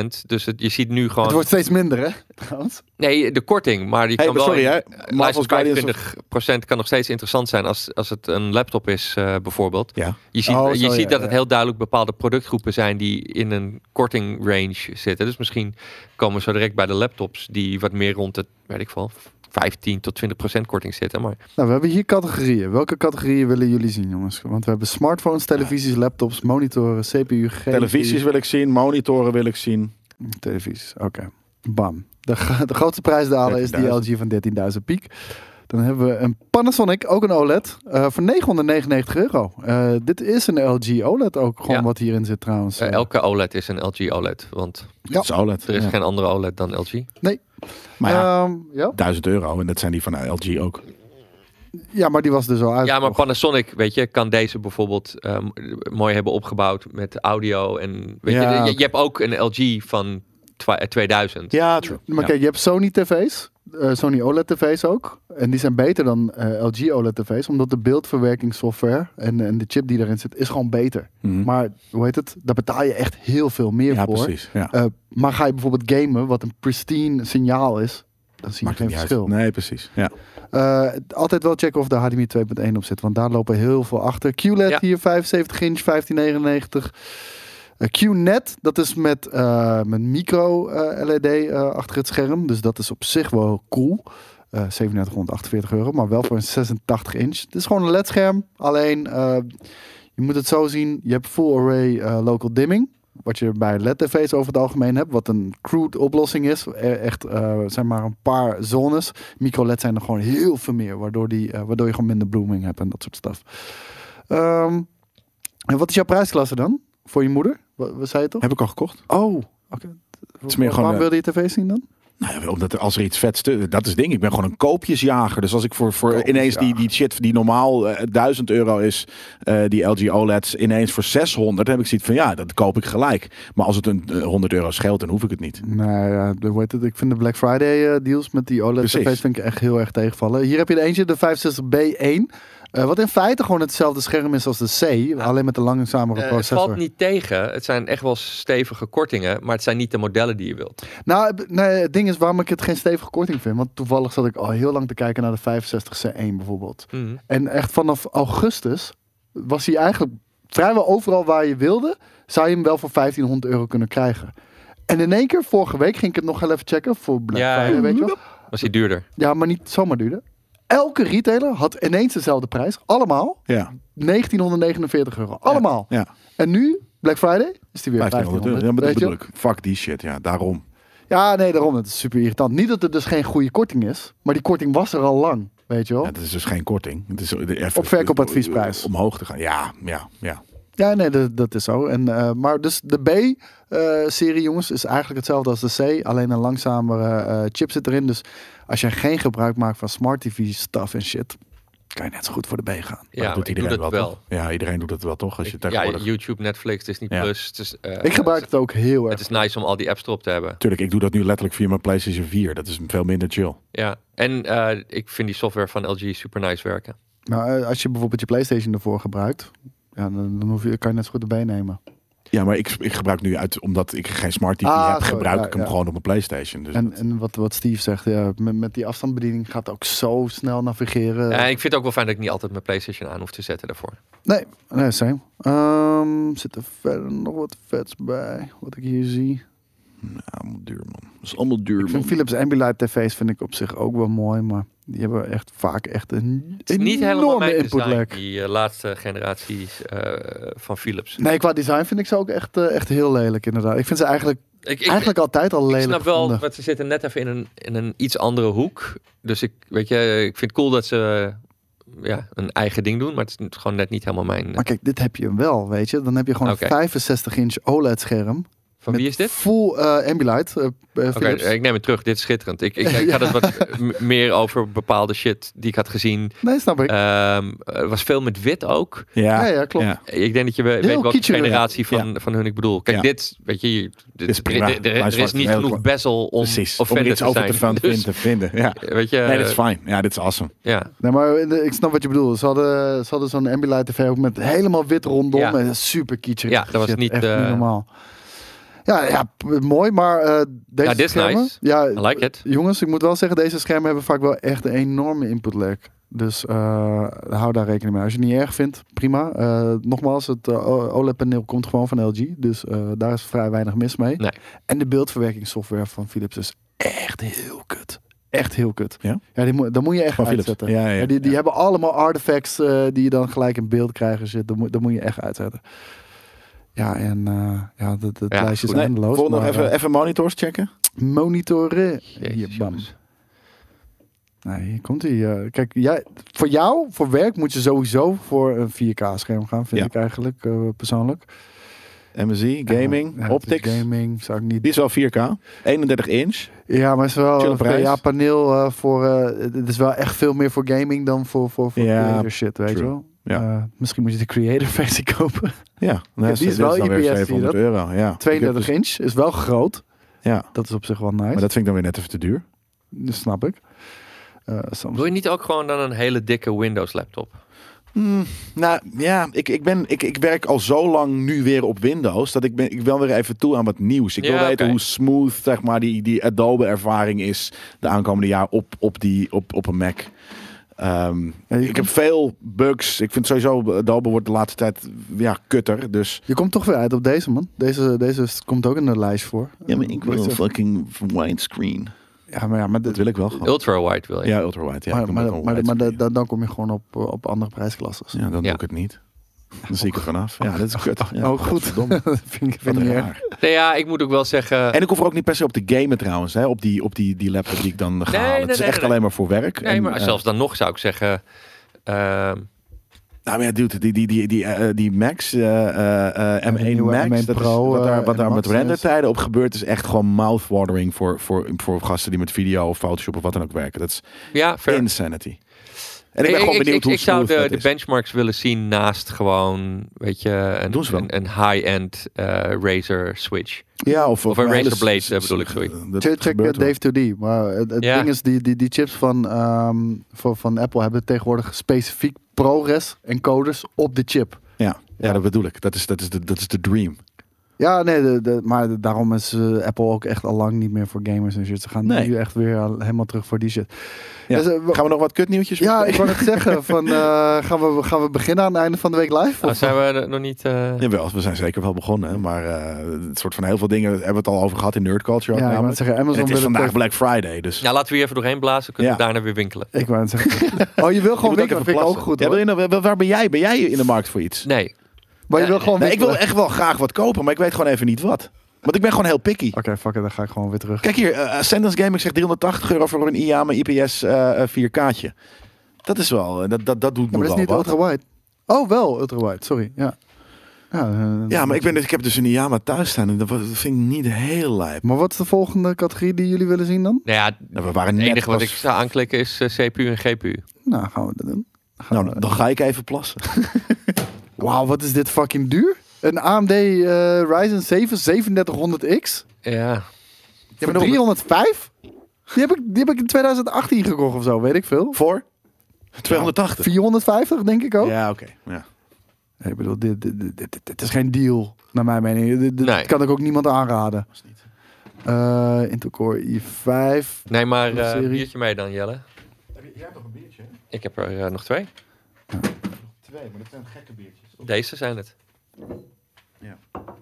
Speaker 2: 40%. Dus het, je ziet nu gewoon...
Speaker 1: het wordt steeds minder, hè? Trouwens.
Speaker 2: Nee, de korting, maar die
Speaker 3: Hey,
Speaker 2: kan
Speaker 3: maar
Speaker 2: wel...
Speaker 3: sorry
Speaker 2: in-
Speaker 3: hè, Marvel's
Speaker 2: Luister,
Speaker 3: Guardians...
Speaker 2: 25% kan nog steeds interessant zijn als, als het een laptop is, eh, bijvoorbeeld.
Speaker 3: Ja.
Speaker 2: Je ziet,
Speaker 1: Oh,
Speaker 2: je
Speaker 1: zo,
Speaker 2: ziet
Speaker 1: ja,
Speaker 2: dat het
Speaker 1: ja.
Speaker 2: heel duidelijk bepaalde productgroepen zijn die in een korting range zitten. Dus misschien komen we zo direct bij de laptops die wat meer rond het, weet ik veel, 15 tot 20 procent korting zitten. Maar
Speaker 1: Nou, we hebben hier categorieën. Welke categorieën willen jullie zien, jongens? Want we hebben smartphones, televisies, laptops, monitoren, CPU, GPU.
Speaker 3: Televisies wil ik zien, monitoren wil ik zien.
Speaker 1: Televisies, oké. Bam. De, gro- de grootste prijsdaler is die
Speaker 3: 13.000.
Speaker 1: LG van 13.000 piek. Dan hebben we een Panasonic, ook een OLED, eh, voor 999 euro. Eh, dit is een LG OLED E ook, gewoon
Speaker 2: Ja.
Speaker 1: wat hierin zit trouwens.
Speaker 2: eh, elke OLED is een LG OLED, E want
Speaker 1: Ja.
Speaker 3: Dat is OLED.
Speaker 2: er is
Speaker 3: Ja.
Speaker 2: geen andere OLED dan LG.
Speaker 3: Maar ja,
Speaker 1: Ehm, ja?
Speaker 3: 1000 euro en dat zijn die van LG ook.
Speaker 1: ja, maar die was dus al uit.
Speaker 2: Ja, maar Panasonic, weet je, kan deze bijvoorbeeld eh, m- mooi hebben opgebouwd met audio en weet
Speaker 3: Ja,
Speaker 2: je, je,
Speaker 3: oké.
Speaker 2: je hebt ook een LG van twa- eh, 2000.
Speaker 3: Ja, true.
Speaker 1: Maar kijk, je hebt Sony TV's, eh, Sony OLED TV's ook. En die zijn beter dan eh, LG OLED TV's, omdat de beeldverwerkingssoftware en, en de chip die erin zit, is gewoon beter. Maar hoe heet het? Daar betaal je echt heel veel meer
Speaker 3: Hm. ja,
Speaker 1: Mhm. voor.
Speaker 3: precies. Ja.
Speaker 1: Eh, maar ga je bijvoorbeeld gamen, wat een pristine signaal is, dan zie je
Speaker 3: Maakt
Speaker 1: geen
Speaker 3: niet uit.
Speaker 1: verschil.
Speaker 3: Nee, precies. Ja.
Speaker 1: Eh, altijd wel checken of de HDMI 2.1 op zit, want daar lopen heel veel achter. QLED
Speaker 2: Ja.
Speaker 1: hier 75 inch, 1599. Eh, QNet, dat is met, eh, met micro eh, LED eh, achter het scherm, dus dat is op zich wel cool. Eh 3748 euro, maar wel voor een 86 inch. Het is gewoon een LED-scherm, alleen eh, je moet het zo zien, je hebt full array eh, local dimming. Wat je bij LED-tv's over het algemeen hebt, wat een crude oplossing is. E- Echt, eh zijn maar een paar zones. Micro-LED zijn er gewoon heel veel meer, waardoor, die, eh, waardoor je gewoon minder blooming hebt en dat soort stuff. Ehm, en wat is jouw prijsklasse dan? Voor je moeder? Wat, wat zei je toch?
Speaker 3: Heb ik al gekocht?
Speaker 1: Oh, oké.
Speaker 3: is meer
Speaker 1: Wa-
Speaker 3: gewoon,
Speaker 1: Waarom
Speaker 3: eh,
Speaker 1: wilde je tv zien dan?
Speaker 3: Nou ja, omdat er, als er iets vets te, dat is het ding. Ik ben gewoon een koopjesjager. Dus als ik voor, voor ineens die, die shit die normaal eh, 1000 euro is, eh, die LG OLED's ineens voor 600, dan heb ik zoiets van ja, dat koop ik gelijk. Maar als het een eh, 100 euro scheelt, dan hoef ik het niet.
Speaker 1: Nou ja, de- hoe heet het? ik vind de Black Friday eh, deals met die OLED
Speaker 3: Precies.
Speaker 1: tv's vind ik echt heel erg tegenvallen. Hier heb je de eentje, de 65B1. eh, wat in feite gewoon hetzelfde scherm is als de C, alleen met een langzamere
Speaker 2: Eh, het
Speaker 1: processor.
Speaker 2: valt niet tegen. Het zijn echt wel stevige kortingen, maar het zijn niet de modellen die je wilt.
Speaker 1: Nou, eh, nee, het ding is waarom ik het geen stevige korting vind. Want toevallig zat ik al heel lang te kijken naar de 65C1 bijvoorbeeld.
Speaker 2: Hmm.
Speaker 1: En echt vanaf augustus was hij eigenlijk vrijwel overal waar je wilde, zou je hem wel voor 1500 euro kunnen krijgen. En in één keer, vorige week ging ik het nog heel even checken voor Black
Speaker 2: Ja,
Speaker 1: Friday,
Speaker 2: ja.
Speaker 1: weet je wel.
Speaker 2: Was die duurder?
Speaker 1: Ja, maar niet zomaar duurder. Elke retailer had ineens dezelfde prijs. Allemaal.
Speaker 3: Ja,
Speaker 1: 1949 euro. Allemaal.
Speaker 3: ja.
Speaker 1: En nu, Black Friday, is die weer
Speaker 3: 1500 euro.
Speaker 1: 1500.
Speaker 3: Ja, maar dat
Speaker 1: weet je?
Speaker 3: bedoel ik. Fuck die shit, ja, daarom.
Speaker 1: Ja, nee, daarom. Het is super irritant. Niet dat het dus geen goede korting is. Maar die korting was er al lang. Weet je wel?
Speaker 3: Ja, dat is dus geen korting. Het is even,
Speaker 1: Op verkoopadviesprijs.
Speaker 3: Omhoog te gaan. Ja, ja, ja.
Speaker 1: Ja, nee, dat, dat is zo. En, eh, maar dus de B-serie, jongens, is eigenlijk hetzelfde als de C. Alleen een langzamere eh, chip zit erin. Dus als je geen gebruik maakt van smart TV-stuff en shit... kan je net zo goed voor de B gaan.
Speaker 3: Maar
Speaker 2: Ja,
Speaker 3: dat doet
Speaker 2: ik doe
Speaker 3: iedereen
Speaker 2: dat
Speaker 3: wel,
Speaker 2: wel.
Speaker 3: toch? Ja, iedereen doet dat wel toch? Als je
Speaker 2: Ik- ja,
Speaker 3: tegenwoordig...
Speaker 2: YouTube, Netflix, Disney
Speaker 3: Ja.
Speaker 2: Plus. Het is, eh,
Speaker 1: Ik gebruik
Speaker 2: het.
Speaker 1: het ook heel
Speaker 2: Het
Speaker 1: erg.
Speaker 2: is nice om al die apps erop te hebben.
Speaker 3: Tuurlijk, ik doe dat nu letterlijk via mijn PlayStation 4. Dat is veel minder chill.
Speaker 2: Ja. En eh, ik vind die software van LG super nice werken.
Speaker 1: Nou, eh, als je bijvoorbeeld je PlayStation ervoor gebruikt, ja, dan, dan hoef je, kan je net zo goed erbij nemen.
Speaker 3: Ja, maar ik, ik gebruik nu uit, omdat ik geen smart TV
Speaker 1: Ah,
Speaker 3: heb,
Speaker 1: sorry,
Speaker 3: gebruik
Speaker 1: ja,
Speaker 3: ik hem
Speaker 1: ja.
Speaker 3: gewoon op mijn PlayStation. Dus
Speaker 1: En, en wat, wat Steve zegt, ja, met, met die afstandsbediening gaat het ook zo snel navigeren.
Speaker 2: En ik vind het ook wel fijn dat ik niet altijd mijn PlayStation aan hoef te zetten daarvoor.
Speaker 1: Nee, nee, same. Ehm, zit er verder nog wat vets bij, wat ik hier zie.
Speaker 3: mm, Ja, allemaal duur, man. Dat is allemaal duur,
Speaker 1: Ik vind Philips Ambilight TV's vind ik op zich ook wel mooi, maar die hebben echt vaak echt een
Speaker 2: Het is niet helemaal
Speaker 1: enorme
Speaker 2: mijn
Speaker 1: input
Speaker 2: design,
Speaker 1: lag.
Speaker 2: die eh, laatste generatie eh, van Philips.
Speaker 1: Nee, qua design vind ik ze ook echt, eh, echt heel lelijk inderdaad. Ik vind ze eigenlijk,
Speaker 2: Ik, ik,
Speaker 1: eigenlijk altijd al
Speaker 2: Ik
Speaker 1: lelijk
Speaker 2: snap wel,
Speaker 1: gevonden.
Speaker 2: want ze zitten net even in een, in een iets andere hoek. Dus ik, weet je, ik vind het cool dat ze eh, ja, een eigen ding doen. Maar het is gewoon net niet helemaal mijn... eh,
Speaker 1: Maar kijk, dit heb je wel, weet je. Dan heb je gewoon
Speaker 2: Oké.
Speaker 1: een 65 inch OLED E scherm.
Speaker 2: Van wie is dit?
Speaker 1: Full eh Ambilight. eh, eh,
Speaker 2: Oké,
Speaker 1: Philips.
Speaker 2: ik neem het terug. Dit is schitterend. Ik, ik, ik had het wat m- meer over bepaalde shit die ik had gezien.
Speaker 1: Nee, snap ik.
Speaker 2: Ehm, er was veel met wit ook.
Speaker 1: ja, ja, klopt.
Speaker 3: Ja.
Speaker 2: Ik denk dat je we- weet welke
Speaker 1: kitscherig.
Speaker 2: generatie van, van hun ik bedoel. Kijk,
Speaker 3: Ja.
Speaker 2: dit, weet je, je- dit,
Speaker 3: is
Speaker 2: er-
Speaker 3: prima.
Speaker 2: er- er-
Speaker 3: Hij is
Speaker 2: er is
Speaker 3: zwart.
Speaker 2: niet
Speaker 3: Heel
Speaker 2: genoeg
Speaker 3: kort.
Speaker 2: bezel om
Speaker 3: Precies, om er
Speaker 2: offender
Speaker 3: iets
Speaker 2: te
Speaker 3: over
Speaker 2: zijn.
Speaker 3: te, Eh, van
Speaker 2: Dus,
Speaker 3: te vinden. Ja.
Speaker 2: weet je,
Speaker 3: Nee, dat is fijn. Ja, dit is awesome.
Speaker 2: ja.
Speaker 1: Nee, maar in de- ik snap wat je bedoelt. Ze hadden, ze hadden zo'n Ambilight TV ook met helemaal wit rondom.
Speaker 2: Ja.
Speaker 1: En super kitscherig.
Speaker 2: Ja, dat was
Speaker 1: Shit,
Speaker 2: niet,
Speaker 1: echt
Speaker 2: eh,
Speaker 1: niet normaal. Ja, ja, p- mooi, maar eh, deze
Speaker 2: Ja, dit is
Speaker 1: schermen...
Speaker 2: nice.
Speaker 1: Ja,
Speaker 2: I like it.
Speaker 1: Jongens, ik moet wel zeggen, deze schermen hebben vaak wel echt een enorme input lag. Dus eh, hou daar rekening mee. Als je het niet erg vindt, prima. Eh, nogmaals, het eh, OLED-paneel komt gewoon van LG. Dus eh, daar is vrij weinig mis mee.
Speaker 2: Nee.
Speaker 1: En de beeldverwerkingssoftware van Philips is echt heel kut. Echt heel kut.
Speaker 3: Ja?
Speaker 1: Ja, die moet, dat moet je echt
Speaker 3: Van Philips.
Speaker 1: uitzetten.
Speaker 3: Ja, ja,
Speaker 1: die die
Speaker 3: ja.
Speaker 1: hebben allemaal artifacts eh, die je dan gelijk in beeld krijgt. en shit. dat, moet, dat moet je echt uitzetten. Ja, en eh, ja, dat, dat
Speaker 2: Ja,
Speaker 1: lijstje is
Speaker 2: goed.
Speaker 3: Nee,
Speaker 1: eindeloos.
Speaker 3: volgende nog
Speaker 1: maar,
Speaker 3: even,
Speaker 1: eh,
Speaker 3: even monitors checken.
Speaker 1: monitoren.
Speaker 2: Jezus,
Speaker 1: Hier, bam.
Speaker 2: jongens.
Speaker 1: Nou, hier komt hij. kijk, jij, voor jou, voor werk, moet je sowieso voor een 4K-scherm gaan, vind
Speaker 3: Ja.
Speaker 1: ik eigenlijk eh, persoonlijk.
Speaker 3: MSI, gaming,
Speaker 1: Ja, het is
Speaker 3: optics.
Speaker 1: Gaming zou ik niet.
Speaker 3: Die is wel 4K. 31 inch.
Speaker 1: Ja, maar het is wel
Speaker 3: Chille
Speaker 1: een
Speaker 3: prijs.
Speaker 1: VA-paneel eh, voor. eh, het is wel echt veel meer voor gaming dan voor, voor, voor
Speaker 3: Ja,
Speaker 1: creator shit, weet je
Speaker 3: true.
Speaker 1: wel.
Speaker 3: Ja.
Speaker 1: Eh, misschien moet je de creator-versie kopen.
Speaker 3: Ja, nou,
Speaker 1: die is
Speaker 3: dit
Speaker 1: wel
Speaker 3: dan weer
Speaker 1: IPS, zie je
Speaker 3: 700
Speaker 1: dat?
Speaker 3: euro. Ja. Ik heb
Speaker 1: 32
Speaker 3: dus-
Speaker 1: inch is wel groot.
Speaker 3: Ja,
Speaker 1: Dat is op zich wel
Speaker 3: maar
Speaker 1: nice. Dat...
Speaker 3: dat vind ik dan weer net even te duur.
Speaker 1: snap ik. Eh, soms.
Speaker 2: Wil je niet ook gewoon dan een hele dikke Windows laptop?
Speaker 3: Hmm, nou ja, ik, ik, ben, ik, ik werk al zo lang nu weer op Windows dat ik, ben, ik wel weer even toe aan wat nieuws. Ik wil
Speaker 2: Ja,
Speaker 3: weten
Speaker 2: oké.
Speaker 3: hoe smooth zeg maar, die, die Adobe ervaring is de aankomende jaar op, op, die, op, op een Mac. Ehm,
Speaker 1: Ja, je-
Speaker 3: ik heb veel bugs. Ik vind sowieso Adobe wordt de laatste tijd ja, kutter. Dus
Speaker 1: Je komt toch weer uit op deze, man. Deze, deze komt ook in de lijst voor.
Speaker 3: fucking widescreen.
Speaker 1: Ja, maar, ja, maar
Speaker 3: Dat
Speaker 1: dit,
Speaker 3: wil ik wel gewoon.
Speaker 2: Ultra wide wil je.
Speaker 3: Ja, ultrawide. Ja,
Speaker 1: maar,
Speaker 3: ik noem
Speaker 1: maar,
Speaker 3: het ook
Speaker 1: maar, maar,
Speaker 3: een widescreen.
Speaker 1: dan, dan kom je gewoon op, eh, op andere prijsklasses.
Speaker 3: ja, dan
Speaker 2: Ja.
Speaker 3: doe ik het niet. Dan zie ik er vanaf. Ja, dat is kut. Ja,
Speaker 1: oh, goed.
Speaker 3: godverdomme.
Speaker 1: vind ik
Speaker 3: Wat
Speaker 1: vind ik niet erg.
Speaker 3: raar.
Speaker 2: Nee, ja, ik moet ook wel zeggen...
Speaker 3: En ik hoef er ook niet per se op te gamen trouwens, hè, op, die, op die, die laptop die ik dan ga
Speaker 2: Nee,
Speaker 3: halen.
Speaker 2: nee,
Speaker 3: Het is
Speaker 2: nee,
Speaker 3: echt
Speaker 2: nee.
Speaker 3: alleen maar voor werk.
Speaker 2: Nee,
Speaker 3: En,
Speaker 2: maar
Speaker 3: eh,
Speaker 2: zelfs dan nog zou ik zeggen... ehm,
Speaker 3: nou maar ja, dude, die, die, die, die, eh, die Max, eh, eh, eh, M1
Speaker 1: de nieuwe
Speaker 3: Max,
Speaker 1: M1
Speaker 3: dat is-
Speaker 1: Pro,
Speaker 3: wat daar,
Speaker 1: eh,
Speaker 3: wat
Speaker 1: en
Speaker 3: daar
Speaker 1: de
Speaker 3: met
Speaker 1: Max is.
Speaker 3: rendertijden op gebeurt, is echt gewoon mouthwatering voor, voor, voor gasten die met video of Photoshop of wat dan ook werken. Dat is
Speaker 2: ja, fair.
Speaker 3: insanity. En ik ben gewoon benieuwd
Speaker 2: ik,
Speaker 3: hoe
Speaker 2: ik zou de,
Speaker 3: smooth dat
Speaker 2: de
Speaker 3: is.
Speaker 2: benchmarks willen zien naast gewoon, weet je, een,
Speaker 3: Doen ze wel.
Speaker 2: een, een high-end eh, Razer Switch.
Speaker 3: Ja, of,
Speaker 2: Of een
Speaker 3: hele
Speaker 2: Razer Blade,
Speaker 3: s-
Speaker 2: eh, bedoel ik, sorry.
Speaker 3: dat
Speaker 1: Check, check eh,
Speaker 3: gebeurt wel.
Speaker 1: Dave 2D. Maar het, het
Speaker 2: Ja.
Speaker 1: ding is, die, die, die chips van, ehm, van, van Apple hebben tegenwoordig specifiek ProRes encoders op de chip.
Speaker 3: Ja, ja, dat bedoel ik. Dat is, dat is, de, dat is de dream.
Speaker 1: Ja, nee, de, de- maar daarom is eh, Apple ook echt al lang niet meer voor gamers en shit. Ze gaan
Speaker 3: Nee.
Speaker 1: nu echt weer al- helemaal terug voor die shit.
Speaker 3: Ja.
Speaker 1: Dus, eh, we-
Speaker 3: Gaan we nog wat kutnieuwtjes
Speaker 1: ja, ik
Speaker 3: bespreken?
Speaker 1: wou het zeggen. Van, eh, gaan, we, gaan we beginnen aan het einde van de week live?
Speaker 2: Nou,
Speaker 1: Of-
Speaker 2: zijn we er nog niet... eh,
Speaker 3: Jawel, we zijn zeker wel begonnen. hè, Maar eh, het soort van heel veel dingen hebben we het al over gehad in Nerd Culture. ook
Speaker 1: ja, ik wou het
Speaker 3: namelijk.
Speaker 1: zeggen,
Speaker 3: En
Speaker 1: Amazon
Speaker 3: het is
Speaker 1: wil
Speaker 3: vandaag
Speaker 1: het
Speaker 3: Black Friday, dus...
Speaker 2: Nou, laten we hier even doorheen blazen. Kunnen we
Speaker 3: Ja.
Speaker 2: daarna weer winkelen.
Speaker 1: Ik wou het zeggen. Oh, je wil gewoon
Speaker 3: moet
Speaker 1: winkelen.
Speaker 3: even
Speaker 1: Vind ik ook
Speaker 3: plassen.
Speaker 1: goed.
Speaker 3: Ja, wil
Speaker 1: hoor.
Speaker 3: je nou- waar- waar ben jij? Ben jij in de markt voor iets?
Speaker 2: Nee. Nou
Speaker 1: Maar je wil gewoon
Speaker 3: Nee, ik
Speaker 1: winkelen.
Speaker 3: wil echt wel graag wat kopen, maar ik weet gewoon even niet wat. Want ik ben gewoon heel picky.
Speaker 1: Oké, fuck it, dan ga ik gewoon weer terug.
Speaker 3: Kijk hier, eh, Ascendance Gaming zegt 380 euro voor een IAMA IPS eh eh, 4K'tje. Dat is wel, eh, dat, dat, dat doet
Speaker 1: Ja,
Speaker 3: me
Speaker 1: maar dat
Speaker 3: wel
Speaker 1: is niet
Speaker 3: wat.
Speaker 1: ultra-wide. Oh, wel ultra-wide, sorry. Ja, ja, eh,
Speaker 3: Ja, maar ik, ben, dus- ik heb dus een IAMA thuis staan en dat was- dat vind ik niet heel lijp.
Speaker 1: maar wat is de volgende categorie die jullie willen zien dan?
Speaker 2: Nou ja,
Speaker 3: Nou, we waren
Speaker 2: het
Speaker 3: net
Speaker 2: enige wat ik
Speaker 3: pas-
Speaker 2: zou aanklikken is eh, CPU en GPU.
Speaker 1: Nou, gaan we dat doen. Gaan
Speaker 3: Nou,
Speaker 1: we-
Speaker 3: dan ga ik even plassen.
Speaker 1: Wauw, wat is dit fucking duur? Een AMD eh, Ryzen 7 3700X?
Speaker 2: Ja.
Speaker 1: Voor 305? Die heb, ik, die heb ik in 2018 gekocht of zo, weet ik veel.
Speaker 3: Voor? 280.
Speaker 1: 450, denk ik ook.
Speaker 3: Ja, oké. Ja.
Speaker 1: Nee, Ik bedoel, dit, dit, dit, dit- dit is geen deal, naar mijn mening. Dit, dit
Speaker 2: Nee.
Speaker 1: kan ik ook niemand aanraden. Eh, Intel Core i5.
Speaker 2: Nee, maar
Speaker 1: Nog
Speaker 2: eh
Speaker 1: serie?
Speaker 2: biertje mee dan, Jelle. Ik heb er eh, nog twee.
Speaker 3: Twee, maar dat zijn gekke biertjes.
Speaker 2: Deze zijn het.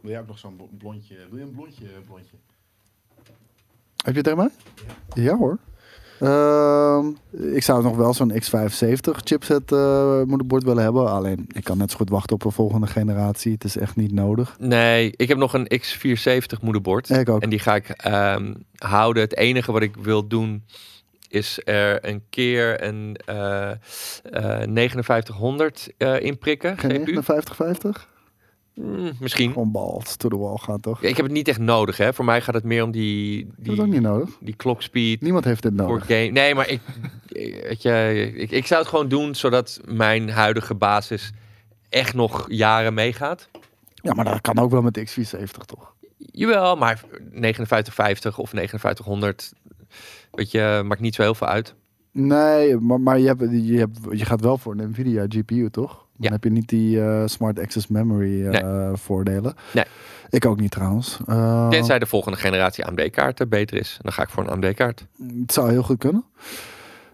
Speaker 3: Wil jij ook nog zo'n blondje? Wil je een blondje? eh, blondje?
Speaker 1: Heb je het tegen mij? Ja, hoor. Ehm, ik zou nog wel zo'n X75 chipset eh, moederbord willen hebben. Alleen, ik kan net zo goed wachten op een volgende generatie. Het is echt niet nodig.
Speaker 2: Nee, ik heb nog een X470 moederbord.
Speaker 1: Ik ook.
Speaker 2: En die ga ik ehm, houden. Het enige wat ik wil doen is er een keer een eh eh 5900 eh, inprikken.
Speaker 1: Geen
Speaker 2: GPU.
Speaker 1: 5950?
Speaker 2: Mm, misschien.
Speaker 1: Gewoon balls to the wall gaan, toch?
Speaker 2: Ik heb het niet echt nodig, hè. Voor mij gaat het meer om die,
Speaker 1: Je hebt
Speaker 2: die,
Speaker 1: het ook niet nodig.
Speaker 2: die clock speed.
Speaker 1: Niemand heeft dit
Speaker 2: Voor
Speaker 1: nodig.
Speaker 2: game. Nee, maar ik, weet je, ik, ik zou het gewoon doen zodat mijn huidige basis echt nog jaren meegaat.
Speaker 1: Ja, maar dat kan ook wel met de X470, toch?
Speaker 2: Jawel, maar 5950 of 5900, weet je, maakt niet zo heel veel uit.
Speaker 1: Nee, maar, maar je, hebt, je, hebt, je gaat wel voor een NVIDIA GPU, toch? Dan
Speaker 2: Ja.
Speaker 1: heb je niet die eh, Smart Access Memory eh, voordelen.
Speaker 2: Nee.
Speaker 1: Ik ook niet, trouwens. Eh,
Speaker 2: Tenzij de volgende generatie AMD-kaarten beter is. Dan ga ik voor een AMD-kaart.
Speaker 1: Het zou heel goed kunnen.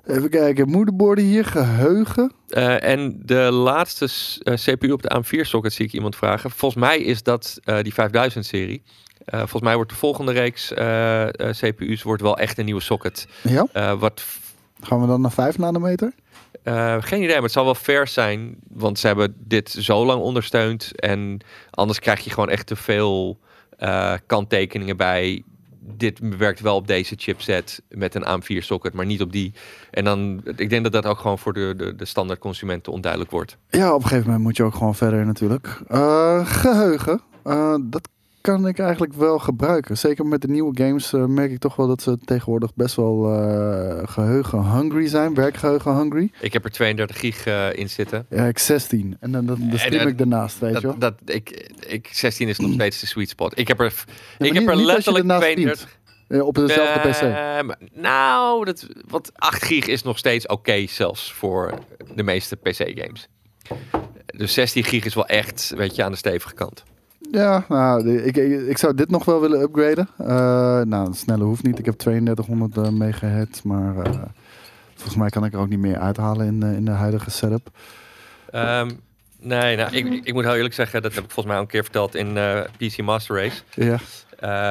Speaker 1: Even kijken, moederborden hier, geheugen.
Speaker 2: Eh, en de laatste s- eh, CPU op de AM4-socket zie ik iemand vragen. Volgens mij is dat eh, die 5000-serie. volgens mij wordt de volgende reeks eh, eh, CPU's wordt wel echt een nieuwe socket.
Speaker 1: Ja,
Speaker 2: Eh, wat f-
Speaker 1: gaan we dan naar 5 nanometer?
Speaker 2: eh, geen idee, maar het zal wel vers zijn. Want ze hebben dit zo lang ondersteund. En anders krijg je gewoon echt te veel eh, kanttekeningen bij. Dit werkt wel op deze chipset met een AM4 socket, maar niet op die. En dan, ik denk dat dat ook gewoon voor de, de, de standaard consumenten onduidelijk wordt.
Speaker 1: Ja, op een gegeven moment moet je ook gewoon verder natuurlijk. Eh, geheugen, Eh, dat kan ik eigenlijk wel gebruiken. Zeker met de nieuwe games eh, merk ik toch wel dat ze tegenwoordig best wel eh, geheugen hungry zijn. Werkgeheugen hungry.
Speaker 2: Ik heb er 32 gig eh, in zitten.
Speaker 1: Ja, ik 16. En dan, dan, dan
Speaker 2: En,
Speaker 1: stream
Speaker 2: eh,
Speaker 1: ik daarnaast, weet je wel.
Speaker 2: Dat, dat, ik, ik, 16 is nog steeds de sweet spot. Ik heb er,
Speaker 1: maar
Speaker 2: ik
Speaker 1: niet-
Speaker 2: heb er
Speaker 1: niet als je
Speaker 2: letterlijk
Speaker 1: ernaast
Speaker 2: 32.
Speaker 1: Eh, op dezelfde PC.
Speaker 2: Eh, maar- nou, dat, wat 8 gig is nog steeds oké, zelfs voor de meeste PC-games. Dus 16 gig is wel echt, weet je, aan de stevige kant.
Speaker 1: Ja, nou, de- ik, ik, ik zou dit nog wel willen upgraden. Eh, nou, een snelle hoeft niet. Ik heb 3200 eh, megahertz, maar eh, volgens mij kan ik er ook niet meer uithalen in, eh, in de huidige setup.
Speaker 2: Ehm, nee, nou,
Speaker 3: Mm.
Speaker 2: ik, ik moet heel eerlijk zeggen, dat heb ik volgens mij al een keer verteld in eh, PC Master Race.
Speaker 1: Ja.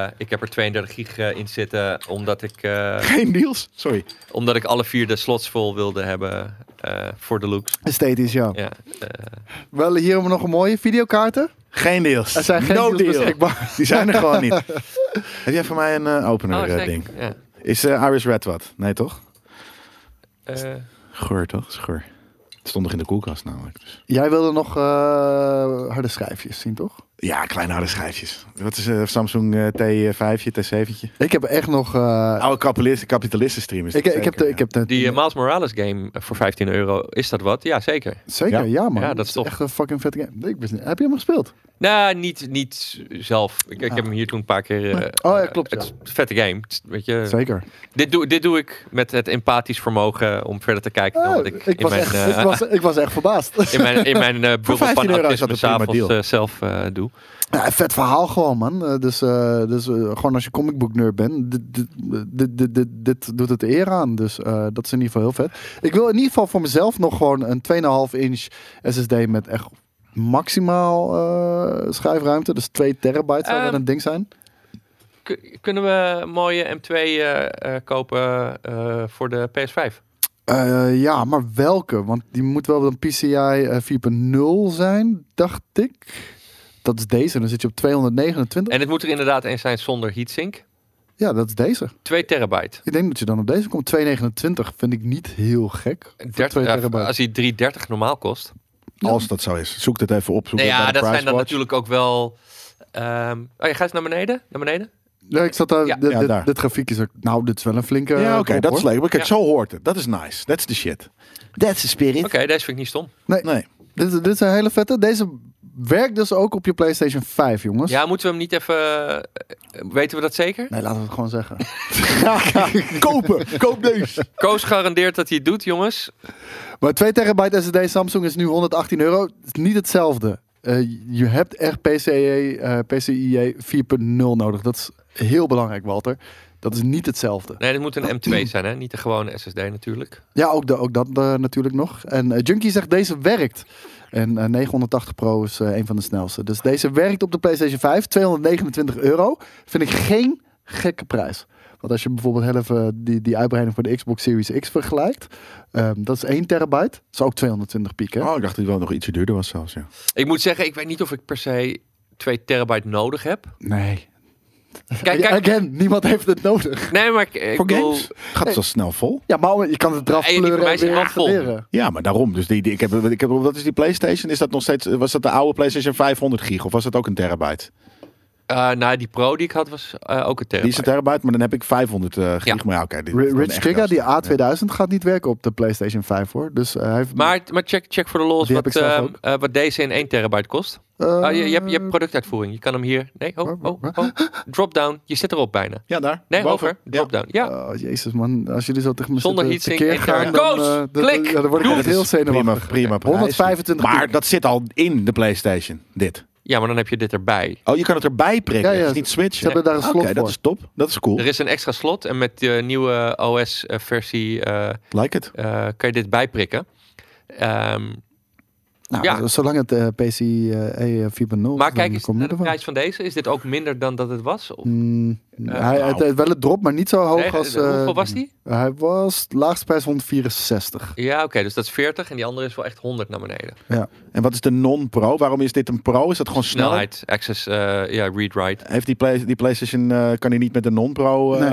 Speaker 2: Eh, ik heb er 32 gig eh, in zitten, omdat ik, eh,
Speaker 3: Geen deals? Sorry.
Speaker 2: omdat ik alle vier de slots vol wilde hebben eh, voor de looks.
Speaker 1: Esthetisch, ja.
Speaker 2: Ja, eh,
Speaker 1: Wel, hier hebben we nog een mooie videokaarten.
Speaker 3: Geen deals.
Speaker 1: Er zijn geen
Speaker 3: no
Speaker 1: deals
Speaker 3: deal.
Speaker 1: beschikbaar.
Speaker 3: Die zijn er gewoon niet. Heb jij voor mij een eh,
Speaker 2: Oh,
Speaker 3: opener eh, ding?
Speaker 2: Ja.
Speaker 3: Is eh, Iris Red wat? Nee, toch?
Speaker 2: Eh,
Speaker 3: Geur, toch? Is geur. Het stond nog in de koelkast namelijk. Dus.
Speaker 1: Jij wilde nog eh, harde schijfjes zien, toch?
Speaker 3: Ja, kleine harde schijfjes. Wat is eh, Samsung eh, T5, T7?
Speaker 1: Ik heb echt nog... eh,
Speaker 3: Oude kapitalisten, kapitalisten streamers.
Speaker 1: ik, ik heb de... Ik heb de
Speaker 2: Oh, Die eh, Miles Morales game voor 15 euro, is dat wat? Ja, zeker.
Speaker 1: Zeker, ja,
Speaker 3: Ja.
Speaker 1: man.
Speaker 2: Ja, dat is toch-
Speaker 1: echt een fucking vette game. Ik wist niet. Heb je hem gespeeld?
Speaker 2: Nou, niet, niet zelf. Ik, ik heb hem hier toen een paar keer... eh,
Speaker 1: Ah. Oh, ja, klopt,
Speaker 2: Het
Speaker 1: ja.
Speaker 2: is een vette game. Het is, Weet je,
Speaker 1: Zeker.
Speaker 2: dit, doe, dit doe ik met het empathisch vermogen om verder te kijken dan
Speaker 1: Oh,
Speaker 2: wat
Speaker 1: ik,
Speaker 2: ik, in,
Speaker 1: was
Speaker 2: mijn,
Speaker 1: echt,
Speaker 2: eh,
Speaker 1: ik, was, ik was echt verbaasd.
Speaker 2: in mijn, in mijn eh, bubbel
Speaker 3: 15
Speaker 2: van
Speaker 3: euro is dat
Speaker 2: autisme
Speaker 3: een prima
Speaker 2: s'avonds
Speaker 3: deal.
Speaker 2: eh, zelf eh, doe.
Speaker 1: Ja, vet verhaal gewoon, man. Eh, dus eh, dus eh, gewoon als je comic book nerd bent, dit, dit, dit, dit, dit, dit doet het eer aan. Dus eh, dat is in ieder geval heel vet. Ik wil in ieder geval voor mezelf nog gewoon een 2,5 inch SSD met echt maximaal eh, schijfruimte. Dus 2 terabyte zou
Speaker 2: Ehm,
Speaker 1: dat een ding zijn.
Speaker 2: K- kunnen we een mooie M2 eh, eh, kopen eh, voor de PS5?
Speaker 1: Eh, ja, maar welke? Want die moet wel een PCI eh, 4.0 zijn, dacht ik. Dat is deze, dan zit je op 229.
Speaker 2: En het moet er inderdaad een zijn zonder heatsink.
Speaker 1: Ja, dat is deze.
Speaker 2: 2 terabyte.
Speaker 1: Ik denk dat je dan op deze komt. 229 vind ik niet heel gek. Voor
Speaker 2: 30,
Speaker 1: twee
Speaker 2: eh,
Speaker 1: terabyte.
Speaker 2: als hij 330 normaal kost.
Speaker 3: Als dat zo is. Zoek dat even op. Zoek
Speaker 2: Nee,
Speaker 3: het
Speaker 2: ja,
Speaker 3: bij de
Speaker 2: dat zijn dan
Speaker 3: Pricewatch.
Speaker 2: natuurlijk ook wel. ehm oh, je gaat eens naar beneden? Naar beneden?
Speaker 1: Ja, ik zat daar,
Speaker 2: Ja.
Speaker 1: dit,
Speaker 3: Ja,
Speaker 1: dit-
Speaker 3: daar.
Speaker 1: dit grafiek is ook... Nou, dit is wel een flinke... eh,
Speaker 3: Ja, oké,
Speaker 1: kop,
Speaker 3: dat
Speaker 1: hoor.
Speaker 3: is leuk. Maar kijk,
Speaker 2: Ja.
Speaker 3: zo hoort het. Dat is nice. That's the shit. That's the spirit.
Speaker 2: Oké, deze vind ik niet stom.
Speaker 3: Nee.
Speaker 1: Dit, dit is een hele vette. Deze werkt dus ook op je PlayStation 5, jongens.
Speaker 2: Ja, moeten we hem niet even. eh, Weten we dat zeker?
Speaker 1: Nee, laten we het gewoon zeggen.
Speaker 3: Kopen. Koop deze.
Speaker 2: Koos garandeert dat hij het doet, jongens.
Speaker 1: Maar 2 terabyte SSD Samsung is nu 118 euro. Het is niet hetzelfde. Eh, je hebt echt PCIe, eh, PCIe 4.0 nodig. Dat is heel belangrijk, Walter. Dat is niet hetzelfde.
Speaker 2: Nee, dit moet een M2 zijn, hè? Niet de gewone SSD natuurlijk.
Speaker 1: Ja, ook, da- ook dat eh, natuurlijk nog. En eh, Junkie zegt deze werkt. En eh, 980 Pro is eh, een van de snelste. Dus deze werkt op de PlayStation 5. 229 euro. Vind ik geen gekke prijs. Want als je bijvoorbeeld heel even eh, die, die uitbreiding voor de Xbox Series X vergelijkt. ehm, dat is 1 terabyte. Dat is ook 220 piek hè?
Speaker 3: Oh, ik dacht dat het wel nog ietsje duurder was zelfs, ja.
Speaker 2: Ik moet zeggen, ik weet niet of ik per se 2 terabyte nodig heb.
Speaker 1: Nee.
Speaker 2: Kijk, kijk.
Speaker 1: Again, niemand heeft het nodig.
Speaker 2: Nee, maar ik, ik
Speaker 3: Voor
Speaker 2: bedoel-
Speaker 3: games gaat het zo snel vol.
Speaker 1: Ja, maar je kan het eraf
Speaker 2: Ja, je-
Speaker 1: pleuren
Speaker 2: wij
Speaker 1: en
Speaker 2: zijn
Speaker 1: weer
Speaker 2: al vol.
Speaker 1: installeren.
Speaker 3: Ja, maar daarom. Dus die, die, ik heb, ik heb, wat is die PlayStation? Is dat nog steeds, eh, was dat de oude PlayStation 500 gig of was dat ook een terabyte?
Speaker 2: Eh, nou, die pro die ik had was eh, ook een
Speaker 3: Die
Speaker 2: terabyte.
Speaker 3: is een terabyte, maar dan heb ik 500 eh, gig.
Speaker 2: Ja.
Speaker 3: Maar ja, oké. dit is
Speaker 1: Ri-
Speaker 3: dan
Speaker 1: Rich
Speaker 3: echt
Speaker 1: Trigger, die
Speaker 3: heel snel.
Speaker 1: A2000, gaat niet werken op de PlayStation 5 hoor. Dus eh, hij heeft.
Speaker 2: Maar, maar check, check voor de los
Speaker 1: Die heb
Speaker 2: wat,
Speaker 1: ik zelf
Speaker 2: eh,
Speaker 1: ook.
Speaker 2: eh, wat deze in 1 terabyte kost.
Speaker 1: eh,
Speaker 2: Ah, je, je, hebt, je hebt productuitvoering. Je kan hem hier. Nee, oh, oh, oh. Drop down. Je zit erop bijna.
Speaker 3: Ja, daar.
Speaker 2: Nee,
Speaker 3: boven.
Speaker 2: over.
Speaker 3: Ja.
Speaker 2: Drop down. Ja.
Speaker 1: Oh, jezus man, als jullie zo tegen me
Speaker 2: Zonder
Speaker 1: zitten
Speaker 2: heatsink,
Speaker 1: tekeer gaan,
Speaker 2: enter.
Speaker 1: dan,
Speaker 2: Koos,
Speaker 1: eh, dat-
Speaker 2: klik,
Speaker 1: ja, dan word ik
Speaker 2: doe
Speaker 1: echt
Speaker 2: het.
Speaker 1: heel
Speaker 3: Prima,
Speaker 1: zenuwachtig.
Speaker 3: prima prijs.
Speaker 1: 125
Speaker 3: Maar
Speaker 1: gig.
Speaker 3: dat zit al in de PlayStation, dit.
Speaker 2: ja, maar dan heb je dit erbij.
Speaker 3: Oh, je kan het erbij prikken.
Speaker 1: Ja, ja.
Speaker 3: Het is niet
Speaker 1: Ze
Speaker 3: switchen.
Speaker 1: hebben daar een
Speaker 3: Oké,
Speaker 1: slot
Speaker 3: dat
Speaker 1: voor.
Speaker 3: is top. Dat is cool.
Speaker 2: Er is een extra slot en met de nieuwe OS-versie
Speaker 3: Like het.
Speaker 2: eh, kan je dit bijprikken. Ehm
Speaker 1: Nou,
Speaker 2: Ja.
Speaker 1: z- zolang het eh PCIe 4.0
Speaker 2: maar
Speaker 1: is,
Speaker 2: kijk
Speaker 1: dan
Speaker 2: eens
Speaker 1: kom je
Speaker 2: naar de
Speaker 1: ervan.
Speaker 2: prijs van deze. Is dit ook minder dan dat het was? Of-
Speaker 1: Mm, hij,
Speaker 3: nou.
Speaker 1: het, het- wel het drop, maar niet zo hoog
Speaker 2: Nee, dus,
Speaker 1: als... eh,
Speaker 2: hoeveel was die?
Speaker 1: Hij was laagste prijs 164.
Speaker 2: Ja, oké. dus dat is 40 en die andere is wel echt 100 naar beneden.
Speaker 3: En wat is de non-pro? Waarom is dit een pro? Is dat gewoon snelheid?
Speaker 2: Snelheid, access, eh, ja, read-write.
Speaker 3: Heeft die, play, die PlayStation, eh, kan die niet met de non-pro eh,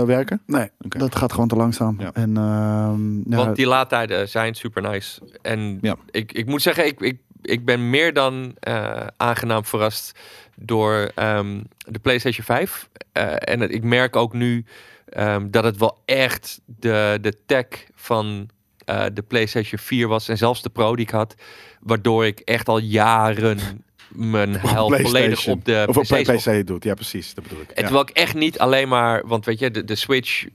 Speaker 3: eh, werken?
Speaker 1: Nee,
Speaker 3: Oké.
Speaker 1: dat gaat gewoon te langzaam.
Speaker 3: Ja.
Speaker 1: En ehm, ja,
Speaker 2: Want die laadtijden zijn super nice. En
Speaker 3: Nou, Ja.
Speaker 2: ik, ik moet zeggen, ik, ik, ik ben meer dan eh, aangenaam verrast door ehm, de PlayStation 5. Eh, en het- ik merk ook nu ehm, dat het wel echt de, de tech van eh, de PlayStation 4 was. En zelfs de Pro die ik had. Waardoor ik echt al jaren mijn
Speaker 3: Op
Speaker 2: hel volledig
Speaker 3: PlayStation.
Speaker 2: op de
Speaker 3: Of op
Speaker 2: PlayStation.
Speaker 3: PC doet. Ja, precies. Dat bedoel ik.
Speaker 2: En
Speaker 3: Ja.
Speaker 2: terwijl ik echt niet alleen maar, want weet je, de, de Switch, eh,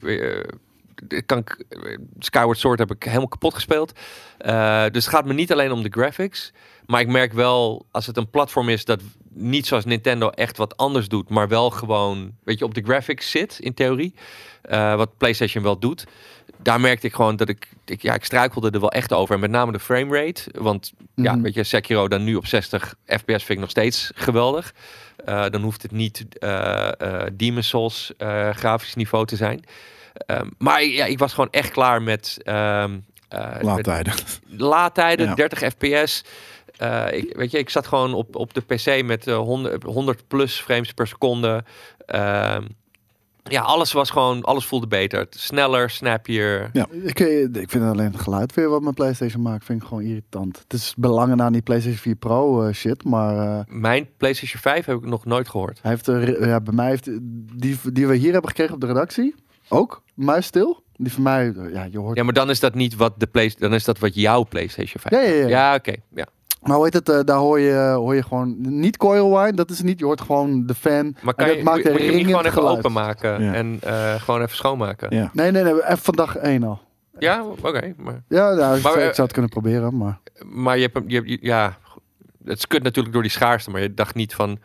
Speaker 2: de- kan ik, eh, Skyward Sword heb ik helemaal kapot gespeeld. Eh, dus het gaat me niet alleen om de graphics, maar ik merk wel als het een platform is dat niet zoals Nintendo echt wat anders doet, maar wel gewoon, weet je, op de graphics zit in theorie, eh, wat PlayStation wel doet. Daar merkte ik gewoon dat ik, ik, ja, ik struikelde er wel echt over. En met name de framerate. Want ja,
Speaker 1: Mhm.
Speaker 2: weet je, Sekiro dan nu op 60 FPS vind ik nog steeds geweldig. Eh, dan hoeft het niet eh eh Demon Souls eh, grafisch niveau te zijn. Ehm, maar ja, ik was gewoon echt klaar met, ehm eh, met
Speaker 3: Laadtijden.
Speaker 2: laadtijden,
Speaker 3: Ja.
Speaker 2: 30 fps. Eh, ik, weet je, ik zat gewoon op, op de pc met eh, 100, 100 plus frames per seconde. Ehm, ja, alles was gewoon, alles voelde beter. Sneller, snappier.
Speaker 3: Ja.
Speaker 1: Ik, eh, ik vind alleen het geluid weer wat mijn PlayStation maakt, vind ik gewoon irritant. Het is belangen aan die PlayStation 4 Pro eh, shit, maar eh,
Speaker 2: Mijn PlayStation 5 heb ik nog nooit gehoord.
Speaker 1: hij heeft er, ja, bij mij heeft die die we hier hebben gekregen op de redactie ook muisstil. Die van mij, eh, ja, je hoort.
Speaker 2: Ja, maar dan is dat niet wat de play, dan is dat wat jouw PlayStation 5.
Speaker 1: Ja, ja, ja.
Speaker 2: ja oké. Ja.
Speaker 1: Maar hoe heet het? eh, daar hoor je, hoor je gewoon niet coilwine. Dat is niet. Je hoort gewoon de fan.
Speaker 2: Maar
Speaker 1: En
Speaker 2: kan
Speaker 1: dat
Speaker 2: je,
Speaker 1: maakt
Speaker 2: moet
Speaker 1: een
Speaker 2: je hem niet
Speaker 1: ringend
Speaker 2: gewoon even
Speaker 1: geluid.
Speaker 2: openmaken
Speaker 3: Ja.
Speaker 2: en eh, gewoon even schoonmaken? Ja,
Speaker 3: Ja.
Speaker 1: Nee, nee, nee. Even vandaag één al.
Speaker 2: oké. maar,
Speaker 1: Ja, nou, ik,
Speaker 2: Maar,
Speaker 1: zou,
Speaker 2: eh,
Speaker 1: ik zou het kunnen proberen, maar.
Speaker 2: maar je hebt, hem- je hebt- je- ja, het is kut natuurlijk door die schaarste, maar je dacht niet van,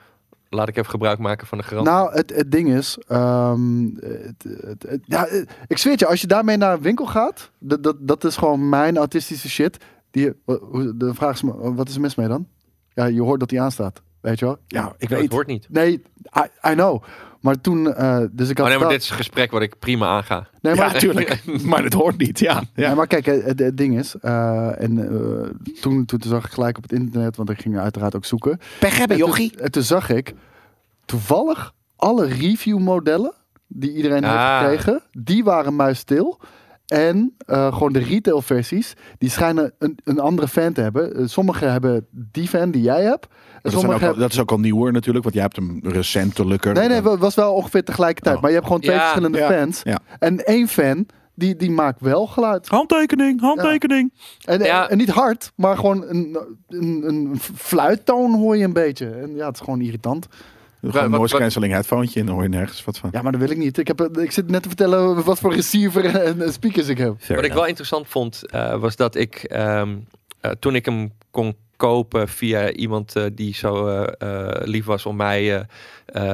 Speaker 2: laat ik even gebruik maken van de garantie.
Speaker 1: Nou, het, het ding is, ehm, het, het- het- ja, eh, ik zweer het je, als je daarmee naar een winkel gaat, dat, dat, dat is gewoon mijn autistische shit. Die, wa- hoe- de vraag is, me, wat is er mis mee dan? Ja, je hoort dat die aanstaat, weet je wel?
Speaker 3: ja, ik
Speaker 2: het
Speaker 3: weet.
Speaker 2: hoort niet.
Speaker 1: Nee, I, I know. Maar toen, eh, dus ik
Speaker 2: Oh,
Speaker 1: had...
Speaker 2: nee, maar
Speaker 1: wel-
Speaker 2: dit is een gesprek wat ik prima aanga.
Speaker 1: nee, maar,
Speaker 3: Ja, natuurlijk. maar het hoort niet. Ja. ja.
Speaker 1: nee, maar kijk, eh, het, het ding is, eh, en eh, toen, toen zag ik gelijk op het internet, want ik ging uiteraard ook zoeken.
Speaker 3: Pech hebben,
Speaker 1: En toen- En toen, zag ik toevallig alle reviewmodellen die iedereen
Speaker 2: Ah.
Speaker 1: heeft gekregen, die waren muisstil. En eh, gewoon de retailversies, die schijnen een, een andere fan te hebben. Eh, sommigen hebben die fan die jij hebt. En
Speaker 3: Dat, zijn ook
Speaker 1: sommigen
Speaker 3: al-
Speaker 1: hebben...
Speaker 3: dat is ook al nieuwer natuurlijk, want jij hebt hem recentelijker.
Speaker 1: Nee, nee, het was wel ongeveer tegelijkertijd.
Speaker 3: Oh.
Speaker 1: Maar je hebt gewoon twee
Speaker 2: Ja.
Speaker 1: verschillende
Speaker 3: Ja.
Speaker 1: fans.
Speaker 3: Ja.
Speaker 1: En één fan, die, die maakt wel geluid.
Speaker 3: Handtekening, handtekening.
Speaker 1: En,
Speaker 2: Ja.
Speaker 1: en niet hard, maar gewoon een, een, een fluittoon hoor je een beetje. En ja, het is gewoon irritant.
Speaker 3: Gewoon
Speaker 2: Wat-
Speaker 3: een noise
Speaker 2: wat-
Speaker 3: cancelling headphone in, dan hoor je nergens wat van.
Speaker 1: Ja, maar dat wil ik niet. Ik, heb, eh, ik zit net te vertellen wat voor receiver en eh, speakers ik heb.
Speaker 2: Wat ik wel interessant vond, eh, was dat ik ehm, eh, toen ik hem kon kopen via iemand eh, die zo eh, eh, lief was om mij eh,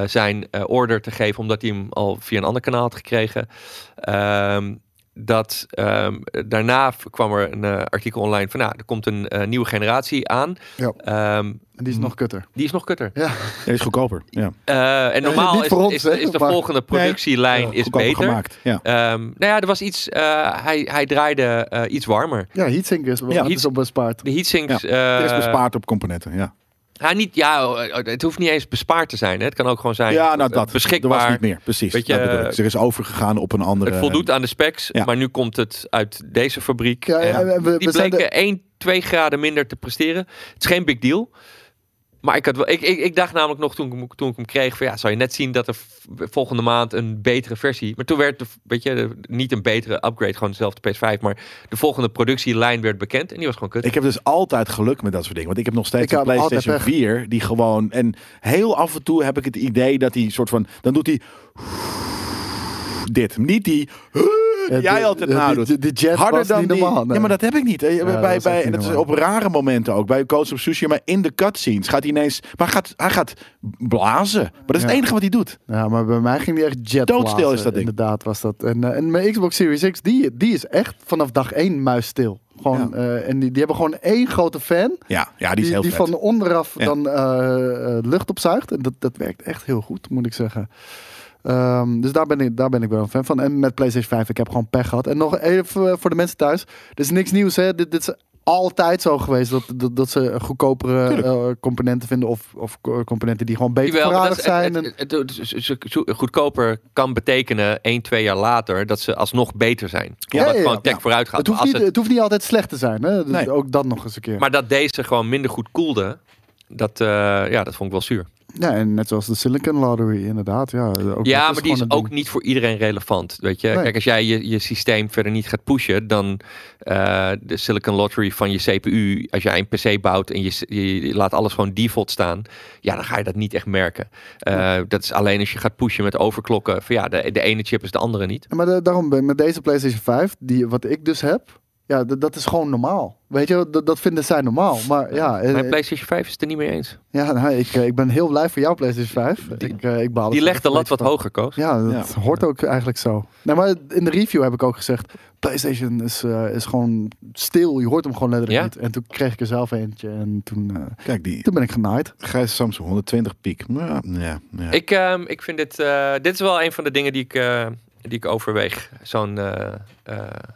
Speaker 2: eh, zijn eh, order te geven, omdat hij hem al via een ander kanaal had gekregen. ehm, dat ehm, daarna v- kwam er een eh, artikel online van, nou, er komt een eh, nieuwe generatie aan.
Speaker 1: Ja.
Speaker 2: Ehm,
Speaker 1: En die
Speaker 3: Hmm.
Speaker 1: is nog kutter.
Speaker 2: die is nog kutter.
Speaker 3: Ja, die is goedkoper. Ja.
Speaker 2: Eh, en
Speaker 1: Ja,
Speaker 2: normaal
Speaker 1: niet
Speaker 2: is,
Speaker 1: voor ons,
Speaker 2: is,
Speaker 1: hè,
Speaker 2: is de
Speaker 1: maar-
Speaker 2: volgende productielijn
Speaker 3: Ja,
Speaker 2: is
Speaker 3: goedkoper
Speaker 2: beter.
Speaker 3: gemaakt. Ja.
Speaker 2: Ehm, nou ja, er was iets, eh, hij, hij draaide eh, iets warmer.
Speaker 1: Ja, heatsink is, ja,
Speaker 2: heat-
Speaker 1: is op bespaard.
Speaker 2: De heatsinks. eh
Speaker 3: Het is bespaard op componenten. Ja.
Speaker 2: Ja, niet, ja, oh, het hoeft niet eens bespaard te zijn. Hè. Het kan ook gewoon zijn
Speaker 3: ja, nou dat.
Speaker 2: beschikbaar.
Speaker 3: Er was niet meer, precies.
Speaker 2: Weet je,
Speaker 3: dat bedoel ik.
Speaker 2: eh,
Speaker 3: er is overgegaan op een andere...
Speaker 2: Het voldoet aan de specs,
Speaker 3: Ja.
Speaker 2: maar nu komt het uit deze fabriek.
Speaker 1: Ja, ja,
Speaker 2: En
Speaker 1: eh, we- we
Speaker 2: die
Speaker 1: zijn
Speaker 2: bleken 1, 2 graden minder te presteren. Het is geen big deal. Maar ik, had wel, ik, ik, ik dacht namelijk nog toen, ik hem- toen ik hem kreeg, van ja, zou je net zien dat er v- volgende maand een betere versie. Maar toen werd, de, weet je, de- niet een betere upgrade, gewoon dezelfde PS5. Maar de volgende productielijn werd bekend en die was gewoon kut.
Speaker 3: Ik heb dus altijd geluk met dat soort dingen. Want ik heb nog
Speaker 1: Ik
Speaker 3: steeds
Speaker 1: heb
Speaker 3: een PlayStation
Speaker 1: altijd pech.
Speaker 3: 4 die gewoon. En heel af en toe heb ik het idee dat hij soort van. Dan doet hij. Dit. Niet die. die
Speaker 1: de-
Speaker 3: jij nou, altijd
Speaker 1: de-
Speaker 3: nadoet.
Speaker 1: de- de jet was niet
Speaker 3: die-
Speaker 1: normaal, nee.
Speaker 3: Ja, maar dat heb ik niet. Eh, bij,
Speaker 1: dat
Speaker 3: bij,
Speaker 1: is echt
Speaker 3: en
Speaker 1: niet
Speaker 3: dat is op
Speaker 1: normaal.
Speaker 3: rare momenten ook. Bij Coach of Sushi. Maar in de cutscenes gaat hij ineens. Maar gaat, hij gaat blazen. Maar dat is het
Speaker 1: Ja.
Speaker 3: enige wat hij doet.
Speaker 1: Ja, maar bij mij ging die echt jet
Speaker 3: Doodstil
Speaker 1: blazen.
Speaker 3: is dat ding.
Speaker 1: Inderdaad was dat. En, eh, en mijn Xbox Series X, die, die is echt vanaf dag één muisstil. Gewoon,
Speaker 3: Ja.
Speaker 1: eh, en die, die hebben gewoon één grote fan.
Speaker 3: Ja, ja die is
Speaker 1: Die,
Speaker 3: heel
Speaker 1: die
Speaker 3: vet.
Speaker 1: van onderaf
Speaker 3: Ja.
Speaker 1: dan eh, eh, lucht opzuigt. En dat, dat werkt echt heel goed, moet ik zeggen. Ehm, dus daar ben, ik, daar ben ik wel een fan van. En met PlayStation 5, ik heb gewoon pech gehad. En nog even eh, voor de mensen thuis. Dit is niks nieuws, hè. Dit, dit is altijd zo geweest dat, dat, dat ze goedkopere eh, componenten vinden. Of, of co- componenten die gewoon beter
Speaker 2: Jawel, maar dat
Speaker 1: voorradig
Speaker 2: is-
Speaker 1: zijn.
Speaker 2: het-
Speaker 1: en,
Speaker 2: het- het- het- het- het- het- goedkoper kan betekenen 1, 2 jaar later dat ze alsnog beter zijn.
Speaker 1: Ja,
Speaker 2: Omdat
Speaker 1: ja, ja.
Speaker 2: gewoon tech
Speaker 1: Ja.
Speaker 2: vooruit gaat.
Speaker 1: het, hoeft
Speaker 2: Maar als
Speaker 1: niet, eh, het... hoeft niet altijd slecht te zijn, hè. Dus
Speaker 3: Nee.
Speaker 1: Ook dat nog eens een keer.
Speaker 2: Maar dat deze gewoon minder goed koelde, dat, eh, ja, dat vond ik wel zuur.
Speaker 1: Ja, en net zoals de Silicon Lottery, inderdaad. Ja, ook dat
Speaker 2: ja, maar die
Speaker 1: gewoon
Speaker 2: is
Speaker 1: een
Speaker 2: ook
Speaker 1: ding.
Speaker 2: niet voor iedereen relevant. Weet je?
Speaker 1: Nee.
Speaker 2: Kijk, als jij je, je systeem verder niet gaat pushen, dan eh, de Silicon Lottery van je CPU, als jij een PC bouwt en je, s- je laat alles gewoon default staan, ja, dan ga je dat niet echt merken. Eh, Dat is alleen als je gaat pushen met overklokken. Van ja, de, de ene chip is de andere niet.
Speaker 1: Ja, Maar da- daarom ben- met deze PlayStation 5, die, wat ik dus heb, ja, d- dat is gewoon normaal. Weet je, dat, dat vinden zij normaal. Maar ja, eh,
Speaker 2: Mijn PlayStation 5 is het er niet mee eens.
Speaker 1: ja nou, ik, eh, ik ben heel blij voor jouw PlayStation 5. ik, eh, ik baal
Speaker 2: Die
Speaker 1: er
Speaker 2: legt de lat
Speaker 1: van.
Speaker 2: wat hoger, Koos.
Speaker 1: Ja, dat hoort ook eigenlijk zo. Nou, maar in de review heb ik ook gezegd, PlayStation is, eh, is gewoon stil. Je hoort hem gewoon letterlijk
Speaker 2: Ja.
Speaker 1: niet. En toen kreeg ik er zelf eentje en toen, eh,
Speaker 3: Kijk, die.
Speaker 1: toen ben ik genaaid.
Speaker 3: Grijs Samsung 120 piek. Ja, ja, ja.
Speaker 2: Ik, ehm, ik vind dit... eh, dit is wel een van de dingen die ik, eh, die ik overweeg. Zo'n... eh, eh,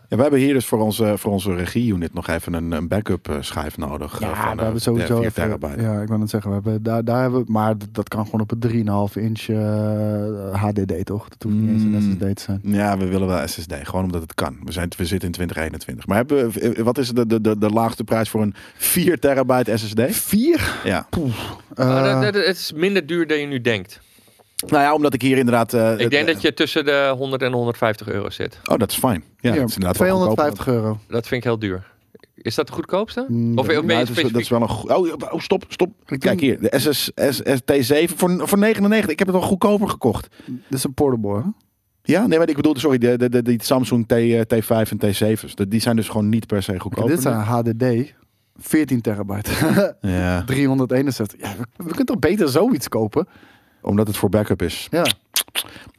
Speaker 3: Ja, we hebben hier dus voor onze, voor onze regie-unit nog even een, een backup eh, schijf nodig. eh,
Speaker 1: Ja,
Speaker 3: van,
Speaker 1: we
Speaker 3: eh,
Speaker 1: hebben sowieso
Speaker 3: 4
Speaker 1: even-
Speaker 3: terabyte.
Speaker 1: Ja, ik wil het zeggen, we hebben, daar, daar hebben we, maar d- dat kan gewoon op een 3,5 inch eh, HDD toch? Dat hoeft niet eens
Speaker 3: Mm.
Speaker 1: een SSD te zijn.
Speaker 3: Ja, we willen wel SSD, gewoon omdat het kan. We, zijn, we zitten in 2021. Maar hebben we, eh, wat is de, de, de, de laagste prijs voor een 4 terabyte SSD?
Speaker 1: 4?
Speaker 3: Ja.
Speaker 1: Eh.
Speaker 2: maar Ah, Oh, dat- dat- het is minder duur dan je nu denkt.
Speaker 3: Nou ja, omdat ik hier inderdaad... eh,
Speaker 2: Ik
Speaker 3: het,
Speaker 2: denk
Speaker 3: eh,
Speaker 2: dat je tussen de 100 en 150 euro zit.
Speaker 3: Oh, dat is fijn. Ja, dat is inderdaad wel goedkoper.
Speaker 1: 250 euro.
Speaker 2: Dat vind ik heel duur. Is dat de goedkoopste?
Speaker 1: Mm,
Speaker 2: Of ben
Speaker 3: Ja,
Speaker 2: je
Speaker 3: dat, is, dat
Speaker 2: specifiek?
Speaker 3: is wel een goe- oh, oh, stop, stop.
Speaker 1: Ik
Speaker 3: Kijk hier, de SS, SST7 voor, voor 99. Ik heb het wel goedkoper gekocht.
Speaker 1: Dit is een portable, hè?
Speaker 3: Ja, nee, maar ik bedoel, sorry, de, de, de, die Samsung T, eh, T5 en T7's, de- die zijn dus gewoon niet per se goedkoper.
Speaker 1: dit zijn HDD, 14 terabyte,
Speaker 3: Ja,
Speaker 1: 361. Ja, we, we kunnen toch beter zoiets kopen?
Speaker 3: omdat het voor backup is.
Speaker 1: Ja,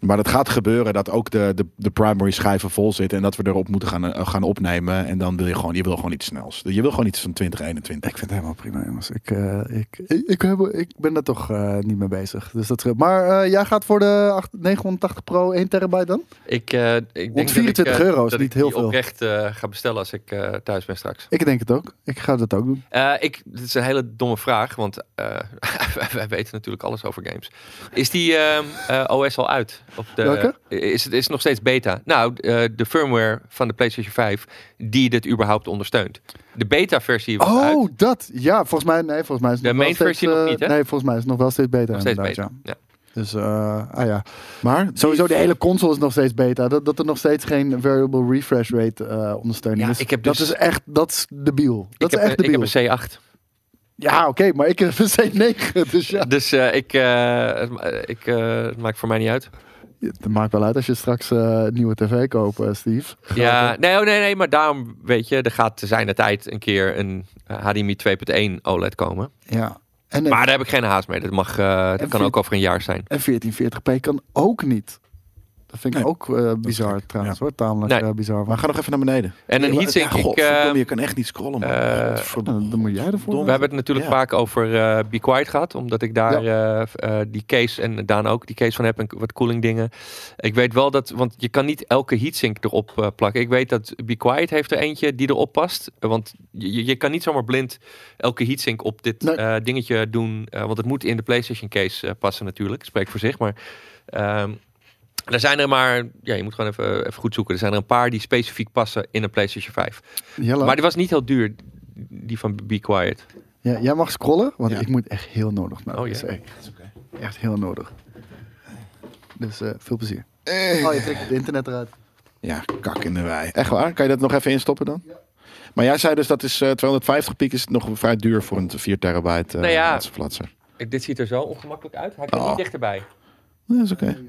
Speaker 3: Maar dat gaat gebeuren dat ook de, de, de primary schijven vol zitten en dat we erop moeten gaan, eh, gaan opnemen. En dan wil je gewoon, je wil gewoon iets snels. Je wil gewoon iets van 2021.
Speaker 1: ik vind het helemaal prima, jongens. Ik, eh, ik, ik, ik, heb, ik ben daar toch eh, niet mee bezig. Dus dat scheelt. Maar eh, jij gaat voor de 8- 980 Pro 1 terabyte dan?
Speaker 2: Ik, eh, ik denk dat ik,
Speaker 1: 124
Speaker 2: eh,
Speaker 1: euro is
Speaker 2: dat
Speaker 1: niet
Speaker 2: ik
Speaker 1: heel
Speaker 2: die
Speaker 1: veel.
Speaker 2: oprecht eh, ga bestellen als ik eh, thuis ben straks.
Speaker 1: Ik denk het ook. Ik ga dat ook doen.
Speaker 2: Eh, ik, dit is een hele domme vraag, want eh, wij- wij weten natuurlijk alles over games. Is die ehm, eh, OS al uit? Op de,
Speaker 1: Welke?
Speaker 2: Is het is het nog steeds beta? Nou, eh, de firmware van de PlayStation 5 die dit überhaupt ondersteunt. De beta-versie was
Speaker 1: Oh,
Speaker 2: uit.
Speaker 1: dat. Ja, volgens mij, nee, volgens mij is het
Speaker 2: De
Speaker 1: nog wel
Speaker 2: main
Speaker 1: steeds,
Speaker 2: versie nog
Speaker 1: eh,
Speaker 2: niet, hè?
Speaker 1: Nee, volgens mij is het nog wel steeds beter.
Speaker 2: Nog steeds
Speaker 1: inderdaad,
Speaker 2: beta.
Speaker 1: Ja.
Speaker 2: Ja.
Speaker 1: Dus, eh, ah ja.
Speaker 3: Maar
Speaker 1: Sowieso, de hele console is nog steeds beta. Dat, dat er nog steeds geen variable refresh rate eh, ondersteuning
Speaker 2: Ja,
Speaker 1: is.
Speaker 2: ik heb
Speaker 1: Dat
Speaker 2: dus-
Speaker 1: is echt, dat is debiel. Dat
Speaker 2: ik,
Speaker 1: is echt
Speaker 2: heb, een- ik
Speaker 1: debiel.
Speaker 2: heb een C8.
Speaker 1: Ja, oké, maar ik heb een C9, dus ja.
Speaker 2: Dus eh, ik, eh, het ma- eh, ik, eh, het maakt voor mij niet uit.
Speaker 1: Het maakt wel uit als je straks eh, een nieuwe tv koopt, eh, Steve.
Speaker 2: Ja, nee, oh, nee, nee, maar daarom weet je, er gaat te zijn de tijd een keer een eh, HDMI 2.1 OLED E komen.
Speaker 1: Ja. En,
Speaker 2: Maar daar heb ik geen haast mee. Dat, mag, eh, dat
Speaker 1: En
Speaker 2: kan
Speaker 1: vind-
Speaker 2: ook over een jaar zijn.
Speaker 1: en 1440p kan ook niet. Dat vind ik
Speaker 3: Nee,
Speaker 1: ook eh, bizar
Speaker 3: gek,
Speaker 1: trouwens
Speaker 3: ja.
Speaker 1: hoor. Tamelijk
Speaker 2: Nee.
Speaker 1: eh, bizar.
Speaker 3: Maar
Speaker 1: Maar
Speaker 3: ga nog even naar beneden.
Speaker 2: En een
Speaker 3: Ja,
Speaker 2: heatsink, ik,
Speaker 3: godverdomme,
Speaker 2: eh,
Speaker 3: je kan echt niet scrollen, man.
Speaker 2: eh,
Speaker 3: Godverdomme.
Speaker 1: dan moet jij ervoor.
Speaker 2: We hebben het natuurlijk
Speaker 3: Ja.
Speaker 2: vaak over eh, Be Quiet gehad, omdat ik daar eh, eh, die case en Daan ook die case van heb en k- wat cooling dingen. Ik weet wel dat, want je kan niet elke heatsink erop eh, plakken. Ik weet dat Be Quiet heeft er eentje die erop past, eh, want je, je- je kan niet zomaar blind elke heatsink op dit
Speaker 1: Nee.
Speaker 2: eh, dingetje doen, eh, want het moet in de PlayStation case eh, passen natuurlijk. Spreek voor zich, maar. ehm, er zijn er maar, ja, je moet gewoon even, even goed zoeken. Er zijn er een paar die specifiek passen in een PlayStation 5.
Speaker 1: Jelle,
Speaker 2: Maar die was niet heel duur, die van Be Quiet.
Speaker 1: ja, jij mag scrollen, want
Speaker 3: Ja.
Speaker 1: ik moet echt heel nodig naar de
Speaker 2: Oh, ja.
Speaker 1: wc. Echt heel nodig. Dus eh, veel plezier.
Speaker 3: Eh,
Speaker 1: Oh, je trekt het internet eruit.
Speaker 3: Ja, kak in de wei. Echt waar? Kan je dat nog even instoppen dan? Maar jij zei dus dat is eh, 250 piek is nog vrij duur voor een 4 terabyte eh
Speaker 2: Nou ja.
Speaker 3: laatste flatser.
Speaker 2: Ik- Dit ziet er zo ongemakkelijk uit. Hij kan
Speaker 3: Oh.
Speaker 2: niet dichterbij.
Speaker 3: Nee, dat is oké.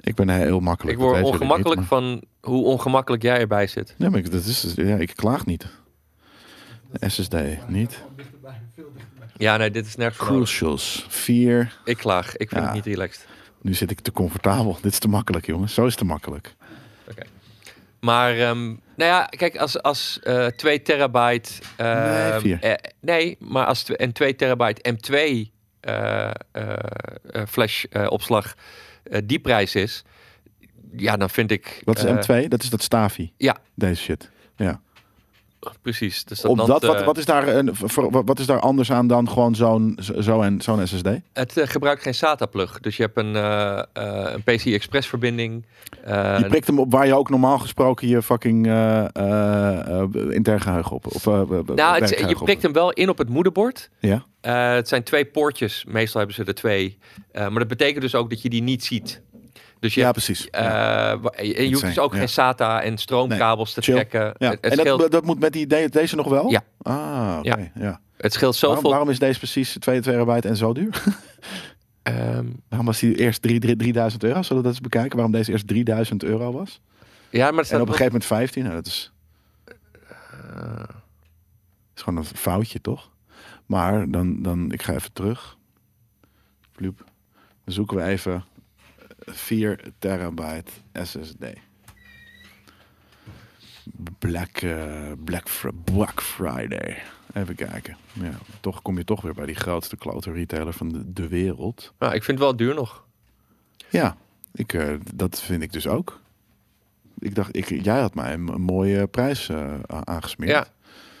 Speaker 3: Ik ben heel makkelijk.
Speaker 2: Ik
Speaker 3: dat
Speaker 2: word
Speaker 3: weten jullie
Speaker 2: ongemakkelijk
Speaker 3: niet,
Speaker 2: van hoe ongemakkelijk jij erbij zit.
Speaker 3: maar- Nee, maar ik, dat is, dus- ja, ik klaag niet. SSD, niet.
Speaker 2: Ja, nee, dit is nergens voor nodig.
Speaker 3: Crucials, 4.
Speaker 2: Ik klaag. Ik vind
Speaker 3: Ja.
Speaker 2: het niet relaxed.
Speaker 3: Nu zit ik te comfortabel. Dit is te makkelijk, jongens. Zo is het te makkelijk.
Speaker 2: Maar, ehm, nou ja, kijk, als, als eh 2 terabyte... ehm,
Speaker 3: Nee, vier.
Speaker 2: eh, nee, maar als tw- en 2 terabyte M2 eh, eh, eh, flash eh, opslag eh, die prijs is... Ja, dan vind ik...
Speaker 3: Wat is
Speaker 2: eh,
Speaker 3: M2? Dat is dat Stavi.
Speaker 2: ja.
Speaker 3: Deze shit. Ja.
Speaker 2: Precies. Dus dat
Speaker 3: Op
Speaker 2: land,
Speaker 3: dat, wat,
Speaker 2: eh,
Speaker 3: wat, is daar een, voor- wat wat is daar anders aan dan gewoon zo'n zo zo'n zo'n SSD?
Speaker 2: Het eh, gebruikt geen SATA-plug. Dus je hebt een, eh, eh, een PCI Express-verbinding. Eh,
Speaker 3: Je prikt hem op waar je ook normaal gesproken je fucking eh eh, eh, intern geheugen op. Of, eh, eh,
Speaker 2: nou, het,
Speaker 3: werkgeheugen
Speaker 2: je
Speaker 3: op-
Speaker 2: prikt hem wel in op het moederbord.
Speaker 3: Ja.
Speaker 2: Eh, het zijn twee poortjes. Meestal hebben ze er twee. Eh, maar dat betekent dus ook dat je die niet ziet. Dus je,
Speaker 3: ja,
Speaker 2: hebt,
Speaker 3: precies.
Speaker 2: eh,
Speaker 3: Ja.
Speaker 2: wa- en je hoeft dus
Speaker 3: zijn,
Speaker 2: ook
Speaker 3: ja.
Speaker 2: geen SATA en stroomkabels te
Speaker 3: chill.
Speaker 2: trekken.
Speaker 3: Ja.
Speaker 2: Het, het
Speaker 3: En
Speaker 2: scheelt,
Speaker 3: dat, dat moet met die, de- deze nog wel?
Speaker 2: Ja.
Speaker 3: Ah, oké. Ja.
Speaker 2: het scheelt
Speaker 3: Waarom,
Speaker 2: zoveel.
Speaker 3: waarom is deze precies 2 terabyte en zo duur?
Speaker 2: Ehm,
Speaker 3: waarom was die eerst drie- drie- 3000 euro? Zullen we dat eens bekijken? Waarom deze eerst 3000 euro was?
Speaker 2: ja, maar het
Speaker 3: En
Speaker 2: staat
Speaker 3: op een
Speaker 2: wel-
Speaker 3: gegeven moment 15? Nou, dat is, is gewoon een foutje, toch? Maar dan, dan ik ga even terug. Ploep. Dan zoeken we even 4 terabyte SSD. Black, eh, Black, Fri- Black Friday. Even kijken. Ja, toch kom je toch weer bij die grootste klote retailer van de, de wereld.
Speaker 2: Nou, ik vind het wel duur nog.
Speaker 3: Ja, ik, eh, dat vind ik dus ook. Ik dacht, ik, jij had mij een, een mooie prijs eh, a- aangesmeerd.
Speaker 2: Ja.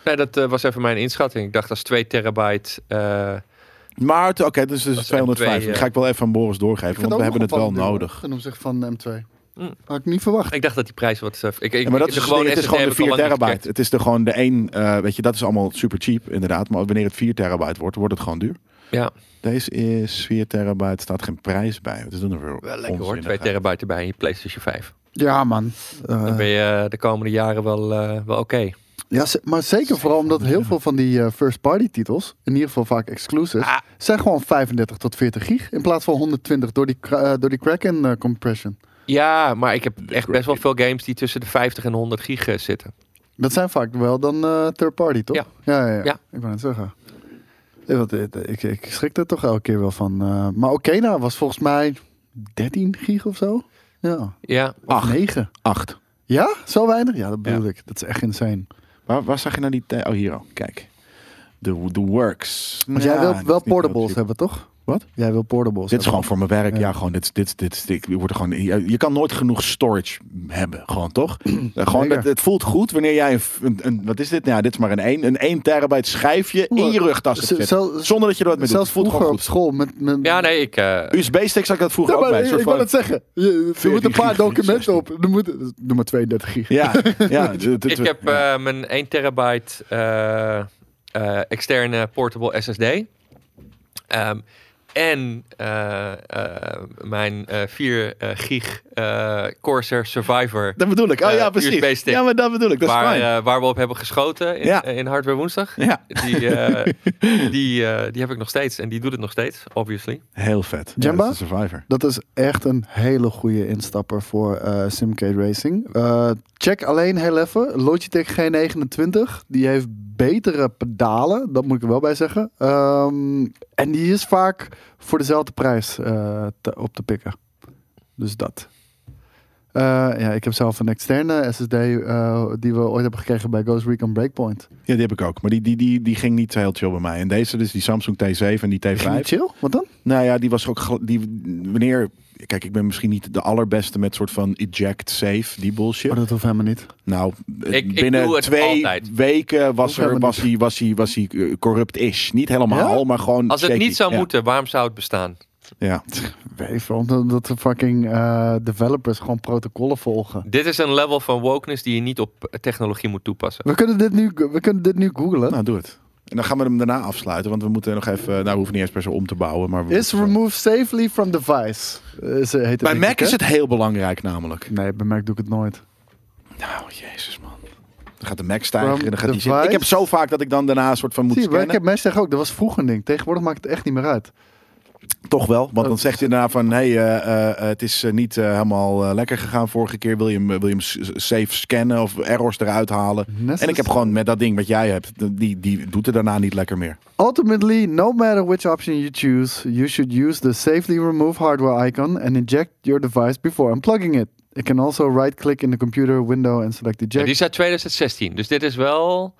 Speaker 2: Nee, dat eh, was even mijn inschatting. Ik dacht als 2 terabyte... eh,
Speaker 3: Maar het- oké, dus,
Speaker 2: Dat
Speaker 3: dus
Speaker 2: zijn
Speaker 3: 250.
Speaker 2: twee, eh,
Speaker 3: Dat ga ik wel even aan Boris doorgeven, want we hebben het wel nodig.
Speaker 1: Ten opzichte van M2.
Speaker 2: Hm.
Speaker 1: Had ik niet verwacht.
Speaker 2: Ik dacht dat die prijs wat. eh, ik, ik,
Speaker 3: Ja, maar dat is
Speaker 2: de
Speaker 3: het ding, het is
Speaker 2: SSD
Speaker 3: gewoon
Speaker 2: heb
Speaker 3: de
Speaker 2: ik al
Speaker 3: 4
Speaker 2: lang niet
Speaker 3: terabyte.
Speaker 2: gecheckt.
Speaker 3: Het is er gewoon de 1, eh, weet je, dat is allemaal super cheap inderdaad. Maar wanneer het 4 terabyte wordt, wordt het gewoon duur.
Speaker 2: Ja,
Speaker 3: Deze is 4 terabyte, staat geen prijs bij. Het is dan weer
Speaker 2: wel lekker hoor.
Speaker 3: onzinnigheid.
Speaker 2: 2 terabyte erbij in je PlayStation 5.
Speaker 1: Ja, man. Eh,
Speaker 3: Ah.
Speaker 2: Dan ben je eh, de komende jaren wel, eh, wel oké.
Speaker 1: ja, ze- maar zeker vooral omdat heel veel van die first-party titels, in ieder geval vaak exclusives,
Speaker 2: Ah.
Speaker 1: zijn gewoon 35 tot 40 gig in plaats van 120 door die, kra- eh, door die Kraken eh, compression.
Speaker 2: Ja, maar ik heb echt best wel veel games die tussen de 50 en 100 gig eh, zitten.
Speaker 1: Dat zijn vaak wel dan eh, third-party, toch?
Speaker 2: Ja.
Speaker 1: Ja, ja, ja.
Speaker 2: Ja.
Speaker 1: ik ben het zeggen. Ja, want, eh, Ik, ik schrik er toch elke keer wel van. eh, maar Okena was volgens mij 13 gig of zo. Ja,
Speaker 2: Ja,
Speaker 3: Acht.
Speaker 1: 9.
Speaker 3: 8.
Speaker 1: Ja, zo weinig? Ja, dat bedoel ik. Dat is echt insane.
Speaker 3: Waar, waar zag je nou die... te- Oh, hier al. Kijk. De, de works.
Speaker 1: Want
Speaker 3: Ja,
Speaker 1: jij
Speaker 3: dat
Speaker 1: wilt
Speaker 3: is
Speaker 1: wel
Speaker 3: niet heel
Speaker 1: portables
Speaker 3: cheap.
Speaker 1: hebben, toch?
Speaker 3: Wat?
Speaker 1: Jij wil portables
Speaker 3: Dit is
Speaker 1: hebben.
Speaker 3: gewoon voor mijn werk. Ja,
Speaker 1: Ja.
Speaker 3: gewoon. Dit, is- dit, dit, is- ik word er gewoon, je, je kan nooit genoeg storage hebben. Gewoon toch? Eh, gewoon,
Speaker 1: Zeker.
Speaker 3: het, het voelt goed wanneer jij een, f- een, een- Wat is dit? Nou, dit is maar een 1. Een 1 terabyte schijfje in je rugtas hebt
Speaker 1: Ze-
Speaker 3: zitten.
Speaker 1: zel-
Speaker 3: Zonder dat je er wat mee doet.
Speaker 1: Zelfs
Speaker 3: Het voelt
Speaker 1: vroeger
Speaker 3: gewoon
Speaker 1: op
Speaker 3: goed.
Speaker 1: school met... met
Speaker 2: ja nee, ik. eh,
Speaker 3: USB-stick zag ik dat vroeger
Speaker 1: Ja,
Speaker 3: ook bij.
Speaker 1: maar
Speaker 3: Een
Speaker 1: ik,
Speaker 3: soort
Speaker 1: ik wil
Speaker 3: van-
Speaker 1: het zeggen. Je, er
Speaker 3: 14
Speaker 1: moeten een paar
Speaker 3: gig,
Speaker 1: documenten
Speaker 3: 16.
Speaker 1: op. Er moet, doe maar 32 gig.
Speaker 3: Ja, ja. dit- dit-
Speaker 2: ik heb
Speaker 3: ja.
Speaker 2: eh, mijn 1 terabyte eh, eh, externe portable SSD. Ehm, en eh, eh, mijn eh 4 eh, gig eh, Corsair Survivor
Speaker 3: Dat bedoel ik. Oh
Speaker 2: eh,
Speaker 3: ja, precies.
Speaker 2: USB-stick.
Speaker 3: Ja, maar dat bedoel ik. Dat is
Speaker 2: waar,
Speaker 3: fijn.
Speaker 2: eh, waar we op hebben geschoten in,
Speaker 3: Ja.
Speaker 2: eh, in Hardware Woensdag.
Speaker 3: ja,
Speaker 2: Die, eh, die, eh, die heb ik nog steeds. En die doet het nog steeds, obviously.
Speaker 3: heel vet. Ja,
Speaker 1: Jamba?
Speaker 3: dat is een Survivor.
Speaker 1: Dat is echt een hele goede instapper voor eh Simcade Racing. Eh, check alleen heel even. Logitech G29. Die heeft betere pedalen. Dat moet ik er wel bij zeggen. Ehm, en die is vaak voor dezelfde prijs eh, te- op te pikken. Dus dat. Eh, ja, ik heb zelf een externe SSD eh, die we ooit hebben gekregen bij Ghost Recon Breakpoint.
Speaker 3: Ja, die heb ik ook. Maar die, die, die, die ging niet heel chill bij mij. En deze, dus die Samsung T7 en die T5.
Speaker 1: Ging niet chill? Wat dan?
Speaker 3: Nou ja, die was ook. gel- Die, wanneer. Kijk, ik ben misschien niet de allerbeste met soort van eject safe, die bullshit.
Speaker 1: Oh, dat hoeft helemaal niet.
Speaker 3: Nou,
Speaker 2: Ik- ik
Speaker 3: binnen
Speaker 2: doe het
Speaker 3: twee
Speaker 2: altijd.
Speaker 3: weken was,
Speaker 1: Hoeft helemaal
Speaker 3: er, was, hij, was, hij, was hij eh, corrupt-ish. Niet helemaal,
Speaker 1: Ja?
Speaker 3: maar gewoon
Speaker 2: Als het
Speaker 3: shaky.
Speaker 2: niet zou
Speaker 3: Ja,
Speaker 2: moeten, waarom zou het bestaan?
Speaker 3: Ja.
Speaker 1: Weet je, omdat dat de fucking eh, developers gewoon protocollen volgen.
Speaker 2: Dit is een level van wokeness die je niet op technologie moet toepassen.
Speaker 1: We kunnen dit nu, we kunnen dit nu googlen.
Speaker 3: Nou, doe het. En dan gaan we hem daarna afsluiten, want we moeten nog even... Nou, we hoeven niet eens per se om te bouwen, maar... we
Speaker 1: Is
Speaker 3: moeten-
Speaker 1: removed safely from device. Is, heet het,
Speaker 3: Bij
Speaker 1: denk ik,
Speaker 3: Mac
Speaker 1: hè?
Speaker 3: is het heel belangrijk namelijk.
Speaker 1: Nee, bij Mac doe ik het nooit.
Speaker 3: Nou, jezus man. Dan gaat de Mac stijgen
Speaker 1: From
Speaker 3: en dan gaat die
Speaker 1: device?
Speaker 3: zitten. Ik heb zo vaak dat ik dan daarna een soort van moet
Speaker 1: Zie je, maar ik
Speaker 3: scannen.
Speaker 1: heb mensen zeggen ook, dat was vroeger een ding. Tegenwoordig maakt het echt niet meer uit.
Speaker 3: Toch wel, want dan zegt hij daarna van... Hé, hey, eh, eh, eh, het is eh, niet eh, helemaal eh, lekker gegaan vorige keer. Wil je hem, eh, wil je hem s- safe scannen of errors eruit halen?
Speaker 1: Net
Speaker 3: En ik heb
Speaker 1: als-
Speaker 3: gewoon met dat ding wat jij hebt, die, die doet het daarna niet lekker meer.
Speaker 1: Ultimately, no matter which option you choose, you should use the safely remove hardware icon and eject your device before unplugging it. It can also right click in the computer window and select eject.
Speaker 2: Ja, die is uit 2016, dus dit is wel...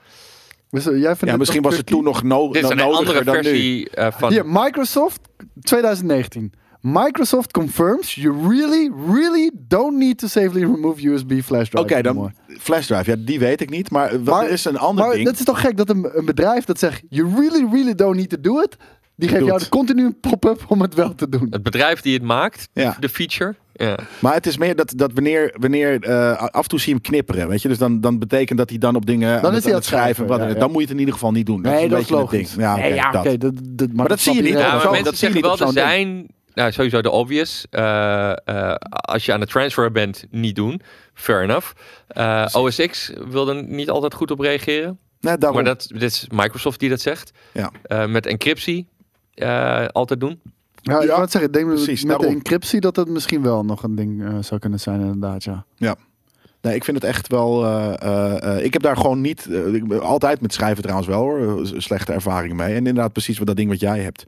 Speaker 1: Dus, eh, jij vindt
Speaker 3: Ja,
Speaker 1: dit
Speaker 3: misschien
Speaker 1: nog
Speaker 3: was het
Speaker 1: quirky?
Speaker 3: toen nog no,
Speaker 2: Dit is
Speaker 3: no-
Speaker 2: een
Speaker 3: nodiger
Speaker 2: andere
Speaker 3: dan nu.
Speaker 2: versie eh, van...
Speaker 1: Hier, Microsoft 2019. Microsoft confirms you really, really don't need to safely remove USB flash
Speaker 3: Oké,
Speaker 1: drive. anymore.
Speaker 3: dan flash drive. Ja, die weet ik niet. Maar wat
Speaker 1: Maar-
Speaker 3: er is een ander
Speaker 1: maar
Speaker 3: ding.
Speaker 1: dat is toch gek dat een, een bedrijf dat zegt: You really, really don't need to do it. Die geeft
Speaker 3: Doet.
Speaker 1: jou de continu een pop-up om het wel te doen.
Speaker 2: Het bedrijf die het maakt,
Speaker 3: Ja.
Speaker 2: de feature. Ja.
Speaker 3: Maar het is meer dat, dat wanneer, wanneer eh, af en toe zie je hem knipperen. Weet je? Dus dan, dan betekent dat hij dan op dingen aan
Speaker 1: is hij
Speaker 3: het, aan
Speaker 1: aan
Speaker 3: het
Speaker 1: het
Speaker 3: schrijven. wat-
Speaker 1: schrijven, ja, ja.
Speaker 3: Dan moet je het in ieder geval niet doen.
Speaker 1: nee,
Speaker 3: een
Speaker 1: dat is
Speaker 3: beetje het
Speaker 1: logisch.
Speaker 3: ding. Ja,
Speaker 1: Nee,
Speaker 3: oké,
Speaker 1: ja,
Speaker 3: dat.
Speaker 1: oké, dat- dat- maar
Speaker 3: dat zie
Speaker 1: snapt
Speaker 3: je
Speaker 2: Ja,
Speaker 3: niet,
Speaker 1: iedereen
Speaker 3: hè?
Speaker 2: maar
Speaker 1: wel.
Speaker 3: Zo,
Speaker 2: mensen
Speaker 3: dat zie
Speaker 2: zeggen
Speaker 3: je niet
Speaker 2: wel,
Speaker 3: op
Speaker 2: er
Speaker 3: zo'n
Speaker 2: zijn... Nou, sowieso de obvious. eh, eh, als je aan het transfer bent, niet doen. Fair enough. Eh OSX wil er niet altijd goed op reageren.
Speaker 3: Nee, Nou, daarom.
Speaker 2: Maar dat, dit is Microsoft die dat zegt.
Speaker 3: Ja.
Speaker 2: Eh, met encryptie eh, altijd doen.
Speaker 1: Ja, ik
Speaker 3: Ja,
Speaker 1: wou het zeggen, ik denk
Speaker 3: precies,
Speaker 1: dat met
Speaker 3: daarom.
Speaker 1: de encryptie dat dat misschien wel nog een ding eh, zou kunnen zijn, inderdaad. Ja.
Speaker 3: Nee, ik vind het echt wel. eh, eh, eh, ik heb daar gewoon niet. eh, ik ben altijd met schrijven trouwens wel hoor. eh, Slechte ervaring mee. En inderdaad, precies wat dat ding wat jij hebt.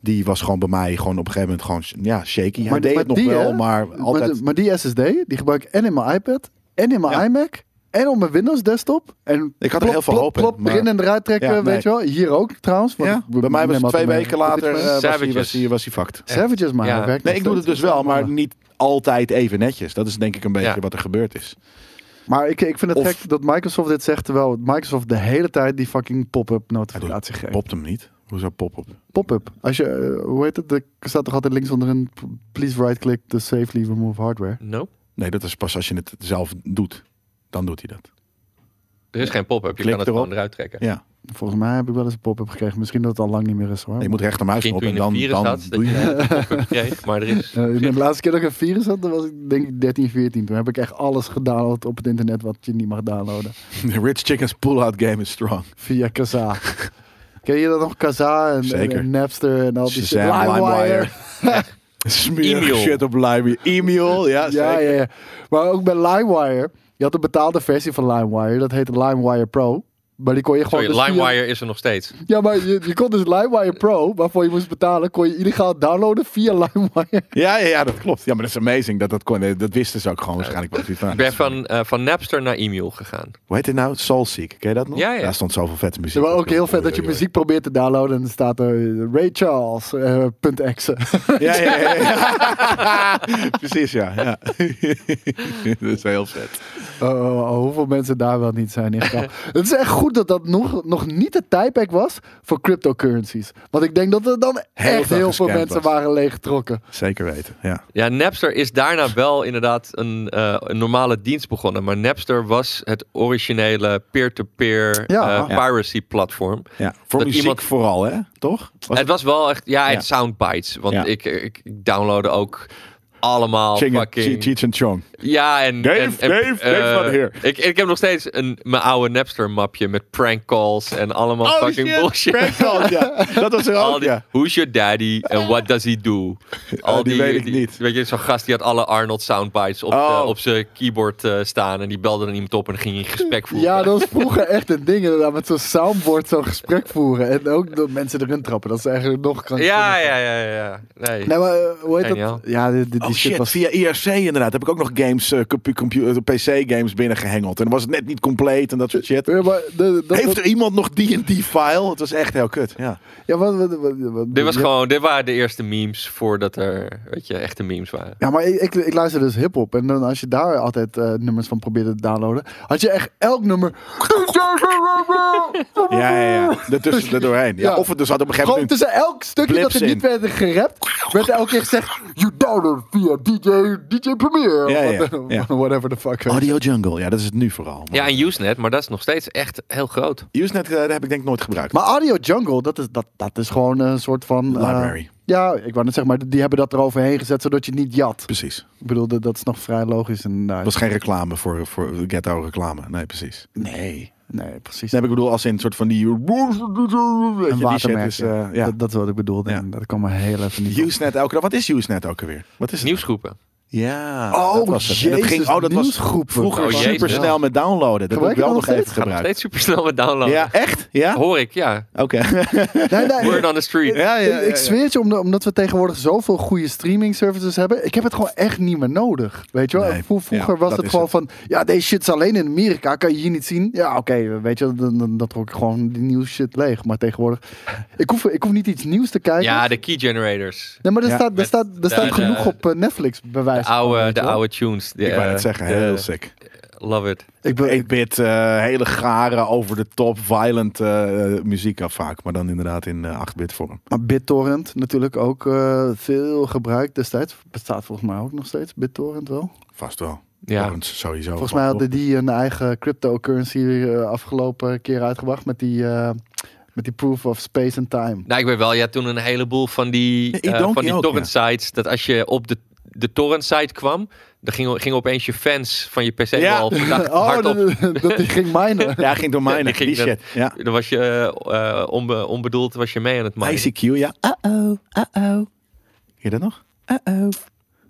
Speaker 3: Die was gewoon bij mij gewoon op een gegeven moment gewoon ja, shaky. Hij
Speaker 1: Maar-
Speaker 3: deed
Speaker 1: maar
Speaker 3: het nog
Speaker 1: die,
Speaker 3: wel,
Speaker 1: hè?
Speaker 3: maar altijd.
Speaker 1: Maar, maar die SSD, die gebruik ik en in mijn iPad, en in mijn
Speaker 3: Ja.
Speaker 1: iMac, en op mijn Windows desktop. En
Speaker 3: Ik had er heel veel hoop in,
Speaker 1: plop,
Speaker 3: maar-
Speaker 1: erin en eruit trekken,
Speaker 3: Ja, nee.
Speaker 1: weet je wel. Hier ook trouwens. want
Speaker 3: ja,
Speaker 1: ik
Speaker 3: bij mij was
Speaker 1: neem
Speaker 3: het twee
Speaker 1: altijd mijn
Speaker 3: weken later. eh,
Speaker 1: Pocketman.
Speaker 3: was, hij,
Speaker 2: Savages.
Speaker 3: was, hij, was hij fucked.
Speaker 1: Savages, maar
Speaker 2: Ja.
Speaker 1: hij werkt
Speaker 3: Nee,
Speaker 1: nog
Speaker 3: ik doe het
Speaker 1: steeds.
Speaker 3: dus wel, maar niet altijd even netjes. Dat is denk ik een beetje
Speaker 2: Ja.
Speaker 3: wat er gebeurd is.
Speaker 1: Maar ik, ik vind het
Speaker 3: Of-
Speaker 1: gek dat Microsoft dit zegt, terwijl Microsoft de hele tijd die fucking pop-up notificatie geeft.
Speaker 3: Popt hem niet. Hoezo pop op?
Speaker 1: Pop-up. Als je, eh, hoe heet het? Er staat toch altijd links onderin, p- please right-click to safely remove hardware.
Speaker 2: Nope.
Speaker 3: Nee, dat is pas als je het zelf doet. Dan doet hij dat.
Speaker 2: Er is geen pop-up. Je
Speaker 3: Klik
Speaker 2: kan het
Speaker 3: erop.
Speaker 2: gewoon eruit trekken.
Speaker 3: Ja.
Speaker 1: Volgens mij heb ik wel eens een pop-up gekregen. Misschien dat het al lang niet meer is hoor.
Speaker 3: Nee, je moet rechter muis
Speaker 2: Misschien
Speaker 3: op
Speaker 2: toen je in
Speaker 3: en
Speaker 2: een
Speaker 3: dan,
Speaker 2: virus
Speaker 3: dan
Speaker 2: had, dat
Speaker 3: doe je
Speaker 2: je een pop-up kreeg. Maar er
Speaker 1: Eh,
Speaker 2: is...
Speaker 1: de laatste keer dat ik een virus had, dat was ik denk ik 13, 14. Toen heb ik echt alles gedownload op het internet wat je niet mag downloaden.
Speaker 3: The Rich Chicken's pull-out game is strong.
Speaker 1: Via Kazaa. Ken je dat nog? Kazaa en,
Speaker 3: Zeker.
Speaker 1: en Napster en al die shit.
Speaker 3: Shazam, LimeWire. Smerig
Speaker 2: E-mail.
Speaker 3: shit op LimeWire. E-mail, ja,
Speaker 1: Ja,
Speaker 3: zeker.
Speaker 1: ja, ja. Maar ook bij LimeWire. Je had een betaalde versie van LimeWire. Dat heette LimeWire Pro. Maar die kon je gewoon...
Speaker 2: Sorry,
Speaker 1: dus via-
Speaker 2: LimeWire is er nog steeds.
Speaker 1: Ja, maar je, je kon dus LimeWire Pro, waarvoor je moest betalen, kon je illegaal downloaden via LimeWire.
Speaker 3: Ja, ja, ja, dat klopt. Ja, maar dat is amazing. Dat, dat, kon, dat wisten ze ook gewoon waarschijnlijk. wel.
Speaker 2: Ik ben van, eh, van Napster naar e-mail gegaan.
Speaker 3: Hoe heet het nou? Soulseek. Ken je dat nog?
Speaker 2: Ja, ja.
Speaker 3: Daar stond zoveel vette muziek.
Speaker 1: Het was
Speaker 3: op.
Speaker 1: ook heel vet dat je
Speaker 3: Oei, oei, oei.
Speaker 1: muziek probeert te downloaden en dan staat er Ray Charles, eh, punt exe.
Speaker 3: Ja, ja, ja. ja. Precies, ja. ja. dat is heel vet.
Speaker 1: Oh, oh, oh, hoeveel mensen daar wel niet zijn ingegaan. het is echt goed dat dat nog, nog niet het tijdperk was voor cryptocurrencies. Want ik denk dat er dan
Speaker 3: Heel
Speaker 1: echt
Speaker 3: veel
Speaker 1: heel veel
Speaker 3: gescamd
Speaker 1: mensen
Speaker 3: was.
Speaker 1: waren leeggetrokken.
Speaker 3: Zeker weten, ja.
Speaker 2: Ja, Napster is daarna wel inderdaad een, eh, een normale dienst begonnen. Maar Napster was het originele peer-to-peer
Speaker 1: Ja.
Speaker 2: eh, piracy platform.
Speaker 3: ja. Voor
Speaker 2: Dat
Speaker 3: muziek
Speaker 2: iemand-
Speaker 3: vooral, hè? Toch? Was
Speaker 2: het was wel echt, ja, het
Speaker 3: Ja.
Speaker 2: soundbites. Want
Speaker 3: Ja.
Speaker 2: ik, ik, ik downloadde ook allemaal
Speaker 3: Ching- Che-
Speaker 2: fucking...
Speaker 3: Cheech and Chong.
Speaker 2: Ja, en...
Speaker 3: Dave,
Speaker 2: en, en,
Speaker 3: Dave, Dave
Speaker 2: eh,
Speaker 3: van Heer.
Speaker 2: Ik, ik heb nog steeds een, mijn oude Napster mapje met prank calls en allemaal fucking bullshit.
Speaker 3: Oh, Prank calls, ja. Dat was er
Speaker 2: Al
Speaker 3: ook,
Speaker 2: die,
Speaker 3: ja. Oh,
Speaker 2: Who's your daddy and what does he do? Al
Speaker 3: die weet ik niet.
Speaker 2: Weet je, zo'n gast die had alle Arnold soundbites op,
Speaker 3: Oh.
Speaker 2: eh, op zijn keyboard eh, staan. En die belde dan iemand op en dan ging hij een gesprek voeren.
Speaker 1: Ja, dat was vroeger echt een ding inderdaad, met zo'n soundboard zo'n gesprek voeren. En ook dat mensen erin trappen, dat is eigenlijk nog
Speaker 2: ja,
Speaker 1: krankzinniger.
Speaker 2: ja, ja, ja. Nee.
Speaker 3: Nou,
Speaker 1: Nee, maar eh, hoe heet
Speaker 2: Geniaal.
Speaker 1: dat? Ja, dit, dit, dit die shit,
Speaker 3: Oh, shit,
Speaker 1: was...
Speaker 3: via IRC inderdaad. Heb ik ook nog games, eh, compu- compu- PC-games binnengehengeld. En dan was het net niet compleet en dat soort shit.
Speaker 1: Ja, maar de- de- dat-
Speaker 3: Heeft er iemand nog D&D-file? Het was echt heel kut, ja.
Speaker 1: ja, wat, wat, wat- wat-
Speaker 2: Dit, was
Speaker 1: ja.
Speaker 2: gewoon, dit waren de eerste memes voordat er weet je, echte memes waren.
Speaker 1: Ja, maar ik, ik, ik luister dus hip-hop. En dan als je daar altijd eh, nummers van probeerde te downloaden, had je echt elk nummer.
Speaker 3: Ja, ja, ja. Daartussen, daardoorheen. Ja,
Speaker 1: Ja.
Speaker 3: Of het dus had op een gegeven
Speaker 1: Gewoon
Speaker 3: moment...
Speaker 1: tussen elk stukje dat er
Speaker 3: Blips
Speaker 1: niet werd gerapt, werd er elke keer gezegd: You download via DJ, DJ Premier.
Speaker 3: Ja, ja,
Speaker 1: Wat-
Speaker 3: ja.
Speaker 1: Whatever the fuck. weet je.
Speaker 3: Audio Jungle, ja, dat is het nu vooral.
Speaker 2: Ja, en Usenet, maar dat is nog steeds echt heel groot.
Speaker 3: Usenet eh, heb ik denk ik nooit gebruikt.
Speaker 1: Maar Audio Jungle, dat is, dat, dat is gewoon een soort van. eh,
Speaker 3: Library.
Speaker 1: ja, ik wou net zeggen, maar die hebben dat eroverheen gezet zodat je het niet jat.
Speaker 3: Precies. Het
Speaker 1: Ik bedoel, dat, dat is nog vrij logisch. En, nou,
Speaker 3: was geen reclame voor, voor ghetto reclame. Nee, precies. Nee.
Speaker 1: nee, precies.
Speaker 3: Nee, ik bedoel als in een soort van die...
Speaker 1: een
Speaker 3: Een
Speaker 1: watermerk.
Speaker 3: Is, eh, ja.
Speaker 1: dat, dat is wat ik bedoelde.
Speaker 3: Ja.
Speaker 1: en Dat kwam me heel even niet. op.
Speaker 3: Usenet elke dag. Wat is Usenet ook alweer? Wat is het?
Speaker 2: Nieuwsgroepen.
Speaker 3: Ja.
Speaker 1: Oh,
Speaker 3: dat was het. En dat
Speaker 1: Jezus,
Speaker 3: ging, oh, dat was
Speaker 1: nieuwsgroepen.
Speaker 3: vroeger
Speaker 2: Oh, jezus.
Speaker 3: super snel met downloaden. Dat heb
Speaker 1: Gebruik
Speaker 3: ik
Speaker 1: je
Speaker 3: wel
Speaker 1: dat nog
Speaker 3: nog even
Speaker 2: Gaat nog
Speaker 3: gebruikt.
Speaker 2: steeds super snel met downloaden.
Speaker 3: Ja, echt? Ja?
Speaker 2: Hoor ik, ja.
Speaker 3: Oké.
Speaker 1: Nee, nee,
Speaker 2: Word on the street.
Speaker 3: Ja, ja, ja,
Speaker 1: ik, ik
Speaker 3: ja.
Speaker 1: zweer het je, omdat- omdat we tegenwoordig zoveel goede streaming services hebben. Ik heb het gewoon echt niet meer nodig. Weet je wel?
Speaker 3: Nee,
Speaker 1: Vro- vroeger
Speaker 3: ja,
Speaker 1: was
Speaker 3: dat
Speaker 1: het
Speaker 3: is
Speaker 1: gewoon van. Ja, deze shit is alleen in Amerika. Kan je hier niet zien? Ja, oké. weet je, wel, dan, dan, dan trok ik gewoon die nieuws shit leeg. Maar tegenwoordig. Ik hoef, ik hoef niet iets nieuws te kijken.
Speaker 2: Ja, de key generators.
Speaker 1: Nee, maar er
Speaker 3: Ja,
Speaker 1: staat, er
Speaker 2: met
Speaker 1: staat, er
Speaker 2: de-
Speaker 1: staat
Speaker 2: de-
Speaker 1: genoeg op eh, Netflix, bij wijze
Speaker 2: De
Speaker 1: van,
Speaker 2: oude,
Speaker 1: weet je
Speaker 2: de
Speaker 1: wel.
Speaker 2: oude tunes. De,
Speaker 3: Ik wou
Speaker 2: eh,
Speaker 3: net zeggen, heel
Speaker 2: eh,
Speaker 3: sick.
Speaker 2: Love it.
Speaker 1: Ik ben,
Speaker 3: 8-bit, eh, hele gare, over de top, violent eh, eh, muziek af vaak. Maar dan inderdaad in eh, 8-bit vorm.
Speaker 1: maar BitTorrent natuurlijk ook eh, veel gebruikt destijds. Bestaat volgens mij ook nog steeds. BitTorrent wel.
Speaker 3: Vast wel.
Speaker 2: Ja.
Speaker 3: Torrents Sowieso.
Speaker 1: Volgens mij hadden die een eigen cryptocurrency eh, afgelopen keer uitgebracht met die, eh, met die proof of space and time.
Speaker 2: Nou, ik weet wel, ja, toen een heleboel van die,
Speaker 3: Ja,
Speaker 2: eh,
Speaker 3: Donkey
Speaker 2: van die
Speaker 3: ook,
Speaker 2: torrent sites. Dat als je op de, de torrent site kwam, dan gingen ging opeens je fans van je PC
Speaker 3: Ja.
Speaker 2: al verdacht
Speaker 1: Oh,
Speaker 2: hard op.
Speaker 1: dat, dat die ging minen.
Speaker 3: Ja, ging door
Speaker 2: Ja,
Speaker 3: mij.
Speaker 2: die
Speaker 3: die
Speaker 2: ging dat-
Speaker 3: shit. Ja.
Speaker 2: Dan was je eh, eh, onbe- onbedoeld was je mee aan het maken.
Speaker 3: ICQ, ja. Ah,
Speaker 4: Uh-oh, uh-oh,
Speaker 3: Ken je dat nog?
Speaker 4: uh-oh.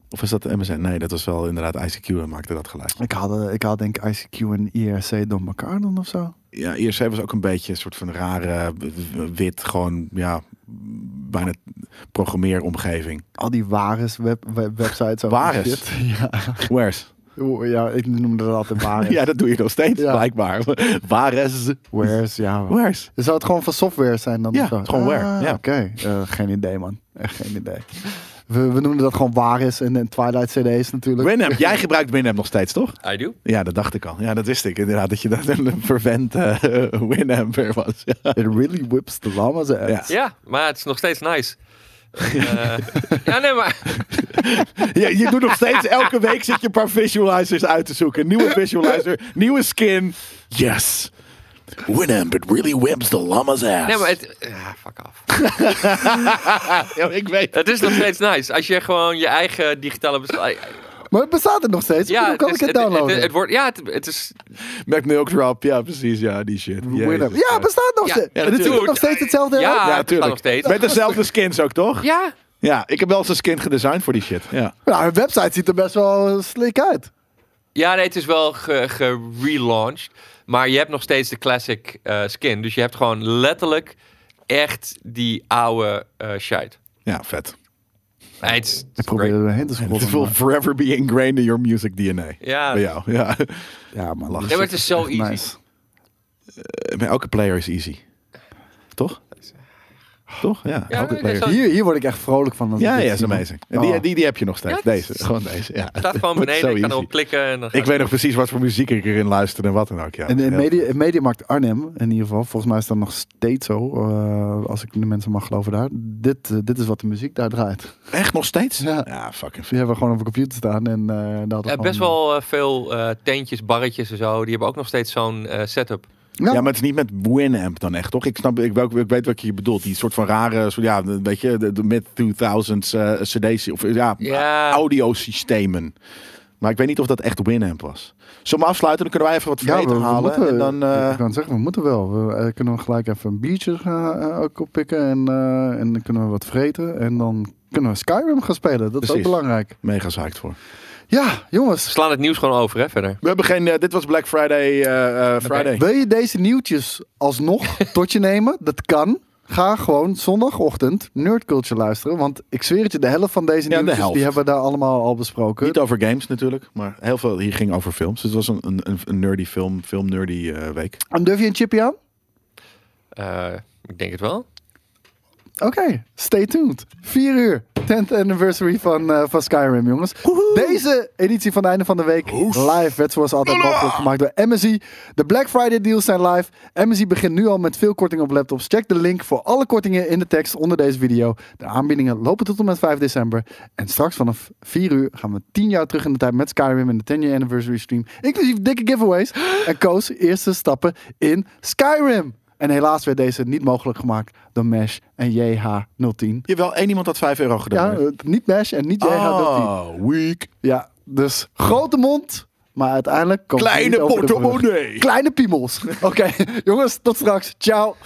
Speaker 3: Of is dat de MSN? Nee, dat was wel inderdaad ICQ dat maakte dat geluid.
Speaker 1: Ik haal, ik haal denk ik ICQ en IRC door elkaar dan of zo.
Speaker 3: Ja, IRC was ook een beetje een soort van rare, w- w- wit, gewoon, ja, bijna programmeeromgeving.
Speaker 1: Al die wares web, web- websites. over
Speaker 3: Wares?
Speaker 1: shit. Ja.
Speaker 3: Where's?
Speaker 1: Oh, ja, ik noemde dat altijd wares.
Speaker 3: Ja, dat doe je nog steeds,
Speaker 1: Ja.
Speaker 3: blijkbaar. Where's?
Speaker 1: Wares, ja.
Speaker 3: Where's?
Speaker 1: Zou het gewoon van software zijn dan?
Speaker 3: Ja,
Speaker 1: of zo?
Speaker 3: het is gewoon ware,
Speaker 1: Ah,
Speaker 3: ja.
Speaker 1: Oké, Eh, geen idee man. Echt geen idee. We, we noemden dat gewoon wares en, en Twilight CD's natuurlijk.
Speaker 3: Winamp. Jij gebruikt Winamp nog steeds, toch?
Speaker 2: I do.
Speaker 3: Ja, dat dacht ik al. Ja, dat wist ik inderdaad, dat je dat een vervent eh Winamp weer was. Ja.
Speaker 1: It really whips the llama's ass.
Speaker 3: Ja.
Speaker 2: Ja, maar het is nog steeds nice. Eh, ja, nee, maar
Speaker 3: Je, je doet nog steeds, elke week zit je een paar visualizers uit te zoeken. Nieuwe visualizer, nieuwe skin. Yes. Winamp, it really whips the llama's ass.
Speaker 2: Nee, maar het, ja, fuck af.
Speaker 3: Ja, ik weet
Speaker 2: Het is nog steeds nice. Als je gewoon je eigen digitale... bes-
Speaker 1: Maar het bestaat het nog steeds? Ja,
Speaker 2: Ja,
Speaker 1: Hoe kan ik
Speaker 2: is-
Speaker 1: het, downloaden?
Speaker 2: Het, het wordt, ja, het, het is...
Speaker 3: Mac Milk Drop, ja precies, ja, die shit.
Speaker 1: Winamp. ja, het bestaat nog
Speaker 2: Ja,
Speaker 1: steeds.
Speaker 2: ja,
Speaker 1: en het ziet er
Speaker 2: natuurlijk.
Speaker 1: nog steeds hetzelfde uit.
Speaker 2: Ja,
Speaker 3: ja
Speaker 2: het bestaat
Speaker 3: tuurlijk.
Speaker 2: nog steeds.
Speaker 3: Met dezelfde skins ook, toch?
Speaker 2: Ja,
Speaker 3: Ja, ik heb wel eens een skin gedesigned voor die shit. Ja.
Speaker 1: Nou, hun website ziet er best wel slik uit.
Speaker 2: ja nee, het is wel ge- gerelaunched. maar je hebt nog steeds de classic eh, skin. Dus je hebt gewoon letterlijk echt die oude eh shite.
Speaker 3: ja, vet.
Speaker 2: Nee, het is-
Speaker 1: Ik probeer er doorheen te schoppen.
Speaker 3: It will
Speaker 1: maar-
Speaker 3: forever be ingrained in your music DNA.
Speaker 2: Ja.
Speaker 3: Bij jou, ja.
Speaker 1: Ja, man.
Speaker 3: Nee,
Speaker 1: dat
Speaker 2: maar het is zo
Speaker 1: echt
Speaker 2: easy.
Speaker 3: Bij elke player is easy. Toch? Toch? Ja,
Speaker 2: Ja,
Speaker 3: elke
Speaker 2: nee,
Speaker 3: player.
Speaker 2: dat is
Speaker 1: Hier, hier word ik echt vrolijk van. als ik
Speaker 3: Ja,
Speaker 1: dit
Speaker 3: ja, is
Speaker 1: zie, man.
Speaker 3: amazing. En die,
Speaker 1: Oh.
Speaker 3: die, die heb je nog steeds.
Speaker 2: Ja, dat is-
Speaker 3: deze, gewoon deze. Ja.
Speaker 2: Het staat gewoon
Speaker 3: Het
Speaker 2: beneden.
Speaker 3: is zo
Speaker 2: Ik kan
Speaker 3: easy.
Speaker 2: erop klikken. En dan
Speaker 3: Ik weet nog precies wat voor muziek ik erin luisterde en wat dan ook. Ja.
Speaker 1: En in
Speaker 3: Heel
Speaker 1: Media- in Mediamarkt Arnhem, in ieder geval, volgens mij is dat nog steeds zo, eh, als ik de mensen mag geloven daar. Dit, eh, dit is wat de muziek daar draait.
Speaker 3: vet. Echt nog steeds?
Speaker 1: Ja.
Speaker 3: fucking vet.
Speaker 1: Die hebben we gewoon op een computer staan. En, eh, dat
Speaker 2: Ja, best wel eh, veel eh, tentjes, barretjes en zo. Die hebben ook nog steeds zo'n eh, setup.
Speaker 1: Ja.
Speaker 3: Ja, maar het is niet met Winamp dan echt, toch? Ik snap, ik, wel- ik weet wat je bedoelt. Die soort van rare, soort, ja, weet je, de, de mid-2000s eh cd's of ja,
Speaker 2: Ja.
Speaker 3: audiosystemen. Maar ik weet niet of dat echt Winamp was. Zullen we afsluiten? Dan kunnen wij even wat vreten halen.
Speaker 1: moeten,
Speaker 3: en dan, eh,
Speaker 1: ik kan zeggen, we moeten wel. We eh, kunnen we gelijk even een biertje eh, eh, ook oppikken en, eh, en dan kunnen we wat vreten. En dan kunnen we Skyrim gaan spelen. Dat is ook
Speaker 3: Precies.
Speaker 1: belangrijk.
Speaker 3: mega zaakt voor.
Speaker 1: Ja,
Speaker 2: We
Speaker 1: jongens.
Speaker 2: slaan het nieuws gewoon over, hè, verder.
Speaker 3: We hebben geen, eh, dit was Black Friday. eh, eh, Friday.
Speaker 1: Wil je deze nieuwtjes alsnog tot je nemen? Dat kan. Ga gewoon zondagochtend nerdculture luisteren. Want ik zweer het je, de helft van deze
Speaker 3: Ja, de
Speaker 1: nieuwtjes die
Speaker 3: helft.
Speaker 1: hebben we daar allemaal al besproken.
Speaker 3: Niet over games natuurlijk, maar heel veel hier ging over films. Dus het was een, een, een- een nerdy film, film nerdy eh, week.
Speaker 1: En durf je een chipje aan?
Speaker 2: Eh, ik denk het wel.
Speaker 1: Oké, stay tuned. 4 uur, 10th anniversary van, eh, van Skyrim, jongens. Deze editie van het einde van de week live werd zoals altijd mogelijk gemaakt door MSI. De Black Friday deals zijn live. MSI begint nu al met veel kortingen op laptops. Check de link voor alle kortingen in de tekst onder deze video. De aanbiedingen lopen tot en met 5 december. En straks vanaf 4 uur gaan we 10 jaar terug in de tijd met Skyrim en de 10 year anniversary stream. Inclusief dikke giveaways. En Koos eerste stappen in Skyrim. En helaas werd deze niet mogelijk gemaakt door Mesh en JH010.
Speaker 3: Jawel, één iemand had 5 euro gedaan.
Speaker 1: Ja,
Speaker 3: hè?
Speaker 1: eh, niet Mesh en niet JH010.
Speaker 3: oh, weak.
Speaker 1: Ja, dus grote mond, maar uiteindelijk... komt het
Speaker 3: Kleine
Speaker 1: niet over de brug.
Speaker 3: portemonnee.
Speaker 1: Kleine piemels. Oké, jongens, tot straks. Ciao.